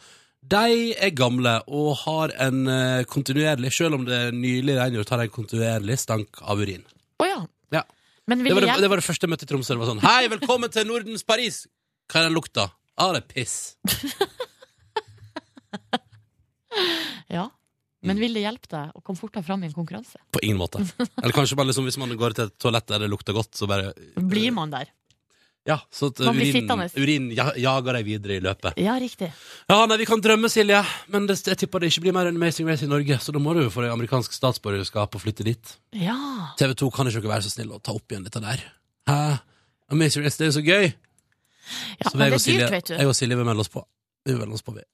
de er gamle og har en eh, kontinuerlig, selv om det er nylig rengjort, har en kontinuerlig stank av urin. Å ja. Ja. Men Det vil var det, jeg- det var det første jeg møtte i Tromsø. Det var sånn Hei, velkommen til Nordens Paris! Hva er den lukta? Ah, det er piss. Mm. Ja. Men vil det hjelpe deg å komme fortere fram i en konkurranse? På ingen måte. Eller kanskje bare liksom, hvis man går til et toalett der det lukter godt, så bare Blir man der? Ja, så at Man blir urin, sittende. urin ja, jager deg videre i løpet. Ja, riktig. Ja, nei, Vi kan drømme, Silje, men det, jeg tipper det ikke blir mer enn Amazing Race i Norge. Så da må du jo få deg amerikansk statsborgerskap og flytte dit. Ja. TV 2 kan ikke dere være så snill å ta opp igjen dette der. Hæ? Amazing Race, det er jo så gøy! Ja, så men jeg og det er dyrt, Silje- vet du. Jeg og Silje vil melde oss på. Vi vil melde oss på, vi.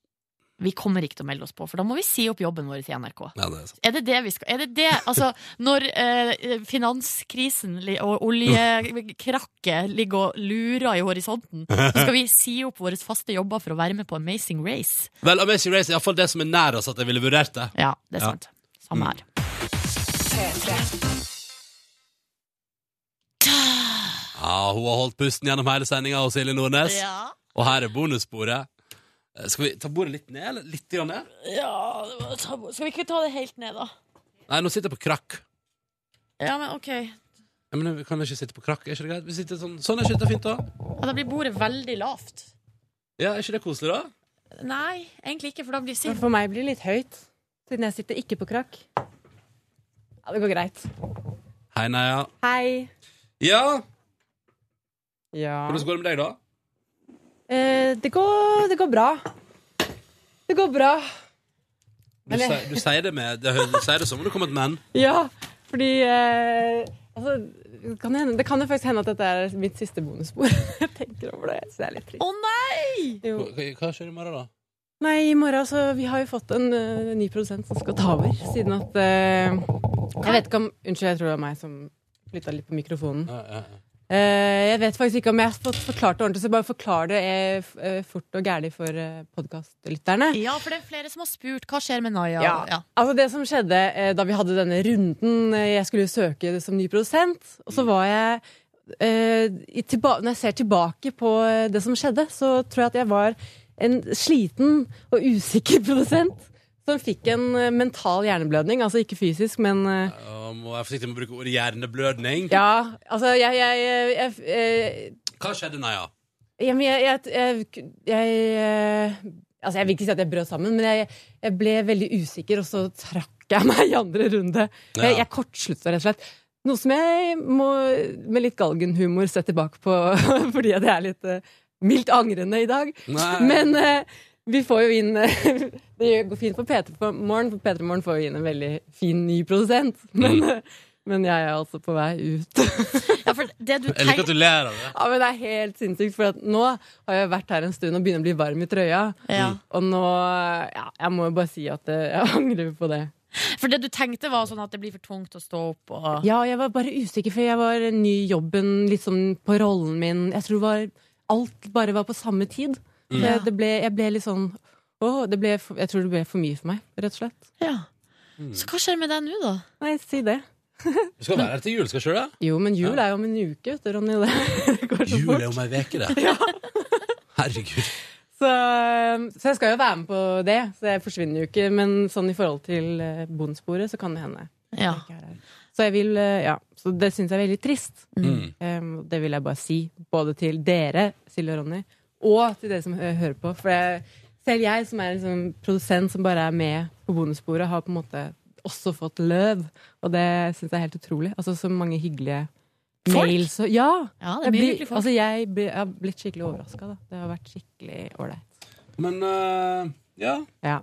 Vi kommer ikke til å melde oss på, for da må vi si opp jobben vår til NRK. Ja, det er sant. Er det det vi skal Er det det? Altså, når eh, finanskrisen li- og oljekrakket ligger og lurer i horisonten, så skal vi si opp våre faste jobber for å være med på Amazing Race. Vel, Amazing Race er iallfall det som er nær oss at jeg ville vurdert det. Ja, det er sant. Samme her. Ja, Hun har holdt pusten gjennom hele sendinga, Silje Nordnes. Ja. Og her er bonussporet. Eh, Skal vi ta bordet litt ned? eller Litt grann ned? Ja, det var tabu. Skal vi ikke ta det helt ned, da? Nei, nå sitter jeg på krakk. Ja, men ok. Ja, men vi kan ikke sitte på krakk, er ikke det greit? Vi sitter sånn, sånn er ikke dette fint da? Ja, da blir bordet veldig lavt. Ja, er ikke det koselig da? Nei, egentlig ikke, for da blir Men For meg blir det litt høyt, siden jeg sitter ikke på krakk. Ja, det går greit. Hei, nei, ja. Hei. Ja, Ja. hvordan går det med deg da? Eh, det, går, det går bra. Det går bra. Du, Men jeg- sier- du sier det med, det, hø- du sier det som om det kom et menn. Ja, fordi eh, Altså, det kan hende, det kan jo faktisk hende at dette er mitt siste bonusbord. Jeg tenker over det, så det er litt trist. Å nei! Jo. Hva- Hva skjer i morgen, da? Nei, i morgen så Vi har jo fått en eh, ny produsent som skal ta over, siden at eh, Jeg vet ikke om Unnskyld, jeg tror det var meg som flytta litt på mikrofonen. Eh, jeg vet faktisk ikke om jeg har fått forklart det ordentlig, så bare forklar det eh, f- eh, fort og gærlig for uh, podkastlytterne. Ja, for det er flere som har spurt hva skjer med Naya. Ja. Ja. Altså det som skjedde eh, da vi hadde denne runden eh, Jeg skulle jo søke som ny produsent, og så var jeg eh, i tilba Når jeg ser tilbake på eh, det som skjedde, så tror jeg at jeg var en sliten og usikker produsent som fikk en eh, mental hjerneblødning. Altså ikke fysisk, men eh, Å, må være forsiktig med å bruke ordet hjerneblødning. ja, altså jeg, jeg, jeg, jeg, eh, Hva skjedde, Naja? Ja, men jeg, jeg, jeg, jeg eh, Altså, jeg vil ikke si at jeg brøt sammen, men jeg, jeg ble veldig usikker, og så trakk jeg meg i andre runde. Jeg, jeg kortslutta, rett og slett. Noe som jeg må, med litt galgenhumor, se tilbake på, fordi at jeg er litt eh, mildt angrende i dag. Nei. Men eh, vi får jo inn Det gjør- går fint på P3 på Morgen, for P3 Morgen får jo inn en veldig fin ny produsent. Men, eh, men jeg er altså på vei ut. Eller gratulerer av det. Ja, men Det er helt sinnssykt, for at nå har jeg vært her en stund og begynner å bli varm i trøya. Ja. Og nå ja, Jeg må jo bare si at eh, jeg angrer på det. For det du tenkte var sånn at det blir for tungt å stå opp og Ja, jeg var bare usikker, for jeg var ny i jobben, litt sånn på rollen min. Jeg tror var, alt bare var på samme tid. Mm. Det, Ja. det ble, jeg ble litt sånn Åh, det ble, for- jeg tror det ble for mye for meg, rett og slett. Så hva skjer med deg nå, da? Nei, si det. Du skal være her til jul, skal ikke du det? Jo, men jul er jo om en uke, vet du, Ronny. Det. Jul er om ei uke, det. Herregud. Så, så jeg skal jo være med på det, så jeg forsvinner jo ikke. Men sånn i forhold til eh, bonussporet, så kan det hende. at jeg Ja. ikke er her. Så, jeg vil, eh, ja. så det syns jeg er veldig trist. Mm. Em, det vil jeg bare si, både til dere, Silje og Ronny, og til dere som hø hører på. For jeg, selv jeg, som er liksom produsent som bare er med på bonussporet, har på en måte også fått løv. Og det syns jeg er helt utrolig. Altså så mange hyggelige Folk? mails. og- Ja! Ja, det er mye jeg, blir, hyggelige folk. altså, jeg, blir, jeg har blitt skikkelig overraska, da. Det har vært skikkelig ålreit. Men eh, ja. Ja.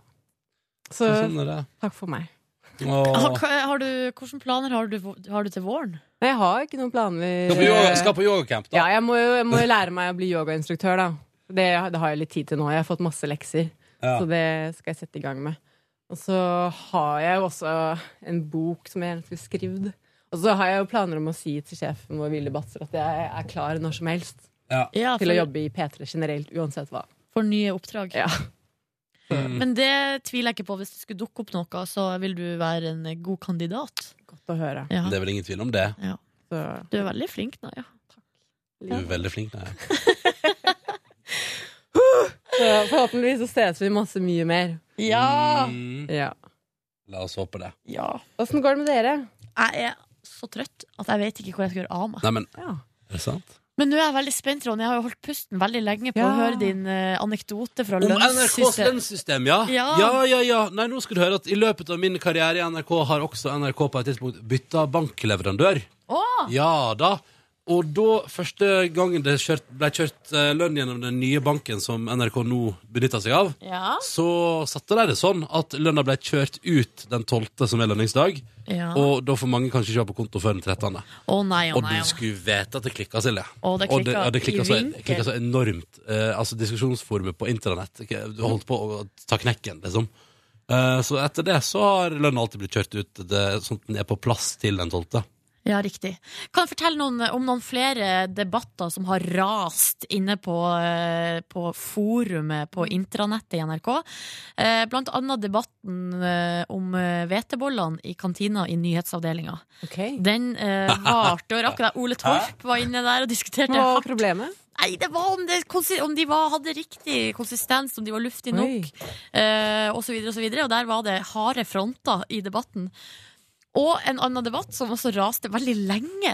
Så Sånn er det. takk for meg. Har, Åh. hva- har du, hvilke planer har du, har du til våren? Nei, Jeg har ikke noen planer. Skal på yoga- skal på yogacamp, da. Ja, jeg må jo jeg må jo lære meg å bli yogainstruktør, da. Det, det har jeg litt tid til nå. Jeg har fått masse lekser, Ja. så det skal jeg sette i gang med. Og så har jeg jo også en bok som jeg gjerne skulle skrevet. Og så har jeg jo planer om å si til sjefen vår Vilde Batzer at jeg er klar når som helst Ja, til å for- jobbe i P3 generelt, uansett hva. For nye oppdrag? Ja. Men det tviler jeg ikke på. Hvis det skulle dukke opp noe, så vil du være en god kandidat. Godt å høre. Ja. Det er vel ingen tvil om det. Du er veldig flink, Naja. Du er veldig flink, Naja. Så forhåpentligvis så ses vi masse mye mer. Mm. Ja! ja. La oss håpe det. Åssen går det med dere? Jeg er så trøtt at jeg vet ikke hvor jeg skal gjøre av meg. Nei, men Ja. Er det sant? Men nå er jeg veldig spent, Ronny. Jeg har jo holdt pusten veldig lenge på Ja. å høre din eh, anekdote fra Om NRKs lønnssystem. lønnssystem, ja. ja. Ja. Ja, ja, Nei, nå skal du høre at i løpet av min karriere i NRK har også NRK på et tidspunkt bytta bankleverandør. Åh! Ja da. Og da, første gangen det kjørt, ble kjørt eh, lønn gjennom den nye banken som NRK nå benytter seg av, Ja. så satte de det sånn at lønna ble kjørt ut den 12., som er lønningsdag. Ja. Og da får mange kanskje ikke ha på konto før den 13. Å nei, å og nei, å du nei. skulle vite at det klikka, Silje. Å, det og det, klikka ja, det klikka i så, vinkel. klikka så altså enormt. Eh, altså Diskusjonsforumet på internett. ikke- Du holdt på å ta knekken, liksom. Eh, så etter det så har lønna alltid blitt kjørt ut det, sånn at den er på plass til den 12. Ja, riktig. Kan du fortelle noen, eh, om noen flere debatter som har rast inne på, eh, på forumet på intranettet i NRK? Eh, Blant annet debatten eh, om eh, hvetebollene i kantina i nyhetsavdelinga. Den eh, varte og rakk. Der. Ole Torp var inne der og diskuterte Hva var hardt. problemet? Nei, det var om, det, konsi- om de var, hadde riktig konsistens, om de var luftig Oi. nok, eh, og så videre og så videre. Og der var det harde fronter i debatten. Og en annen debatt som også raste veldig lenge,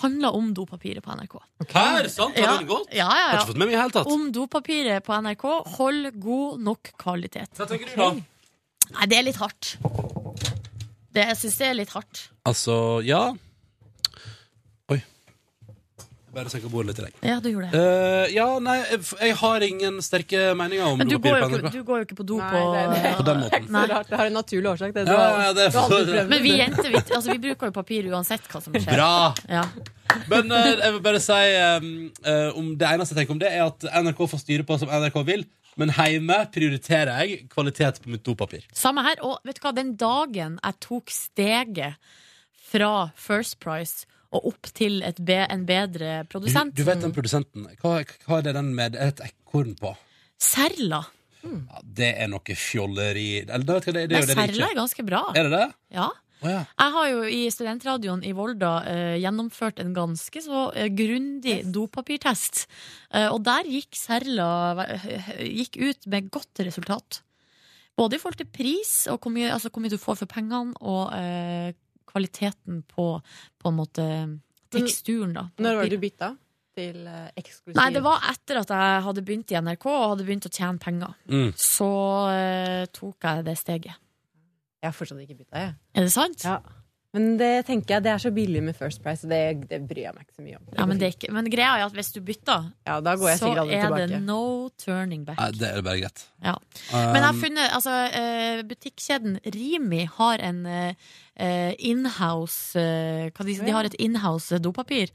handla om dopapiret på NRK. Her, sant? Har den gått? Ja, ja, ja. Har ikke fått med meg i det hele tatt. Om dopapiret på NRK. Hold god nok kvalitet. Hva tenker du da? Nei, det er litt hardt. Det, jeg syns det er litt hardt. Altså, ja. Oi. Bare senka bordet litt i deg. Ja, du gjorde det. Eh, ja, nei, jeg, jeg har ingen sterke meninger om Men du går, dopapir jo på ikke, NRK. du går jo ikke på do Nei, på det er- På den måten. Så rart. Det har en naturlig årsak. Det, Ja, ja, det er Du har aldri for- prøvd. Men vi jenter vi, altså, vi bruker jo papir uansett hva som skjer. Bra! Ja. Men eh, jeg vil bare si eh, eh, om det eneste jeg tenker om det, er at NRK får styre på som NRK vil, men hjemme prioriterer jeg kvalitet på mitt dopapir. Samme her. Og vet du hva, den dagen jeg tok steget fra First Price og opp til et be en bedre Du, produsent du vet den produsenten. Hva, hva er det den med et ekorn på? Serla. Ja, det er noe fjolleri Eller, da vet jeg, hva det, det Nei, er jo det det Serla ikke er ganske bra. Er det det? Ja. Å ja. Jeg har jo i studentradioen i Volda eh, gjennomført en ganske så eh, grundig dopapirtest. Eh, og der gikk Serla eh, gikk ut med godt resultat. Både i forhold til pris og hvor mye, altså, hvor mye du får for pengene, og eh, kvaliteten på, på en måte teksturen, da. Når var det du bytta til eh, eksklusiv? Nei, det var etter at jeg hadde begynt i NRK og hadde begynt å tjene penger. Mm. Så eh, tok jeg det steget. Jeg har fortsatt ikke bytta, jeg. Er det sant? Ja. Men det tenker jeg, det er så billig med First Price, så det, det bryr jeg meg ikke så mye om. Ja, men, det er ikke, men greia er at hvis du bytter, da går jeg så sikkert aldri er det tilbake. no turning back. Nei, det er bare greit. Ja. Um, Men jeg har funnet altså, eh, Butikkjeden Rimi har en eh, eh, inhouse eh, hva de, de har et inhouse dopapir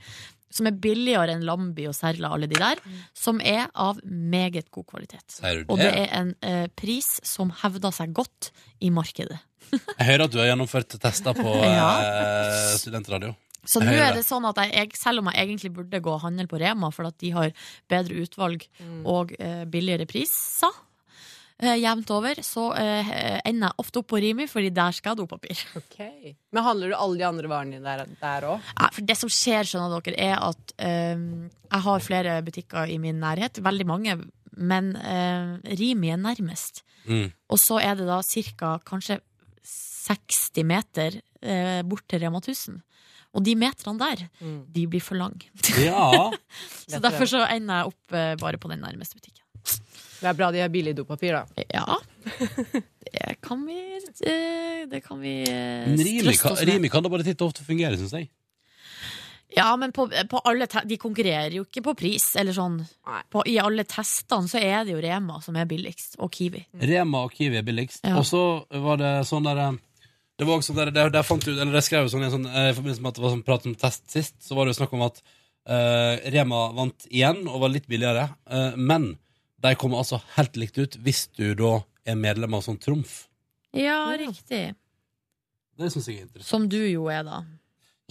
som er billigere enn Lambi og Serla, alle de der, Mm. som er av meget god kvalitet. Sier du Og det det? er en eh, pris som hevder seg godt i markedet. Jeg hører at du har gjennomført tester på Ja. eh, studentradio. Så Jeg nå hører er det sånn at jeg, jeg, selv om jeg egentlig burde gå og handle på Rema, for at de har bedre utvalg og eh, billigere priser eh, jevnt over, så eh, ender jeg ofte opp på Rimi, fordi der skal jeg ha dopapir. Ok. Men handler du alle de andre varene dine der- der òg? Nei, For det som skjer, skjønner dere, er at eh, jeg har flere butikker i min nærhet, veldig mange, men eh, Rimi er nærmest. Mm. Og så er det da cirka kanskje 60 meter eh, bort til Rema 1000. Og de meterne der, de blir for lange. Ja. så derfor så ender jeg opp eh, bare på den nærmeste butikken. Det er bra de har billig dopapir, da. Ja. Det kan vi, eh, det kan vi eh, Men Rimi, trøste kan, oss med. Rimi kan da bare titt og ofte fungere, syns jeg. Ja, men på, eh, på alle te de konkurrerer jo ikke på pris, eller sånn. På, I alle testene så er det jo Rema som er billigst, og Kiwi. Rema og Kiwi er billigst. Ja. Og så var det sånn der eh, Det var også sånn der, der, der fant ut, eller jeg skrev jo sånn, i en sånn eh, I forbindelse med at det var sånn prat om test sist, så var det jo snakk om at eh, Rema vant igjen og var litt billigere. eh, men de kommer altså helt likt ut hvis du da er medlem av sånn Trumf. Ja, riktig. Det syns jeg er interessant. Som du jo er, da.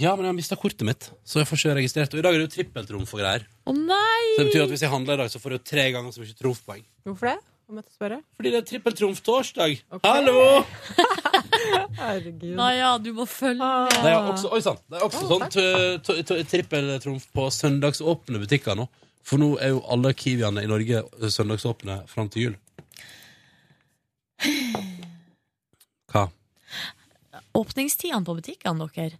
Ja, men jeg har mista kortet mitt, så jeg får ikke registrert. Og i dag er det jo trippeltrumf og greier. Å nei! Så det betyr at hvis jeg handler i dag, så får jeg jo tre ganger så mye trumfpoeng. Hvorfor det? Om jeg får spørre? Fordi det er trippeltrumf-torsdag. Hallo! Herregud. Nei, ja, du må følge med. Det er også, oi sann. Det er også sånn t- t- t- trippeltrumf på søndagsåpne butikker nå. For nå er jo alle Kiwiene i Norge søndagsåpne fram til jul. Hva? Åpningstidene på butikkene, dere,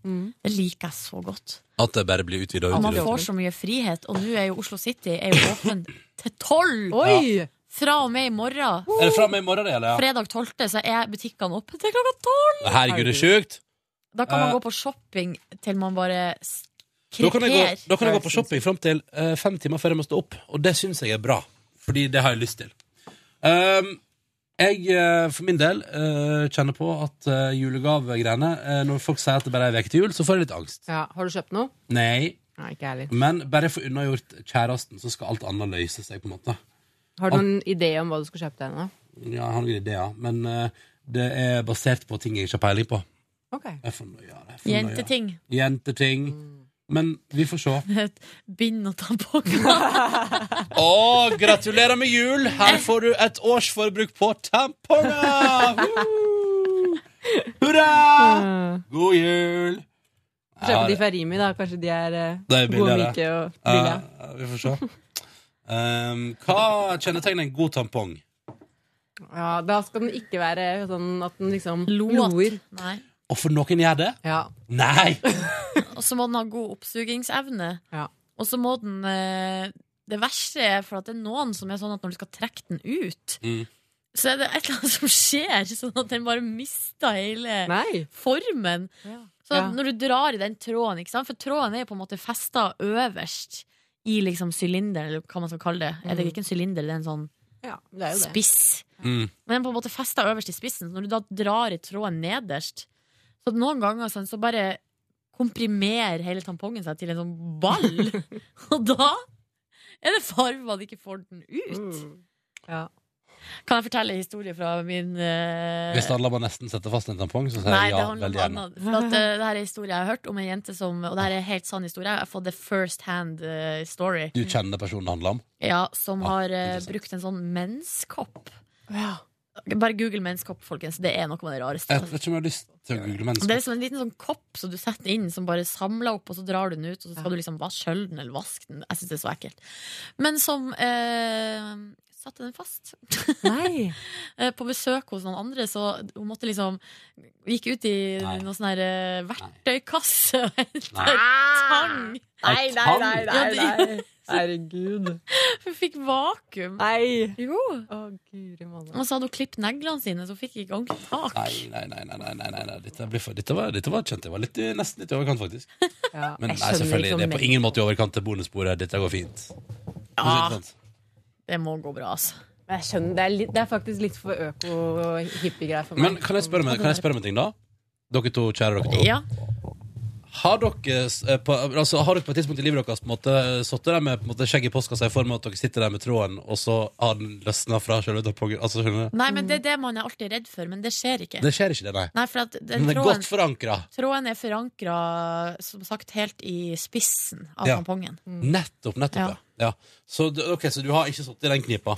det liker jeg så godt. At det bare blir utvida Og og man får utvida? så mye frihet, og nå er jo Oslo City er jo åpen til tolv! Oi! Fra og med i morgen. Er det framme i morgen, det, eller? Fredag 12. så er butikkene åpne til klokka tolv! Herregud, det er sjukt! Da kan man Eh. gå på shopping til man bare s- Da kan, jeg gå, kreper. da kan jeg gå på shopping fram til eh, fem timer før jeg må stå opp, og det syns jeg er bra. Fordi det har jeg lyst til. Ehm, jeg eh, for min del eh, kjenner på at uh, julegavegreiene eh, Når folk sier at det bare er ei uke til jul, så får jeg litt angst. Ja, har du kjøpt noe? Nei. Nei, ikke jeg heller. Men bare få unnagjort kjæresten, så skal alt annet løse seg. på en måte Har du noen idé om hva du skal kjøpe deg nå? Ja, Jeg har noen ideer, men eh, det er basert på ting jeg ikke har peiling på. Ok. Jeg får nøye, jeg får nøye. Jenteting. Jenteting. Men vi får se. Et Bind og tamponger. Å, gratulerer med jul! Her får du et års forbruk på tamponger! Woo! Hurra! God jul! Kjøpe Ja, de fra Rimi, da. Kanskje de er, eh, det er gode billigere. myke og billige. Ja, vi får se. Um, hva kjennetegner en god tampong? Ja, Da skal den ikke være sånn at den liksom loer. Nei. Og for noen gjør det? Ja. Nei! Og så må den ha god oppsugingsevne. Ja. Og så må den eh, Det verste er for at det er noen som er sånn at når du skal trekke den ut, Mm. så er det et eller annet som skjer, sånn at den bare mister hele Nei. formen. Så Ja. når du drar i den tråden, ikke sant? for tråden er jo på en måte festa øverst i liksom sylinderen, eller hva man skal kalle det. Er det Mm. ikke en sylinder, det er en sånn det er jo det. spiss. Mm. Men den er på en måte festa øverst i spissen. Så når du da drar i tråden nederst, så noen ganger sånn, så bare komprimerer hele tampongen seg til en sånn ball. Og da er det fare for at man ikke får den Mm. ut. Kan jeg fortelle en historie fra min eh, Hvis alle må nesten sette fast en tampong, så sier Nei, jeg det ja handler veldig om gjerne. annet. For at, eh, det her er en historie jeg har hørt om en jente som Og det her er en helt sann historie. Jeg har fått the first hand eh, story. Du kjenner personen det handler om? Ja, som Ja, har eh, Ah, interessant. brukt en sånn menskopp. Bare google menskopp, folkens. Det er noe av det rareste. Jeg vet ikke om jeg har lyst til å google Det er mennesker. som en liten sånn kopp som du setter inn, som bare samler opp, og så drar du den ut, og så skal du liksom bare skjølle den eller vaske den. Jeg syns det er så ekkelt. Men som eh, satte den fast. Nei. Eh, På besøk hos noen andre, så hun måtte liksom Gikk ut i Nei. noe sånn her eh, verktøykasse og henta Nei. tang. Nei, nei, nei, nei, Ja, de- nei. Herregud. Hun fikk vakuum. Nei. Jo. Guri malla. Og så hadde hun klippet neglene sine, så hun fikk ikke ordentlig tak. Nei, nei, nei, nei, nei, nei, nei, nei. Dette, blir for, dette, var, dette var kjent. Det var litt, i- nesten litt i overkant, faktisk. Men nei, selvfølgelig, det er på ingen måte i overkant til bonussporet. Dette går fint. Ja. Det må gå bra, altså. Men jeg skjønner, det er, litt, det er faktisk litt for øko og hippiegreier for meg. Men kan jeg spørre om, kan jeg spørre om en ting, da? Dere to, kjære dere to. Har dere, eh, på, altså, har dere på et tidspunkt i livet deres på en måte sittet der med på en måte, skjegget i postkassa i form av at dere sitter der med tråden, og så har den løsna fra selve tampongen? Altså, skjønner du? Nei, men Det er det man er alltid redd for, men det skjer ikke. Det skjer ikke, det, nei. Nei, for at den Men det er tråden, godt forankra. tråden er forankra, som sagt, helt i spissen av Ja. tampongen. Nettopp, nettopp, ja. ja. Så, du- ok, så du har ikke sittet i den knipa.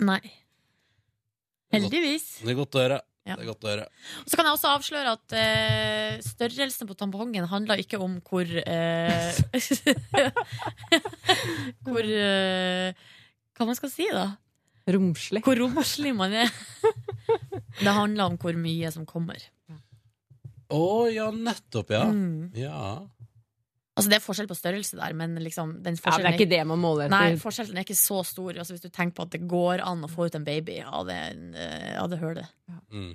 Nei. Heldigvis. Det er godt å høre. Ja. Det er godt å høre. Så kan jeg også avsløre at eh, størrelsen på tampongen handler ikke om hvor eh, Hvor eh, Hva man skal si, da? Sånn Romslig. Hvor romslig man er. Det handler om hvor mye som kommer. Å ja, nettopp, ja. Mm. ja. Altså Det er forskjell på størrelse der, men liksom den Ja, forskjellen men det er ikke det man måler Nei, etter. forskjellen er ikke så stor. Altså Hvis du tenker på at det går an å få ut en baby av det, eh, av det hølet. Mm.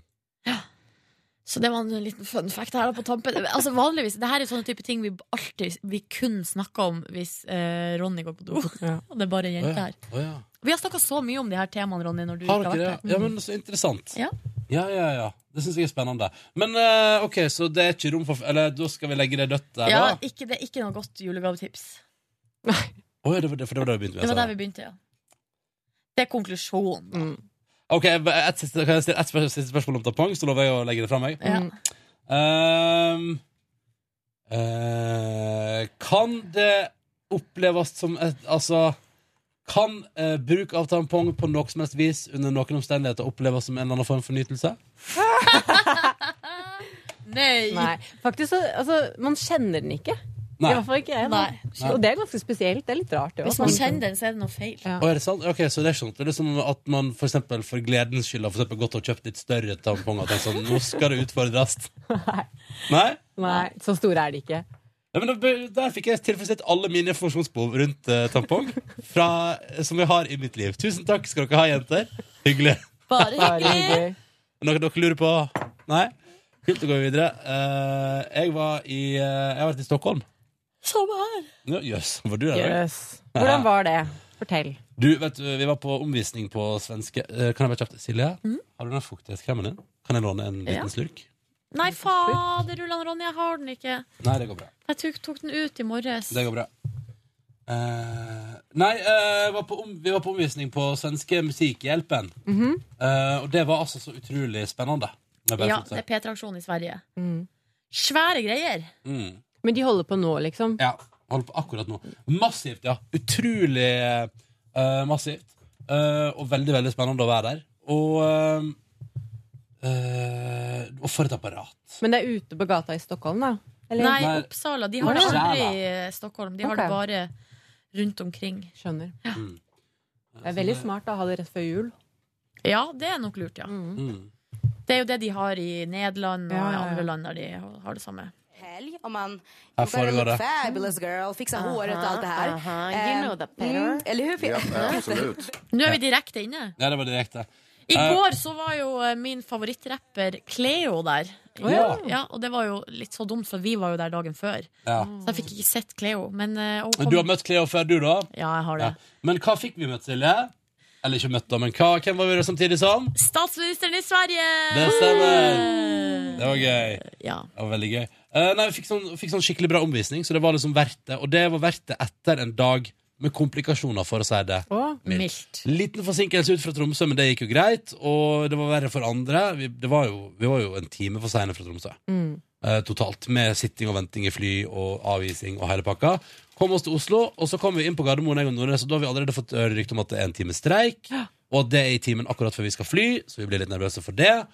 Så det var en liten fun fact her da på tampen. Altså vanligvis, Det her er sånne type ting vi alltid Vi kun snakker om hvis eh, Ronny går på do. Og det er bare Å, ja. jenter her. Å, ja. Vi har snakka så mye om de her temaene, Ronny, når du Har ikke dere har det? vært Ja, her. men så interessant. Ja. Ja, ja, ja. Det syns jeg er spennende. Men eh, OK, så det er ikke rom for Eller da skal vi legge det dødt der, Ja, da? ikke, det er ikke noe godt julegavetips. Å ja, det var det, for det var det vi begynte altså. Det med. var sa der du. vi begynte, ja. Det er konklusjonen. OK, jeg- et siste, kan jeg stille et spør- siste spørsmål om tampong, så lover jeg å legge det fra meg. Ja. Ehm, eh, kan det oppleves som et Altså kan eh, bruk av tampong på noe som helst vis under noen omstendigheter oppleves som en eller annen form for nytelse? Nei. Faktisk så altså, Man kjenner den ikke. Nei. I hvert fall ikke jeg. da. Nei. Og det er ganske spesielt. Det er litt rart. Det, Hvis man kjenner den, så er det noe feil. Å, er det sant? Ok, så det er sånn Det er liksom at man for eksempel for gledens skyld har for eksempel gått og kjøpt litt større tamponger og tenkt sånn Nå skal det utfordres. Nei? Nei, så store er de ikke. Ja, men da bør- der fikk jeg tilfredsstilt alle mine informasjonsbehov rundt eh, tampong fra, som jeg har i mitt liv. Tusen takk skal dere ha, jenter. Hyggelig. Bare hyggelig. Noe dere lurer på? Nei? Kult å gå videre. Eh, jeg var i eh, Jeg har vært i Stockholm. Samme her. Ja, Jøss, var du der? da? Yes. Hvordan var det? Fortell. Du, vet du, Vi var på omvisning på svenske eh, Kan jeg bare kjapt Silje, har du den fuktighetskremen din? Kan jeg låne en liten Ja. slurk? Nei, fader, Ulland Ronny, jeg har den ikke. Nei, det går bra. Jeg tok, tok den ut i morges. Det går bra. Eh, nei, eh, var på om, vi var på omvisning på svenske Musikkhjelpen. Eh, og det var altså så utrolig spennende. må jeg bare Ja, få si. det er P-traksjon i Sverige. Mm. Svære greier. Mm. Men de holder på nå, liksom? Ja, holder på akkurat nå. Massivt, ja. Utrolig eh, massivt. Eh, og veldig, veldig spennende å være der. Og, eh, eh, og for et apparat. Men det er ute på gata i Stockholm, da? Nei, Oppsala. De har det Oppsala. aldri i eh, Stockholm. De har det Ok. bare rundt omkring. Skjønner. Mm. Det er veldig smart å ha det rett før jul. Ja, det er nok lurt, ja. Mm. Det er jo det de har i Nederland og Mm. Ja, ja, ja. andre land der de har det samme. helg om man Här får jobbar det med vara. fabulous girl, fixa Aha, håret och allt det här. aha, you Eh, know that better. eller hur? Peter? absolutt. Nå er vi direkte inne. Ja, det var direkte. I Eh, går så var jo eh, min favorittrapper Cleo der. Å ja. ja, Og det var jo litt så dumt, for vi var jo der dagen før. Ja. Så jeg fikk ikke sett Cleo. Men eh, hun kom Du har møtt Cleo før, du, da? Ja, jeg har det. Men hva fikk vi møtt, Silje? Eller ikke møtt, da, men hva, hvem var vi der samtidig som? Statsministeren i Sverige! Det stemmer. Det var gøy. Ja. Det var veldig gøy. Eh, nei, vi fikk sånn, fikk sånn skikkelig bra omvisning, så det var liksom verdt det. Og det var verdt det etter en dag med komplikasjoner, for å si det. mildt. Liten forsinkelse ut fra Tromsø, men det gikk jo greit. Og det var verre for andre. Vi, det var jo, vi var jo en time for seine fra Tromsø. Mm. eh, totalt, med sitting og venting i fly og avvisning og hele pakka. Kom oss til Oslo, og så kom vi inn på Gardermoen, jeg og Nordnes, og da har vi allerede fått høre rykte om at det er en time streik, og at det er i timen akkurat før vi skal fly, så vi blir litt nervøse for det.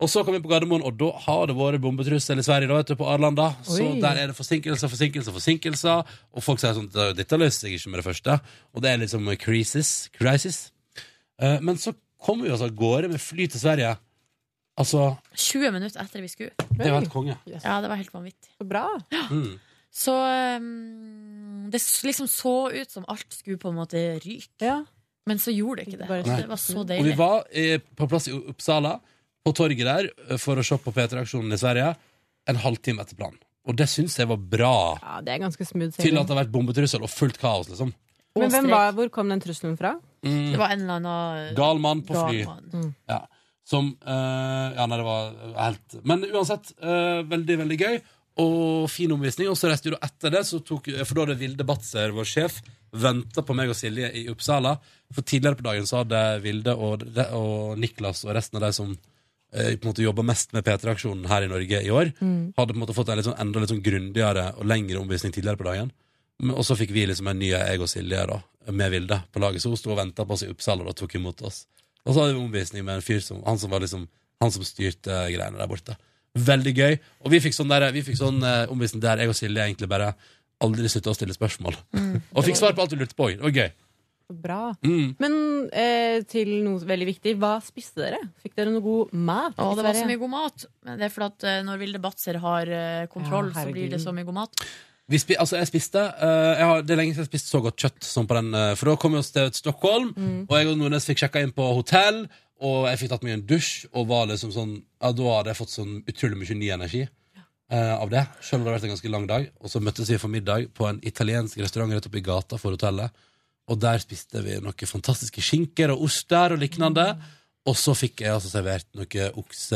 Og så kom vi på Gardermoen, og da har det vært bombetrussel i Sverige, da, vet du, på Arlanda. Så Oi. der er det forsinkelser, forsinkelser, forsinkelser, og folk sier sånn dette løser seg ikke med det første, og det er liksom crisis, crisis. Eh, Men så kom vi oss av gårde med fly til Sverige. Altså, 20 minutter etter vi skulle. det var helt konge. Ja, det var helt vanvittig. Så bra. Mm. Så um, det s- liksom så ut som alt skulle på en måte ryke. Men så gjorde det ikke det. Nei. det var så Og vi deilig. var eh, på plass i Uppsala, på torget der, eh, for å se på P3-aksjonen i Sverige, en halvtime etter planen. Og det syns jeg var bra, Ja, det er ganske smooth til sailing. at det har vært bombetrussel og fullt kaos, liksom. Men Og hvem strek. var, hvor kom den trusselen fra? Mm. Det var en eller annen eh, Gal mann på fly. gal mann. Ja. Som eh, Ja, nei, det var helt Men uansett, eh, veldig, veldig gøy. Og fin omvisning. Og så reiste vi da etter det, så tok, for da hadde Vilde Batzer, vår sjef, venta på meg og Silje i Uppsala. For tidligere på dagen så hadde Vilde og, og Niklas og resten av de som eh, på en måte jobba mest med P3-aksjonen her i Norge i år, Mm. hadde på en måte fått en litt sånn, enda litt sånn grundigere og lengre omvisning tidligere på dagen. Men- Og så fikk vi liksom en ny jeg og Silje da, med Vilde på laget. Så hun sto og venta på oss i Uppsala og tok imot oss. Og så hadde vi omvisning med en fyr som, han som var liksom Han som styrte greiene der borte. Veldig gøy. Og vi fikk sånn, der, vi fikk sånn eh, omvisning der jeg og Silje egentlig bare aldri slutta å stille spørsmål. og fikk svar på alt vi lurte på. Det var gøy. Bra. Mm. Men eh, til noe veldig viktig. Hva spiste dere? Fikk dere noe god mat? Å, i det var så Sverige? mye god mat. Men det er fordi at eh, når Vilde Batzer har eh, kontroll, Ja, så blir det så mye god mat. Vi spi, altså, jeg spiste eh, jeg har, Det er lenge siden jeg spiste så godt kjøtt som på den. eh, for da kom vi oss til Stockholm, Mm. og jeg og Nordnes fikk sjekka inn på hotell. Og jeg fikk tatt meg en dusj, og var liksom sånn Ja, da hadde jeg fått sånn utrolig mye ny energi eh, av det. Selv om det hadde vært en ganske lang dag. Og så møttes vi for middag på en italiensk restaurant rett oppi gata for hotellet. Og der spiste vi noen fantastiske skinker og oster og lignende. Og så fikk jeg altså servert noe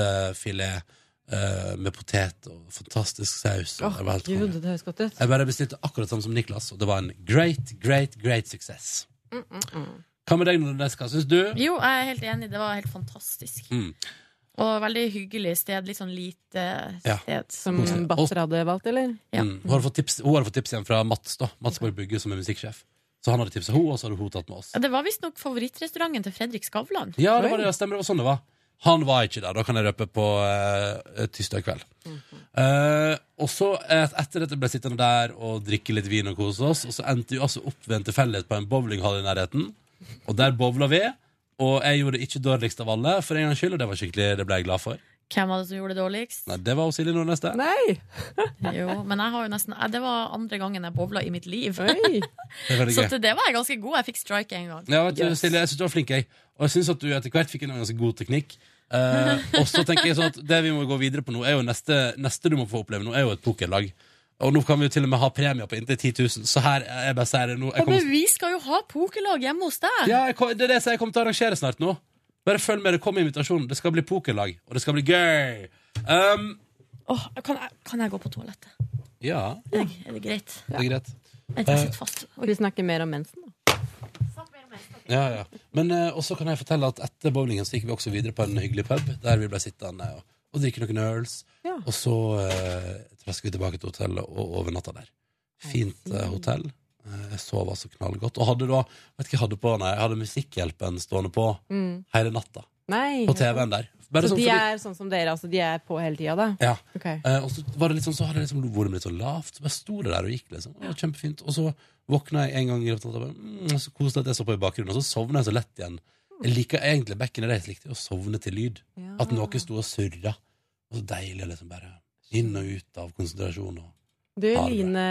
oksefilet eh, med potet og fantastisk saus. Og Åh, det var helt konge. Gud, det høres godt ut. Jeg bare bestilte akkurat samme som Niklas, og det var en great, great, great success. Mm, mm, mm. Hva med deg, Nordnes? Hva syns du? Jo, jeg er helt enig. Det var helt fantastisk. Mm. Og veldig hyggelig sted. Litt sånn lite Ja. sted. Som Batzer hadde valgt, eller? Mm. Hun har fått tips, hun har fått tips igjen fra Mats, da. Mats Borg Bugge, som er musikksjef. Så han hadde tipsa henne, og så hadde hun tatt med oss. Ja, det var visstnok favorittrestauranten til Fredrik Skavlan. Ja, det var det, ja, stemmer, det var sånn det var. Han var ikke der, da kan jeg røpe på uh, tirsdag kveld. Eh, og så eh, etter dette ble jeg sittende der og drikke litt vin og kose oss, og så endte vi altså opp ved en tilfeldighet på en bowlinghall i nærheten, og der bowla vi, og jeg gjorde det ikke dårligst av alle for en gangs skyld, og det var skikkelig, det ble jeg glad for. Hvem var det som gjorde det dårligst? Nei, det var jo Silje Nordnes, det. Nei! Jo, men jeg har jo nesten eh, Det var andre gangen jeg bowla i mitt liv. Det er veldig Så gøy. til det var jeg ganske god. Jeg fikk strike en gang. Ja, vet du, Silje, jeg synes du var flink, jeg. Og jeg synes at du etter hvert fikk en ganske god teknikk. Eh, og så tenker jeg sånn at det vi må gå videre på nå, er jo neste, neste du må få oppleve nå, er jo et pokerlag. Og nå kan vi jo til og med ha premier på inntil 10 000, så her er jeg bare sier det nå. Jeg Ja, men kommer, vi skal jo ha pokerlag hjemme hos deg! ja, jeg kom, det er det som jeg kommer til å arrangere snart nå. Bare følg med, det kommer invitasjon. Det skal bli pokerlag, og det skal bli gøy. Um, Åh, kan, jeg, kan jeg gå på toalettet? ja, Er det- Er det greit? det er greit. Vent, jeg Eh, sitter fast. Skal vi snakke mer om mensen, da? Ja, ja. Men eh, også kan jeg fortelle at etter bowlingen så gikk vi også videre på en hyggelig pub, der vi ble sittende og, og drikke noen øls. Ja. Og så uh, trasket vi tilbake til hotellet og overnatta der. Fint eh, hotell. Eh, jeg sov altså knallgodt. Og hadde da, vet ikke hva jeg hadde på, nei, jeg hadde Musikkhjelpen stående på Mm. hele natta. Nei. På TV-en der. Bare så sånn de fordi- er sånn som dere, altså? De er på hele tida, da? ja. Ok. Eh, og så var det litt sånn, så hadde jeg liksom volum litt så lavt. Så bare sto det der og gikk, liksom. Det var kjempefint. Og så våkna jeg en gang i løpet av natta, bare, mm, så koselig at jeg så på i bakgrunnen. Og så sovna jeg så lett igjen. Jeg liker egentlig back in the days likte jeg å sovne til lyd. At noe sto og surra. Og så deilig å liksom bare inn og ut av konsentrasjon. Og... Du, Line,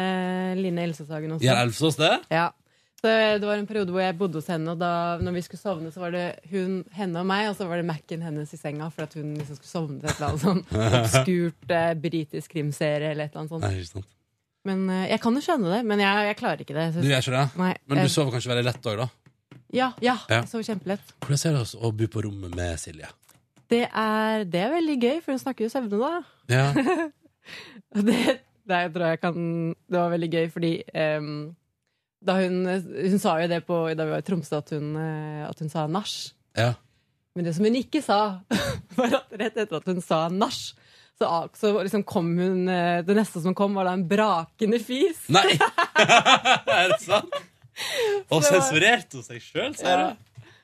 Line Elsesagen også. Gjør Elfsås det? Ja. eh, Det, det var en periode hvor jeg bodde hos henne, og da når vi skulle sovne, så var det hun, henne og meg, og så var det Mac-en hennes i senga for at hun liksom skulle sovne til et eller annet sånn obskurt eh, britisk krimserie eller et eller Nei, annet ikke sånt. sant. Men eh, Jeg kan jo skjønne det, men jeg, jeg klarer ikke det. Jeg Du synes- gjør ikke det? Nei, Men jeg- du sover kanskje veldig lett òg, da? Ja, ja, Ja. jeg sover kjempelett. Hvordan er det å- å bo på rommet med Silje? Det er, det er veldig gøy, for hun snakker jo søvne, da. Ja. Og det, det tror jeg kan Det var veldig gøy, fordi em, da hun, hun sa jo det på, da vi var i Tromsø, at hun, eh, at hun sa nach. Ja. Men det som hun ikke sa, var at rett etter at hun sa nach, så, a- så liksom kom hun eh, Det neste som kom, var da en brakende fis. Nei! er det sant? Og Så- sensurerte hun seg sjøl, sier Ja. du?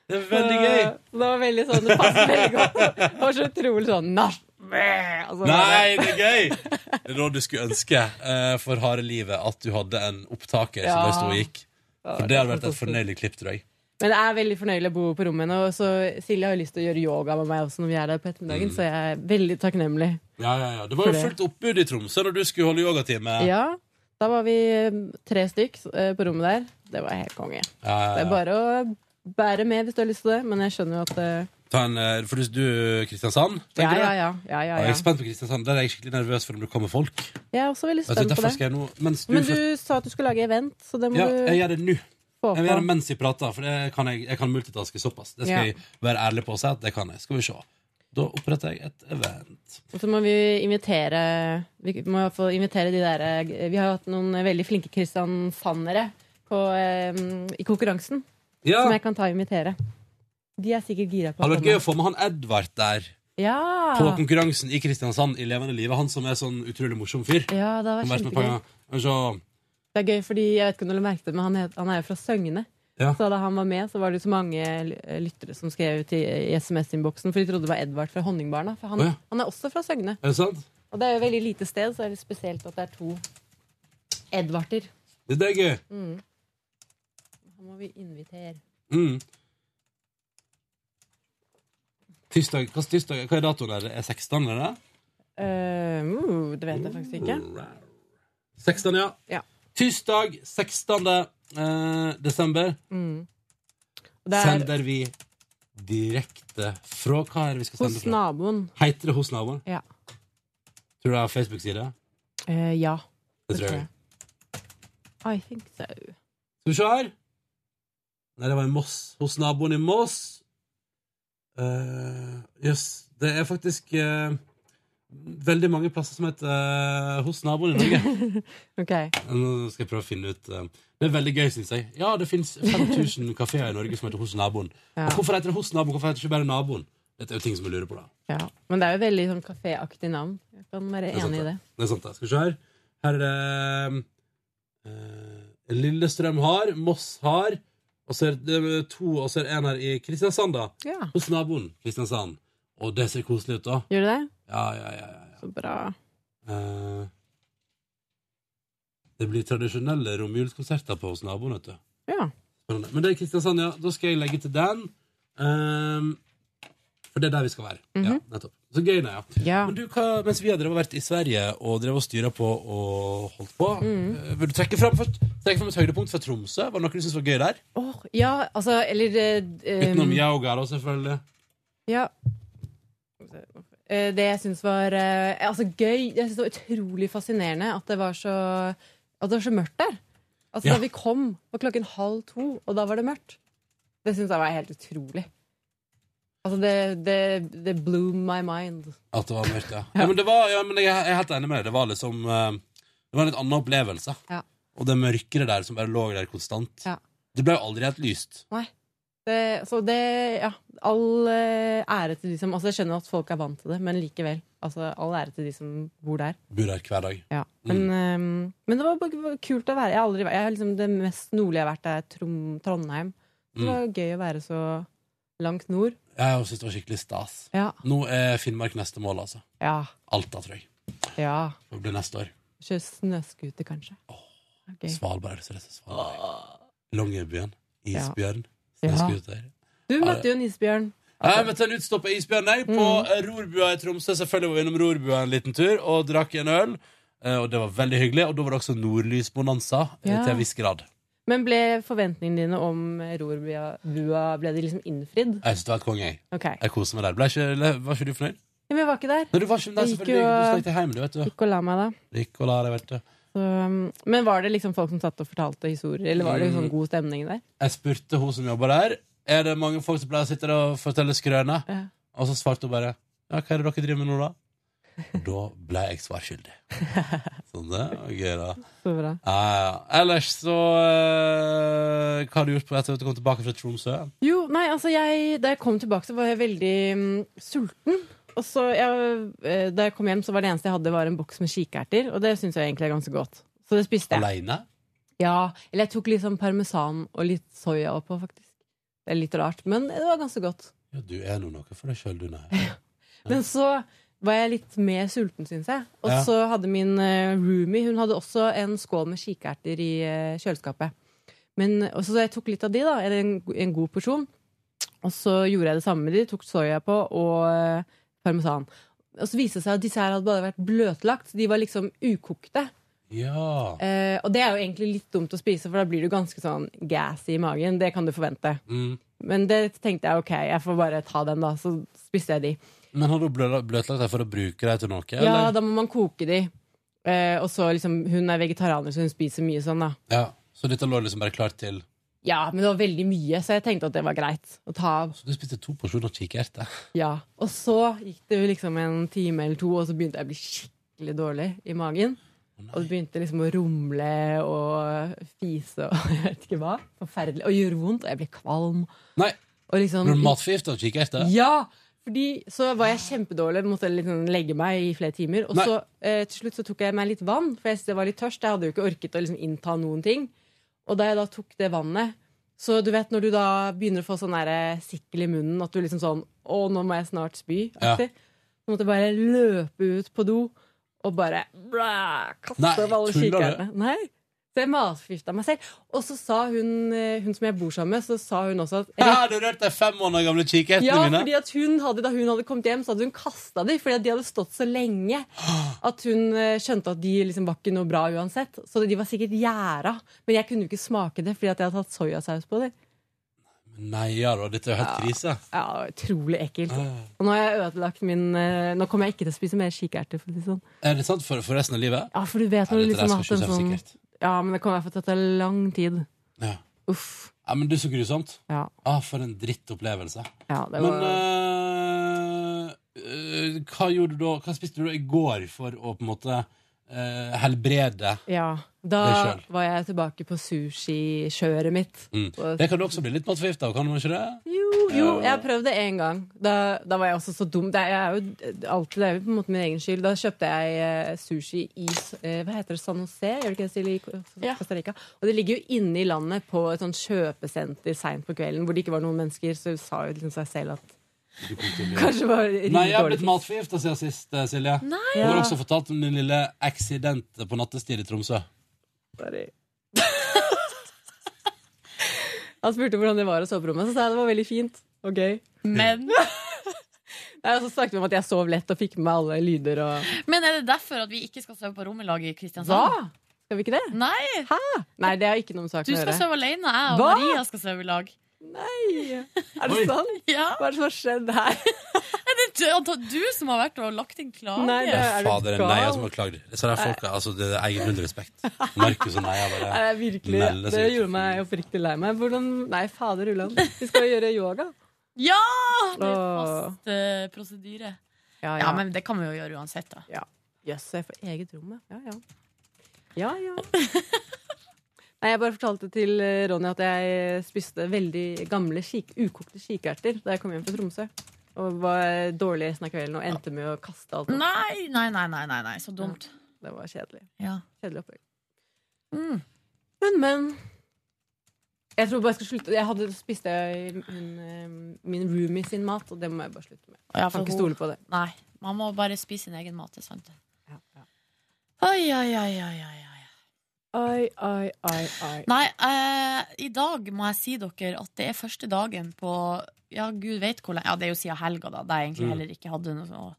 Det er veldig gøy. Så Det var veldig sånn, det passet veldig godt. Det var så utrolig sånn nach. Altså, Nei, det er gøy! Det er noe du skulle ønske eh, for harde livet, at du hadde en opptaker som Ja. bare sto og gikk. Ja, For det det er hadde vært et fantastisk. fornøyelig klipp, tror jeg. Men det er veldig fornøyelig å bo på rommet henne. Og så Silje har jo lyst til å gjøre yoga med meg også når vi er der på ettermiddagen, Mm. så jeg er veldig takknemlig. Ja, ja, ja. Det var jo For det. fullt oppbud i Tromsø da du skulle holde yogatime. Ja, da var vi eh, tre stykk eh, på rommet der. Det var helt konge. Ja, ja, ja. Det er bare å bære med hvis du har lyst til det, men jeg skjønner jo at eh, Ta en, eh, for du, du Kristiansand? ja, tenker du? ja, ja, ja, ja, Jeg er ja. spent på Kristiansand. Der er jeg skikkelig nervøs for om det kommer folk. Jeg er også veldig Vet du, spent på derfor skal det. jeg nå mens du, Men du sa at du skulle lage event, så det må Ja, jeg gjør du det nå. få Jeg vil gjøre det på. mens jeg prater, for det kan jeg, jeg kan multitaske såpass. Det skal Ja. jeg være ærlig på og si at det kan jeg. Skal vi se. Da oppretter jeg et event. Og så må vi invitere Vi må i hvert fall invitere de der eh, Vi har jo hatt noen veldig flinke kristiansandere på, eh, i konkurransen. Ja. Som jeg kan ta og invitere. De er sikkert gira på Hadde vært komme. Ah. gøy å få med han Edvard der. Ja. På konkurransen i Kristiansand i levende livet. Han som er sånn utrolig morsom fyr. ja, Han det hadde har vært vært med på en kjempegøy. gang. Men så- Det er gøy, fordi jeg vet ikke om du merket det, men han, het, han er jo fra Søgne. Ja. Så da han var med, så var det jo så mange l- lyttere som skrev ut i, i SMS-innboksen, for de trodde det var Edvard fra Honningbarna. For han, Å, ja. han er også fra Søgne. Er det sant? Og det er jo et veldig lite sted, så det er litt spesielt at det er to Edvarder. Det, det er eh. gøy. Mm. Han må vi invitere. Mm. Tirsdag, hva, er tirsdag, hva er datoen der? Det Er 16, er det? Eh, uh, det vet jeg faktisk Mm. ikke. 16, ja. Ja. Tirsdag 16. eh, desember Mm. Og Det er sender vi direkte fra Hva er det vi skal sende hos fra? naboen. Heiter det hos naboen? Ja. Tror du det har Facebook-side? Eh, ja. Det tror jeg. I think so. Skal vi se her. Nei, det var i Moss. Hos naboen i Moss. Eh, Jøss. Det er faktisk eh, veldig mange plasser som heter eh, Hos naboen i Norge. Ok. Nå skal jeg prøve å finne ut eh, Det er veldig gøy, syns jeg. Ja, det fins 5000 kafeer i Norge som heter Hos naboen. Ja. Og hvorfor heter det Hos naboen? Hvorfor heter det ikke bare Naboen? Dette er jo ting som jeg lurer på, da. Ja. Men det er jo veldig sånn kaféaktig navn. Jeg kan være Det er sant, enig i det. Det er sant, det. Skal vi se her. Her er det eh, Lillestrøm har, Moss har, og så er det eh, to, og så er det en her i Kristiansand, da. Ja. Hos naboen Kristiansand. Og det ser koselig ut, da. Gjør du det? Ja, ja, ja. ja, ja. Så bra. Eh, det blir tradisjonelle romjulskonserter på hos naboen, vet du. Ja. Spennende. Men det er Kristiansand, ja. Da skal jeg legge til den. Ehm, for det er der vi skal være. Mhm. Ja, nettopp. Så gøy, nei, ja. Men du, hva, mens vi har drevet og vært i Sverige og drevet og styra på og holdt på, Mm. eh, vil du trekke fram først? Trekke fram et høydepunkt fra Tromsø? Var det noe du syntes var gøy der? Åh, ja, altså, eller eh, eh, Utenom yoga, da, selvfølgelig. Ja. Eh, Det jeg syns var eh, altså, gøy Jeg synes det var utrolig fascinerende at det var så, at det var så mørkt der. Altså, Ja. Da vi kom, var klokken halv to, og da var det mørkt. Det syns jeg var helt utrolig. Altså, det, det, det blew my mind. At det var mørkt, ja. ja. men, det var, ja men jeg, jeg er helt enig med deg. Det var liksom eh, Det var en litt annen opplevelse. Ja. Og det mørkere der som bare lå der konstant. Ja. Det ble jo aldri helt lyst. Nei. Det, så det Ja, all eh, ære til de som Altså, jeg skjønner at folk er vant til det, men likevel. Altså, All ære til de som bor der. Bor der hver dag. Ja. Men, ehm, men det var bare- bare kult å være. Jeg har aldri vært jeg har liksom Det mest nordlige jeg har vært, er Trom, Trondheim. Så det Mm. var gøy å være så langt nord. Jeg syns det var skikkelig stas. Ja. Nå er Finnmark neste mål, altså. Ja. Alta, tror jeg. ja. Det blir neste år. Kjøre snøscooter, kanskje. Okay. Svalbard. Så det er Svalbard. Longyearbyen. Isbjørn. Ja. Snøscooter. Du Ja, møtte det- jo en isbjørn. Jeg møtte en utstoppet isbjørn nei, på Mm. eh, Rorbua i Tromsø. Selvfølgelig var vi innom Rorbua en liten tur og drakk en øl. Eh, Og det var veldig hyggelig. Og da var det også nordlysbonanza eh, Ja. til en viss grad. Men ble forventningene dine om rorbua Ble de liksom innfridd? Jeg synes det var et konge, jeg. Ok. Jeg koser meg der. Ble ikke, var ikke du fornøyd? Ja, men jeg var ikke der. Nei, du var ikke der, Jeg gikk selvfølgelig. Du stakk til hjem, du, vet du. Gikk og la meg da. Gikk og la deg, vet du. Så, um, men var det liksom folk som satt og fortalte historier, eller var det Mm. sånn god stemning der? Jeg spurte hun som jobber der Er det mange folk som pleier å sitte der og fortelle skrøner. Og så svarte hun bare Ja, hva er det dere driver med nå, da? Og Da ble jeg svar skyldig. Sånn det var gøy, da. Så bra. Ja, ja. Ellers så eh, Hva har du gjort på etter at du kom tilbake fra Tromsø? Jo, nei, altså jeg, da jeg kom tilbake så var jeg veldig mm, sulten. Og så jeg, eh, da jeg kom hjem så var det eneste jeg hadde var en boks med kikerter, og det syns jeg egentlig er ganske godt. Så det spiste jeg. Aleine? Ja, eller jeg tok litt sånn parmesan og litt soya oppå, faktisk. Det er litt rart, men det var ganske godt. Ja, du er nå noe for deg sjøl, du, nei. Men så var jeg litt mer sulten, syns jeg. Og Ja. så hadde min eh, roomie Hun hadde også en skål med kikerter i eh, kjøleskapet. Men, og så jeg tok litt av de, da. Eller en, en god porsjon. Og så gjorde jeg det samme med de. Tok soya på og eh, parmesan. Og så viste det seg at disse her hadde bare vært bløtlagt. De var liksom ukokte. Ja. Eh, og det er jo egentlig litt dumt å spise, for da blir du ganske sånn gassy i magen. Det kan du forvente. Mm. Men det tenkte jeg ok, jeg får bare ta den, da. Så spiste jeg de. Men har du blø- bløtlagt deg for å bruke deg til noe? Ja, eller? da må man koke de. Eh, og så liksom, Hun er vegetarianer, så hun spiser mye sånn. da ja. Så dette lå liksom bare klart til Ja, Men det var veldig mye, så jeg tenkte at det var greit å ta av. Du spiste to porsjoner kikerte. Ja. Og så gikk det jo liksom en time eller to, og så begynte jeg å bli skikkelig dårlig i magen. og det begynte liksom å rumle og fise og jeg vet ikke hva. Forferdelig. Og gjøre vondt. Og jeg ble kvalm. Nei. Og liksom, Ble du matforgifta av kikerte? Ja! Fordi så var jeg kjempedårlig, måtte liksom legge meg i flere timer. Og Nei. så eh, til slutt så tok jeg meg litt vann, for jeg syntes jeg var litt tørst. Jeg hadde jo ikke orket å liksom innta noen ting. Og da jeg da tok det vannet Så du vet når du da begynner å få sånn derre sikkel i munnen, at du liksom sånn Å, nå må jeg snart spy. Ja. aktig, Så måtte jeg bare løpe ut på do og bare blæ, Nei, kaste opp alle tuller du? kikerne. Nei. Så jeg matforgifta meg selv. Og så sa hun, eh, hun som jeg bor sammen med, så sa hun også at Ja, du rørte de fem måneder gamle kikertene ja, mine? fordi at hun hadde, Da hun hadde kommet hjem, så hadde hun kasta dem. Fordi at de hadde stått så lenge at hun eh, skjønte at de liksom var ikke noe bra uansett. Så de var sikkert gjæra. Men jeg kunne jo ikke smake det fordi at jeg hadde tatt soyasaus på dem. Nei, ja da, dette er jo helt krise. Ja, Utrolig ekkelt. Ah. Og nå har jeg ødelagt min eh, Nå kommer jeg ikke til å spise mer kikerter. For å si det sånn. Er det sant for, for resten av livet? Ja, for du vet når Nei, du dette der liksom har hatt skal en ikke sånn sikkert. Ja, men det kommer i hvert fall til å ta lang tid. Ja, men det er så grusomt. Ja. Ah, for en drittopplevelse. Ja, det Men var... eh, eh, hva gjorde du da? Hva spiste du da i går for å på en måte eh, helbrede? ja. Det Da skjønner. var jeg tilbake på sushikjøret mitt. Mm. Det kan du også bli litt matforgifta av, kan du ikke det? Jo, jo, Eh. jeg har prøvd det én gang. Da, da var jeg også så dum. Det er, jeg er jo alltid, det er jo på en måte min egen skyld. Da kjøpte jeg eh, sushi i eh, hva heter det, San Jose, gjør det ikke det, Silje, i Ko- Costa Rica? Og det ligger jo inne i landet på et sånn kjøpesenter seint på kvelden hvor det ikke var noen mennesker, så sa jo liksom seg selv at Kanskje bare rimelig Nei, jeg har dårlig blitt matforgifta siden sist, eh, Silje. Nei. Og Du har Ja. også fortalt om din lille accident på nattestid i Tromsø. Han spurte hvordan det var å sove på rommet, så sa jeg det var veldig fint og gøy. Men Nei, Og så snakket vi om at jeg sov lett og fikk med meg alle lyder og Men er det derfor at vi ikke skal sove på rommet i lag i Kristiansand? Hva? Skal vi ikke det? Nei! Nei, det har ikke noe med saken Du skal sove alene, jeg og Hva? Maria skal sove i lag. Nei! Er det sant? Hva er det som har skjedd her? Er det du, du som har vært og lagt inn klage? Nei, det er du Fader, gal? nei, jeg som har klagd. Så der folka, altså, det er egen null respekt. Markus og Neia bare Nei, virkelig, melder det seg ut. gjorde meg oppriktig lei meg. Hvordan, nei, fader Ulland. Vi skal jo gjøre yoga. Ja! Det er Åh. fast eh, prosedyre. Ja, Ja, men det kan vi jo gjøre uansett, da. Ja. Jøss, jeg får eget rom, jeg. ja. Ja, ja. ja. Nei, jeg bare fortalte til eh, Ronny at jeg spiste veldig gamle, kik ukokte kikerter da jeg kom hjem fra Tromsø. Og var dårlig resten av kvelden og endte med å kaste alt. opp. Nei, nei, nei, nei, nei, nei. så dumt. Det var kjedelig. Ja. Kjedelig opplegg. Mm. Men, men. Jeg tror bare jeg skal slutte. Jeg hadde spiste min, eh, min roomie sin mat, og det må jeg bare slutte med. Ja, for kan ikke hun- stole på det. Nei, man må bare spise sin egen mat, det er sant det. Oi, oi, oi, oi, oi. Oi, oi, oi, oi. Nei, eh, i dag må jeg si dere at det er første dagen på Ja, gud vet hvor lenge Ja, det er jo siden helga, da, der jeg egentlig Mm. heller ikke hadde noe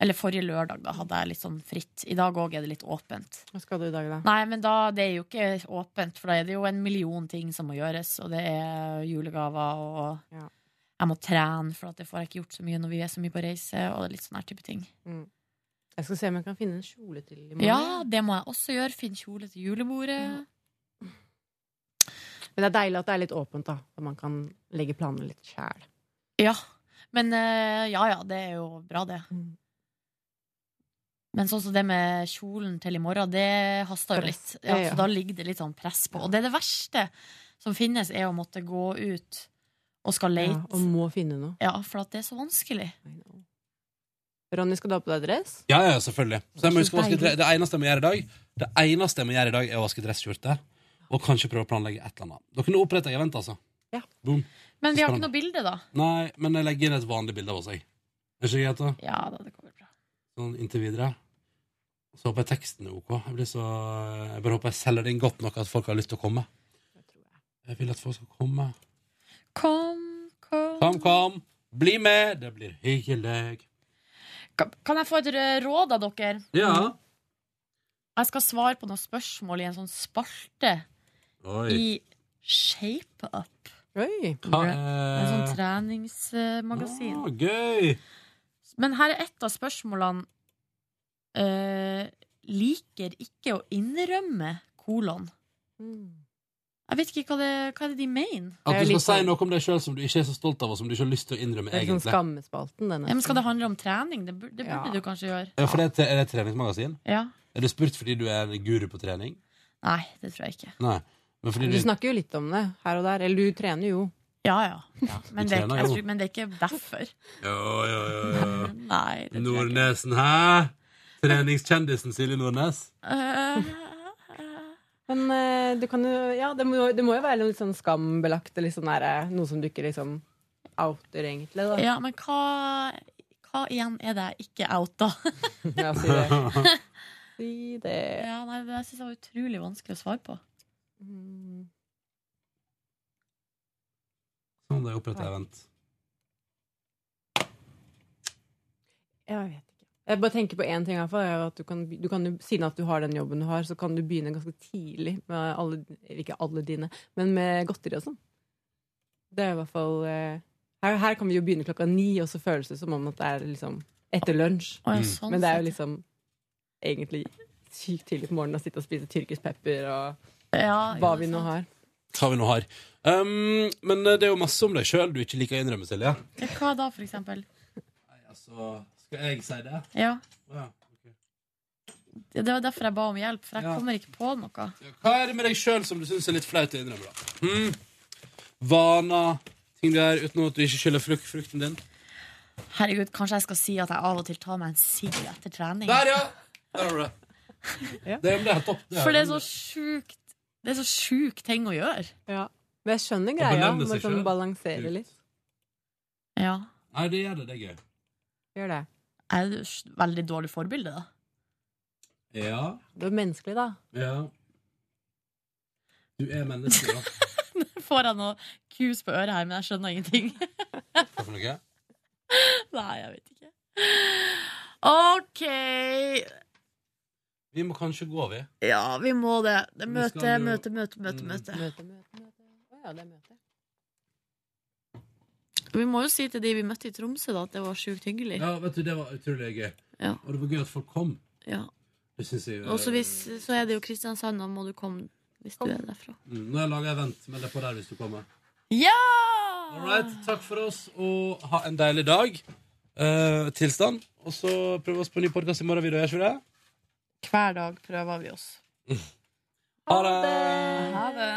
Eller forrige lørdag da hadde jeg litt sånn fritt. I dag òg er det litt åpent. Hva skal du i dag, da? Nei, men da, det er jo ikke åpent, for da er det jo en million ting som må gjøres, og det er julegaver og Jeg må trene, for at det får jeg ikke gjort så mye når vi er så mye på reise, og litt sånn her type ting. Mm. Jeg skal se om jeg kan finne en kjole til i morgen. Ja, det må jeg også gjøre. Finne kjole til julebordet. Men det er deilig at det er litt åpent, da. Så man kan legge planene litt sjæl. Ja. Men eh, ja ja, det er jo bra, det. Mm. Men sånn som det med kjolen til i morgen, det haster jo litt. Press. Ja, Ja, ja. så da ligger det litt sånn press på. Og det er det verste som finnes, er å måtte gå ut og skal Ja, leite. og må finne noe. Ja, for at det er så vanskelig. Ronny, skal du ha på deg dress? Ja, ja, selvfølgelig. Så jeg må Så huske å vaske deilig. dre- det eneste jeg må gjøre i dag, Det eneste jeg må gjøre i dag, er å vaske dresskjorte. Og kanskje prøve å planlegge et eller annet. Dere nå oppretter jeg event, altså. Ja. Boom. Men vi har Spennende. ikke noe bilde, da. Nei, men jeg legger inn et vanlig bilde av oss, jeg. Er ikke det greit, da? Ja, da, det kommer bra. Sånn inntil videre. Så håper jeg teksten er OK. Jeg, blir så, jeg bare håper jeg selger det inn godt nok at folk har lyst til å komme. Jeg vil at folk skal komme. Kom, kom. Kom, kom! Bli med! Det blir hyggelig. Kan jeg få et eh, råd av dere? Ja. Jeg skal svare på noen spørsmål i en sånn spalte i Shape Up. Hva Det er et sånt er treningsmagasin. Å, Gøy! Men her er et av spørsmålene eh, Liker ikke å innrømme kolon. Mm. Jeg vet ikke hva, det, hva er sånn- det de mener. At du skal si noe om deg sjøl som du ikke er så stolt av, og som du ikke har lyst til å innrømme, Det er sånn egentlig. skammespalten, den. ja, men skal det handle om trening? Det burde, det burde Ja. du kanskje gjøre. Ja, for det er, tre- er det et treningsmagasin? Ja. Er du spurt fordi du er en guru på trening? Nei, det tror jeg ikke. Nei. Men fordi Du du, snakker jo litt om det her og der. Eller du trener jo. Ja, ja. Men, Du det er, ikke- trener jeg jo. tror, men det er ikke derfor. Ja, ja, ja, ja. Nei, det tror jeg ikke. Nordnesen, hæ? Treningskjendisen Silje Nordnes? Eh, Men eh, du kan jo Ja, det må, det må jo være litt sånn skambelagt, eller sånn der, eh, noe som du ikke liksom outer, egentlig. Da. Ja, men hva, hva igjen er det jeg ikke outa? Ja, si det. Si det. Ja, nei, det syns jeg var utrolig vanskelig å svare på. Mm. Sånn, det er opprettet event. Jeg vet ikke. Jeg bare tenker på én ting, i hvert fall, er jo at du kan, du kan, jo- siden at du har den jobben du har, så kan du begynne ganske tidlig med alle eller Ikke alle dine, men med godteri og sånn. Det er i hvert fall eh, her, her kan vi jo begynne klokka ni, og så føles det som om at det er liksom etter lunsj. Å, ja, sånn Mm. men det er jo sett, liksom egentlig sykt tidlig på morgenen å sitte og spise tyrkisk pepper og Ja, sånn. hva vi nå har. Hva vi nå har. Um, men det er jo masse om deg sjøl du ikke liker å innrømme, Silje. Ja, Hva da, for eksempel? Altså, skal jeg si det? Ja. Ja. Det var derfor jeg ba om hjelp, for jeg Ja. kommer ikke på noe. Hva er det med deg sjøl som du syns er litt flaut å innrømme, da? Hm? Vaner, ting du gjør uten at du ikke skylder fruk frukten din? Herregud, kanskje jeg skal si at jeg av og til tar meg en sigg etter trening. Der, ja! Der har du det. Det, men det er topp. For det er så sjukt Det er så sjuk ting å gjøre. Ja. Men jeg skjønner Å greia. belønne Man seg kan selv. balansere Ut. litt. Ja. Nei, det gjør det. Det er gøy. Gjør det. Jeg er jo s- veldig dårlig forbilde, da. Ja. Det er menneskelig, da. Ja. Du er menneske, da. Får jeg noe kus på øret her, men jeg skjønner ingenting. Hva for noe? Nei, jeg vet ikke. OK. Vi må kanskje gå, vi. Ja, vi må det. Det Vi er møte, skal Mm. jo- møte, møte, møte, møte. Ja, det er møte. Vi må jo si til de vi møtte i Tromsø, da, at det var sjukt hyggelig. Ja, vet du, det var utrolig gøy. Ja. Og det var gøy at folk kom. Ja. Det synes jeg Og så hvis, så er det jo Kristiansand, og må du komme hvis du er derfra. Mm, Nå har jeg laga event, men det er på der hvis du kommer. Ja! All right, takk for oss, og ha en deilig dag. Eh, tilstand. Og så prøve oss på en ny podkast i morgen, vi da, gjør ikke vi det? Hver dag prøver vi oss. Ha det! Ha det.